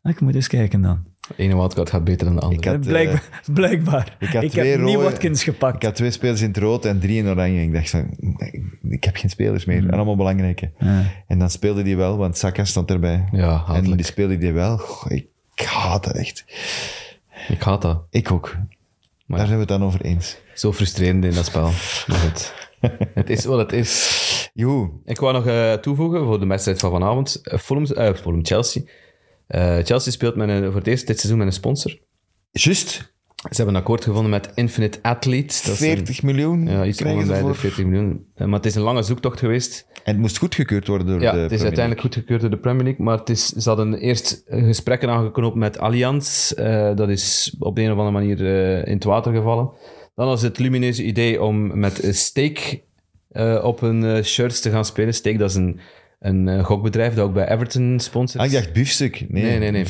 Speaker 2: Ik moet eens kijken dan.
Speaker 3: De ene wildcard gaat beter dan de andere.
Speaker 1: Ik had, eh,
Speaker 2: Blijkbaar. Blijkbaar. Ik,
Speaker 1: had twee
Speaker 2: heb niet
Speaker 1: rode-
Speaker 2: Watkins gepakt.
Speaker 1: Ik had twee spelers in het rood en drie in oranje. Ik dacht van, ik- ik heb geen spelers
Speaker 3: Hmm.
Speaker 1: meer. En allemaal belangrijke. En dan speelde die wel, want Saka stond erbij.
Speaker 3: Ja,
Speaker 1: en
Speaker 3: hatelijk.
Speaker 1: die speelde die wel. Goh, ik haat dat echt.
Speaker 3: Ik haat dat.
Speaker 1: Ik ook.
Speaker 3: Maar-
Speaker 1: Daar zijn we het dan over eens.
Speaker 3: Zo frustrerend in dat spel. Maar goed. het is wat het is.
Speaker 1: Joe,
Speaker 3: Ik wou nog eh, toevoegen voor de wedstrijd van vanavond. Eh, Fulham, eh, Fulham, Chelsea. Eh, Chelsea speelt met een, voor het eerst dit seizoen met een sponsor.
Speaker 1: juist.
Speaker 3: Ze hebben een akkoord gevonden met Infinite Athletes. Dat is een-
Speaker 1: 40 miljoen
Speaker 3: Ja, iets
Speaker 1: krijgen
Speaker 3: onder
Speaker 1: ze
Speaker 3: bij de
Speaker 1: voor.
Speaker 3: 40 miljoen. Eh, Maar het is een lange zoektocht geweest.
Speaker 1: En het moest goedgekeurd worden door
Speaker 3: Ja,
Speaker 1: de
Speaker 3: het is
Speaker 1: Premier
Speaker 3: uiteindelijk goedgekeurd door de Premier League. Maar het is, ze hadden eerst eh, gesprekken aangeknoopt met Allianz. Eh, dat is op de een of andere manier eh, in het water gevallen. Dan was het lumineuze idee om met een Steak eh, op hun eh, shirts te gaan spelen. Steak, dat is een, een eh, gokbedrijf dat ook bij Everton sponsort.
Speaker 1: Ah, ik dacht biefstuk. Nee,
Speaker 3: Nee, nee, nee.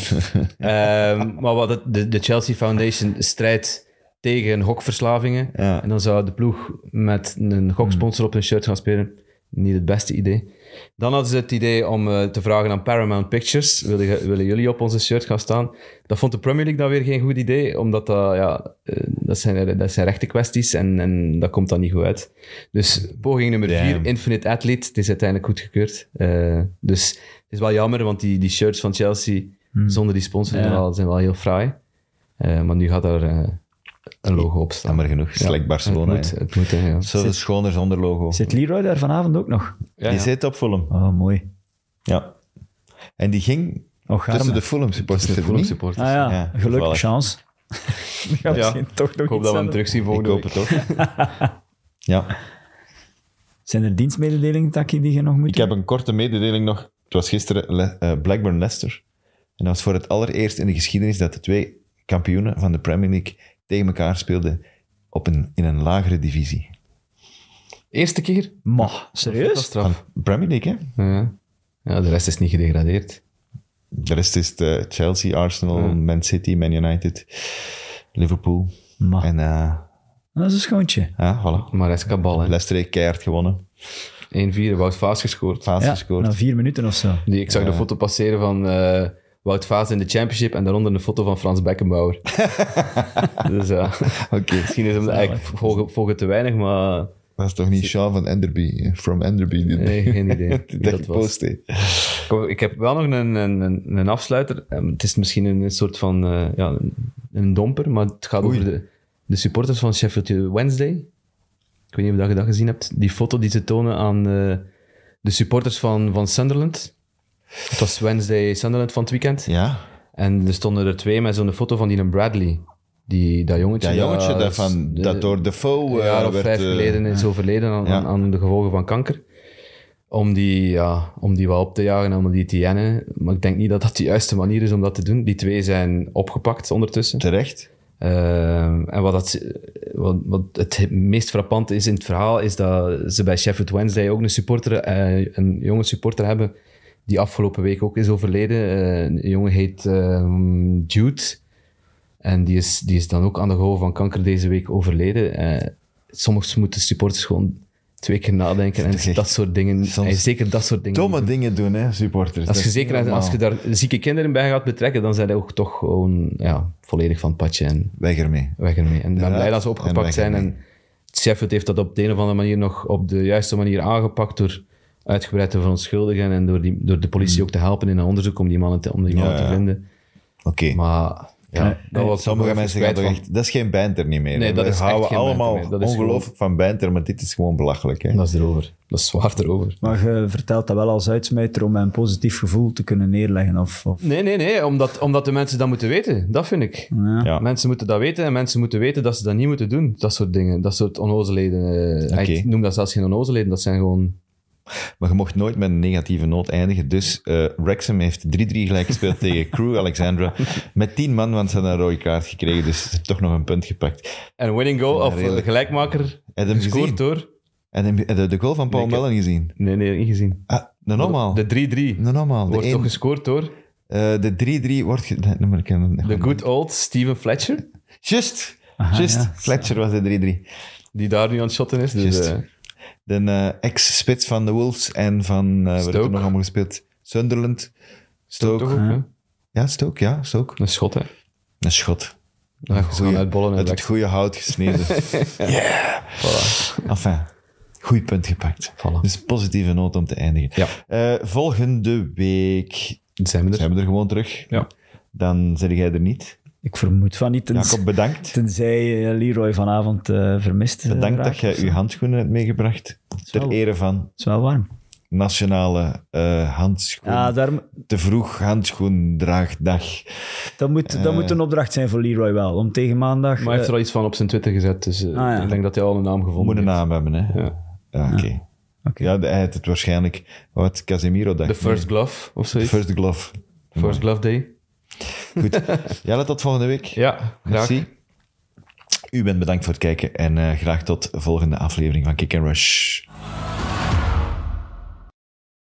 Speaker 3: Ehm, maar wat het- de, de Chelsea Foundation strijdt tegen gokverslavingen.
Speaker 1: Ja.
Speaker 3: En dan zou de ploeg met een goksponsor op hun shirt gaan spelen. Niet het beste idee. Dan hadden ze het idee om eh, te vragen aan Paramount Pictures. Willen, ge- willen jullie op onze shirt gaan staan? Dat vond de Premier League dan weer geen goed idee. Omdat dat, ja, eh, dat, zijn, dat zijn rechte kwesties en, en dat komt dan niet goed uit. Dus poging nummer
Speaker 1: Damn.
Speaker 3: vier, Infinite Athlete. Het is uiteindelijk goedgekeurd. Eh, dus het is wel jammer, want die, die shirts van Chelsea zonder die sponsor zijn
Speaker 2: Ja.
Speaker 3: wel- zijn wel heel fraai. Eh, maar nu gaat daar eh, een logo op staan.
Speaker 1: Jammer genoeg. Slecht Barcelona.
Speaker 3: Het moet, het moet hè, ja.
Speaker 1: Zo schoner zonder logo.
Speaker 2: Zit Leroy daar vanavond ook nog?
Speaker 3: Ja,
Speaker 1: die
Speaker 3: ja.
Speaker 1: zit op Fulham.
Speaker 2: Oh, mooi.
Speaker 1: Ja. En die ging
Speaker 2: Och,
Speaker 1: tussen
Speaker 2: arme.
Speaker 1: de Fulham supporters.
Speaker 3: De
Speaker 1: of niet?
Speaker 3: supporters.
Speaker 2: Ah ja,
Speaker 1: Ja,
Speaker 2: gelukkig,
Speaker 1: toevallig.
Speaker 2: chance. Die gaan misschien toch nog
Speaker 3: Ik hoop
Speaker 2: iets
Speaker 3: dat we hem
Speaker 2: hebben.
Speaker 3: terug zien
Speaker 1: Ik
Speaker 3: volgende
Speaker 1: hoop
Speaker 3: week.
Speaker 1: het ook. ja.
Speaker 2: Zijn er dienstmededelingen, Taki, die je nog moet
Speaker 1: Ik heb een korte mededeling nog. Het was gisteren Le- eh, Blackburn Leicester. En dat was voor het allereerst in de geschiedenis dat de twee kampioenen van de Premier League tegen elkaar speelden op een, in een lagere divisie.
Speaker 3: Eerste keer?
Speaker 2: doen? Ma, serieus?
Speaker 1: Van
Speaker 3: Straf.
Speaker 1: Premier League, hè?
Speaker 3: Ja. ja, de rest is niet gedegradeerd.
Speaker 1: De rest is de Chelsea, Arsenal, Man City, Man United, Liverpool.
Speaker 2: Ma,
Speaker 1: En eh,
Speaker 2: dat is een schoontje.
Speaker 1: ja, voilà.
Speaker 3: Maar hij is kabal, hè.
Speaker 1: Leicester heeft keihard gewonnen.
Speaker 3: 1-4, Wout Vaas gescoord.
Speaker 1: Vaas
Speaker 2: Ja,
Speaker 1: gescoord.
Speaker 2: na vier minuten of zo.
Speaker 3: Die, ik zag de foto passeren van eh, Wout Vaas in de championship en daaronder een foto van Frans Beckenbauer. dus ja,
Speaker 1: Oké,
Speaker 3: misschien is hem eigenlijk volgen, volgen te weinig, maar
Speaker 1: dat is toch niet Sean van Enderby, eh, from Enderby. die-
Speaker 3: nee, geen idee wie
Speaker 1: dat
Speaker 3: dat was.
Speaker 1: gepost heeft.
Speaker 3: Ik- Ik heb wel nog een, een, een, een afsluiter. Ehm, Het is misschien een soort van eh, ja, een- een domper, maar het gaat over de, de supporters van Sheffield Wednesday. Ik weet niet of dat je dat gezien hebt. Die foto die ze tonen aan eh, de supporters van, van Sunderland. Het was Wednesday Sunderland van het weekend.
Speaker 1: Ja,
Speaker 3: En er stonden er twee met zo'n foto van die een Bradley. Die, dat jongetje.
Speaker 1: dat jongetje
Speaker 3: dat-
Speaker 1: daarvan,
Speaker 3: de-
Speaker 1: dat door Defoe
Speaker 3: een
Speaker 1: eh,
Speaker 3: jaar of
Speaker 1: werd...
Speaker 3: vijf
Speaker 1: eh,
Speaker 3: geleden is overleden aan,
Speaker 1: Ja.
Speaker 3: aan, aan de gevolgen van kanker. Om die, ja, om die wel op te jagen en om die te jennen. Maar ik denk niet dat dat de juiste manier is om dat te doen. Die twee zijn opgepakt ondertussen.
Speaker 1: Terecht.
Speaker 3: Ehm, en wat, dat, wat, wat het meest frappant is in het verhaal, is dat ze bij Sheffield Wednesday ook een supporter, eh, een jonge supporter hebben, die afgelopen week ook is overleden. Eh, een jongen heet ehm, Jude. En die is, die is dan ook aan de gevolgen van kanker deze week overleden. Eh, soms moeten supporters gewoon twee keer nadenken en
Speaker 1: is echt-
Speaker 3: dat soort dingen.
Speaker 1: soms
Speaker 3: en zeker dat soort dingen.
Speaker 1: Domme dingen doen, hè, supporters.
Speaker 3: Als
Speaker 1: Dat
Speaker 3: je,
Speaker 1: is
Speaker 3: zeker
Speaker 1: niet
Speaker 3: als, als je
Speaker 1: normaal.
Speaker 3: daar zieke kinderen bij gaat betrekken, dan zijn die ook toch gewoon ja, volledig van het padje. En
Speaker 1: Weg ermee.
Speaker 3: weg ermee. En ik ben
Speaker 1: Inderdaad.
Speaker 3: blij dat ze
Speaker 1: En
Speaker 3: opgepakt
Speaker 1: weg
Speaker 3: zijn.
Speaker 1: ermee.
Speaker 3: En Sheffield heeft dat op de een of andere manier nog op de juiste manier aangepakt door uitgebreid te verontschuldigen en door, die, door de politie ook te helpen in een onderzoek om die mannen te, om die mannen
Speaker 1: Hmm. ja.
Speaker 3: te vinden.
Speaker 1: Oké.
Speaker 3: Maar ja,
Speaker 2: Eh,
Speaker 3: dat was
Speaker 1: Sommige mensen gaan toch echt... Dat is geen banter niet meer.
Speaker 3: Nee,
Speaker 1: hè.
Speaker 3: dat
Speaker 1: We
Speaker 3: is echt
Speaker 1: houden
Speaker 3: geen
Speaker 1: allemaal
Speaker 3: banter meer. Dat is
Speaker 1: ongelooflijk van banter, maar dit is gewoon belachelijk. Hè?
Speaker 3: Dat is erover. Dat is zwaar erover.
Speaker 2: Maar je vertelt dat wel als uitsmijter om een positief gevoel te kunnen neerleggen. Of, of...
Speaker 3: Nee, nee, nee. Omdat, omdat de mensen dat moeten weten. Dat vind ik.
Speaker 2: Ja.
Speaker 1: Ja.
Speaker 3: Mensen moeten dat weten en mensen moeten weten dat ze dat niet moeten doen. Dat soort dingen. Dat soort onnozelheden. eh,
Speaker 1: Oké.
Speaker 3: Ik noem dat zelfs geen onnozelheden. Dat zijn gewoon...
Speaker 1: Maar je mocht nooit met een negatieve noot eindigen. Dus eh Wrexham heeft 3-3 gelijk gespeeld tegen Crew Alexandra. Met 10 man, want ze hadden een rode kaart gekregen. Dus ze hebben toch nog een punt gepakt.
Speaker 3: En winning goal of
Speaker 1: redelijk.
Speaker 3: eh, gelijkmaker.
Speaker 1: Heb je hem gezien?
Speaker 3: Gescoord door...
Speaker 1: En heb je de, de goal van Paul
Speaker 3: Nee, ik heb-
Speaker 1: Mellon gezien?
Speaker 3: Nee, nee, niet gezien.
Speaker 1: Ah, de normaal.
Speaker 3: De
Speaker 1: De,
Speaker 3: 3-3.
Speaker 1: normaal. De
Speaker 3: Wordt
Speaker 1: één-
Speaker 3: toch gescoord door
Speaker 1: eh, de 3-3 wordt... ge- Nee, maar ik heb hem-
Speaker 3: de good old Steven Fletcher.
Speaker 1: Just. Just.
Speaker 2: ja.
Speaker 1: Fletcher was de 3-3.
Speaker 3: die daar nu aan het shotten is. Dus,
Speaker 1: Juist.
Speaker 3: eh,
Speaker 1: De eh, ex-spits van de Wolves en van... eh wat hebben we
Speaker 3: Stoke.
Speaker 1: nog allemaal gespeeld? Sunderland. Stoke.
Speaker 3: toch ook, hè?
Speaker 1: Ja, Stoke, ja, Stoke.
Speaker 3: Een schot, hè?
Speaker 1: Een schot.
Speaker 3: Ja, ze gaan uitbollen en
Speaker 1: uit het
Speaker 3: weg.
Speaker 1: goede hout gesneden. Enfin, goed punt gepakt.
Speaker 3: Voilà.
Speaker 1: Dus positieve noot om te eindigen.
Speaker 3: Ja.
Speaker 1: Eh, volgende week
Speaker 3: Dan zijn we er.
Speaker 1: zijn we er gewoon terug.
Speaker 3: Ja.
Speaker 1: Dan zit jij er niet.
Speaker 2: Ik vermoed van niet. tenzij-
Speaker 1: Jacob, bedankt.
Speaker 2: Tenzij eh, Leroy vanavond eh, vermist. eh,
Speaker 1: Bedankt dat
Speaker 2: raakt.
Speaker 1: jij je handschoenen hebt meegebracht. Ter
Speaker 2: wel-
Speaker 1: ere van
Speaker 2: Het is wel warm.
Speaker 1: Nationale eh Handschoen.
Speaker 2: Ah, daar,
Speaker 1: Te vroeg handschoendraagdag.
Speaker 2: dat, moet, dat
Speaker 1: Eh.
Speaker 2: moet een opdracht zijn voor Leroy wel. Om tegen maandag...
Speaker 3: Maar hij heeft
Speaker 2: eh,
Speaker 3: er al iets van op zijn Twitter gezet, dus eh,
Speaker 2: ja.
Speaker 3: ik denk dat hij al een naam
Speaker 1: We
Speaker 3: gevonden
Speaker 1: moeten een
Speaker 3: heeft.
Speaker 1: naam hebben, hè?
Speaker 3: Ja.
Speaker 1: Ja, Oké.
Speaker 2: Oké.
Speaker 1: Ja, hij had het waarschijnlijk... Wat? Casemiro-dag.
Speaker 3: The First Glove, of
Speaker 1: Nee,
Speaker 3: zoiets. First,
Speaker 1: First Glove.
Speaker 3: Glove Day.
Speaker 1: Goed. Jelle, tot volgende week.
Speaker 3: Ja, graag.
Speaker 1: Merci. U bent bedankt voor het kijken en eh, graag tot de volgende aflevering van Kick and Rush.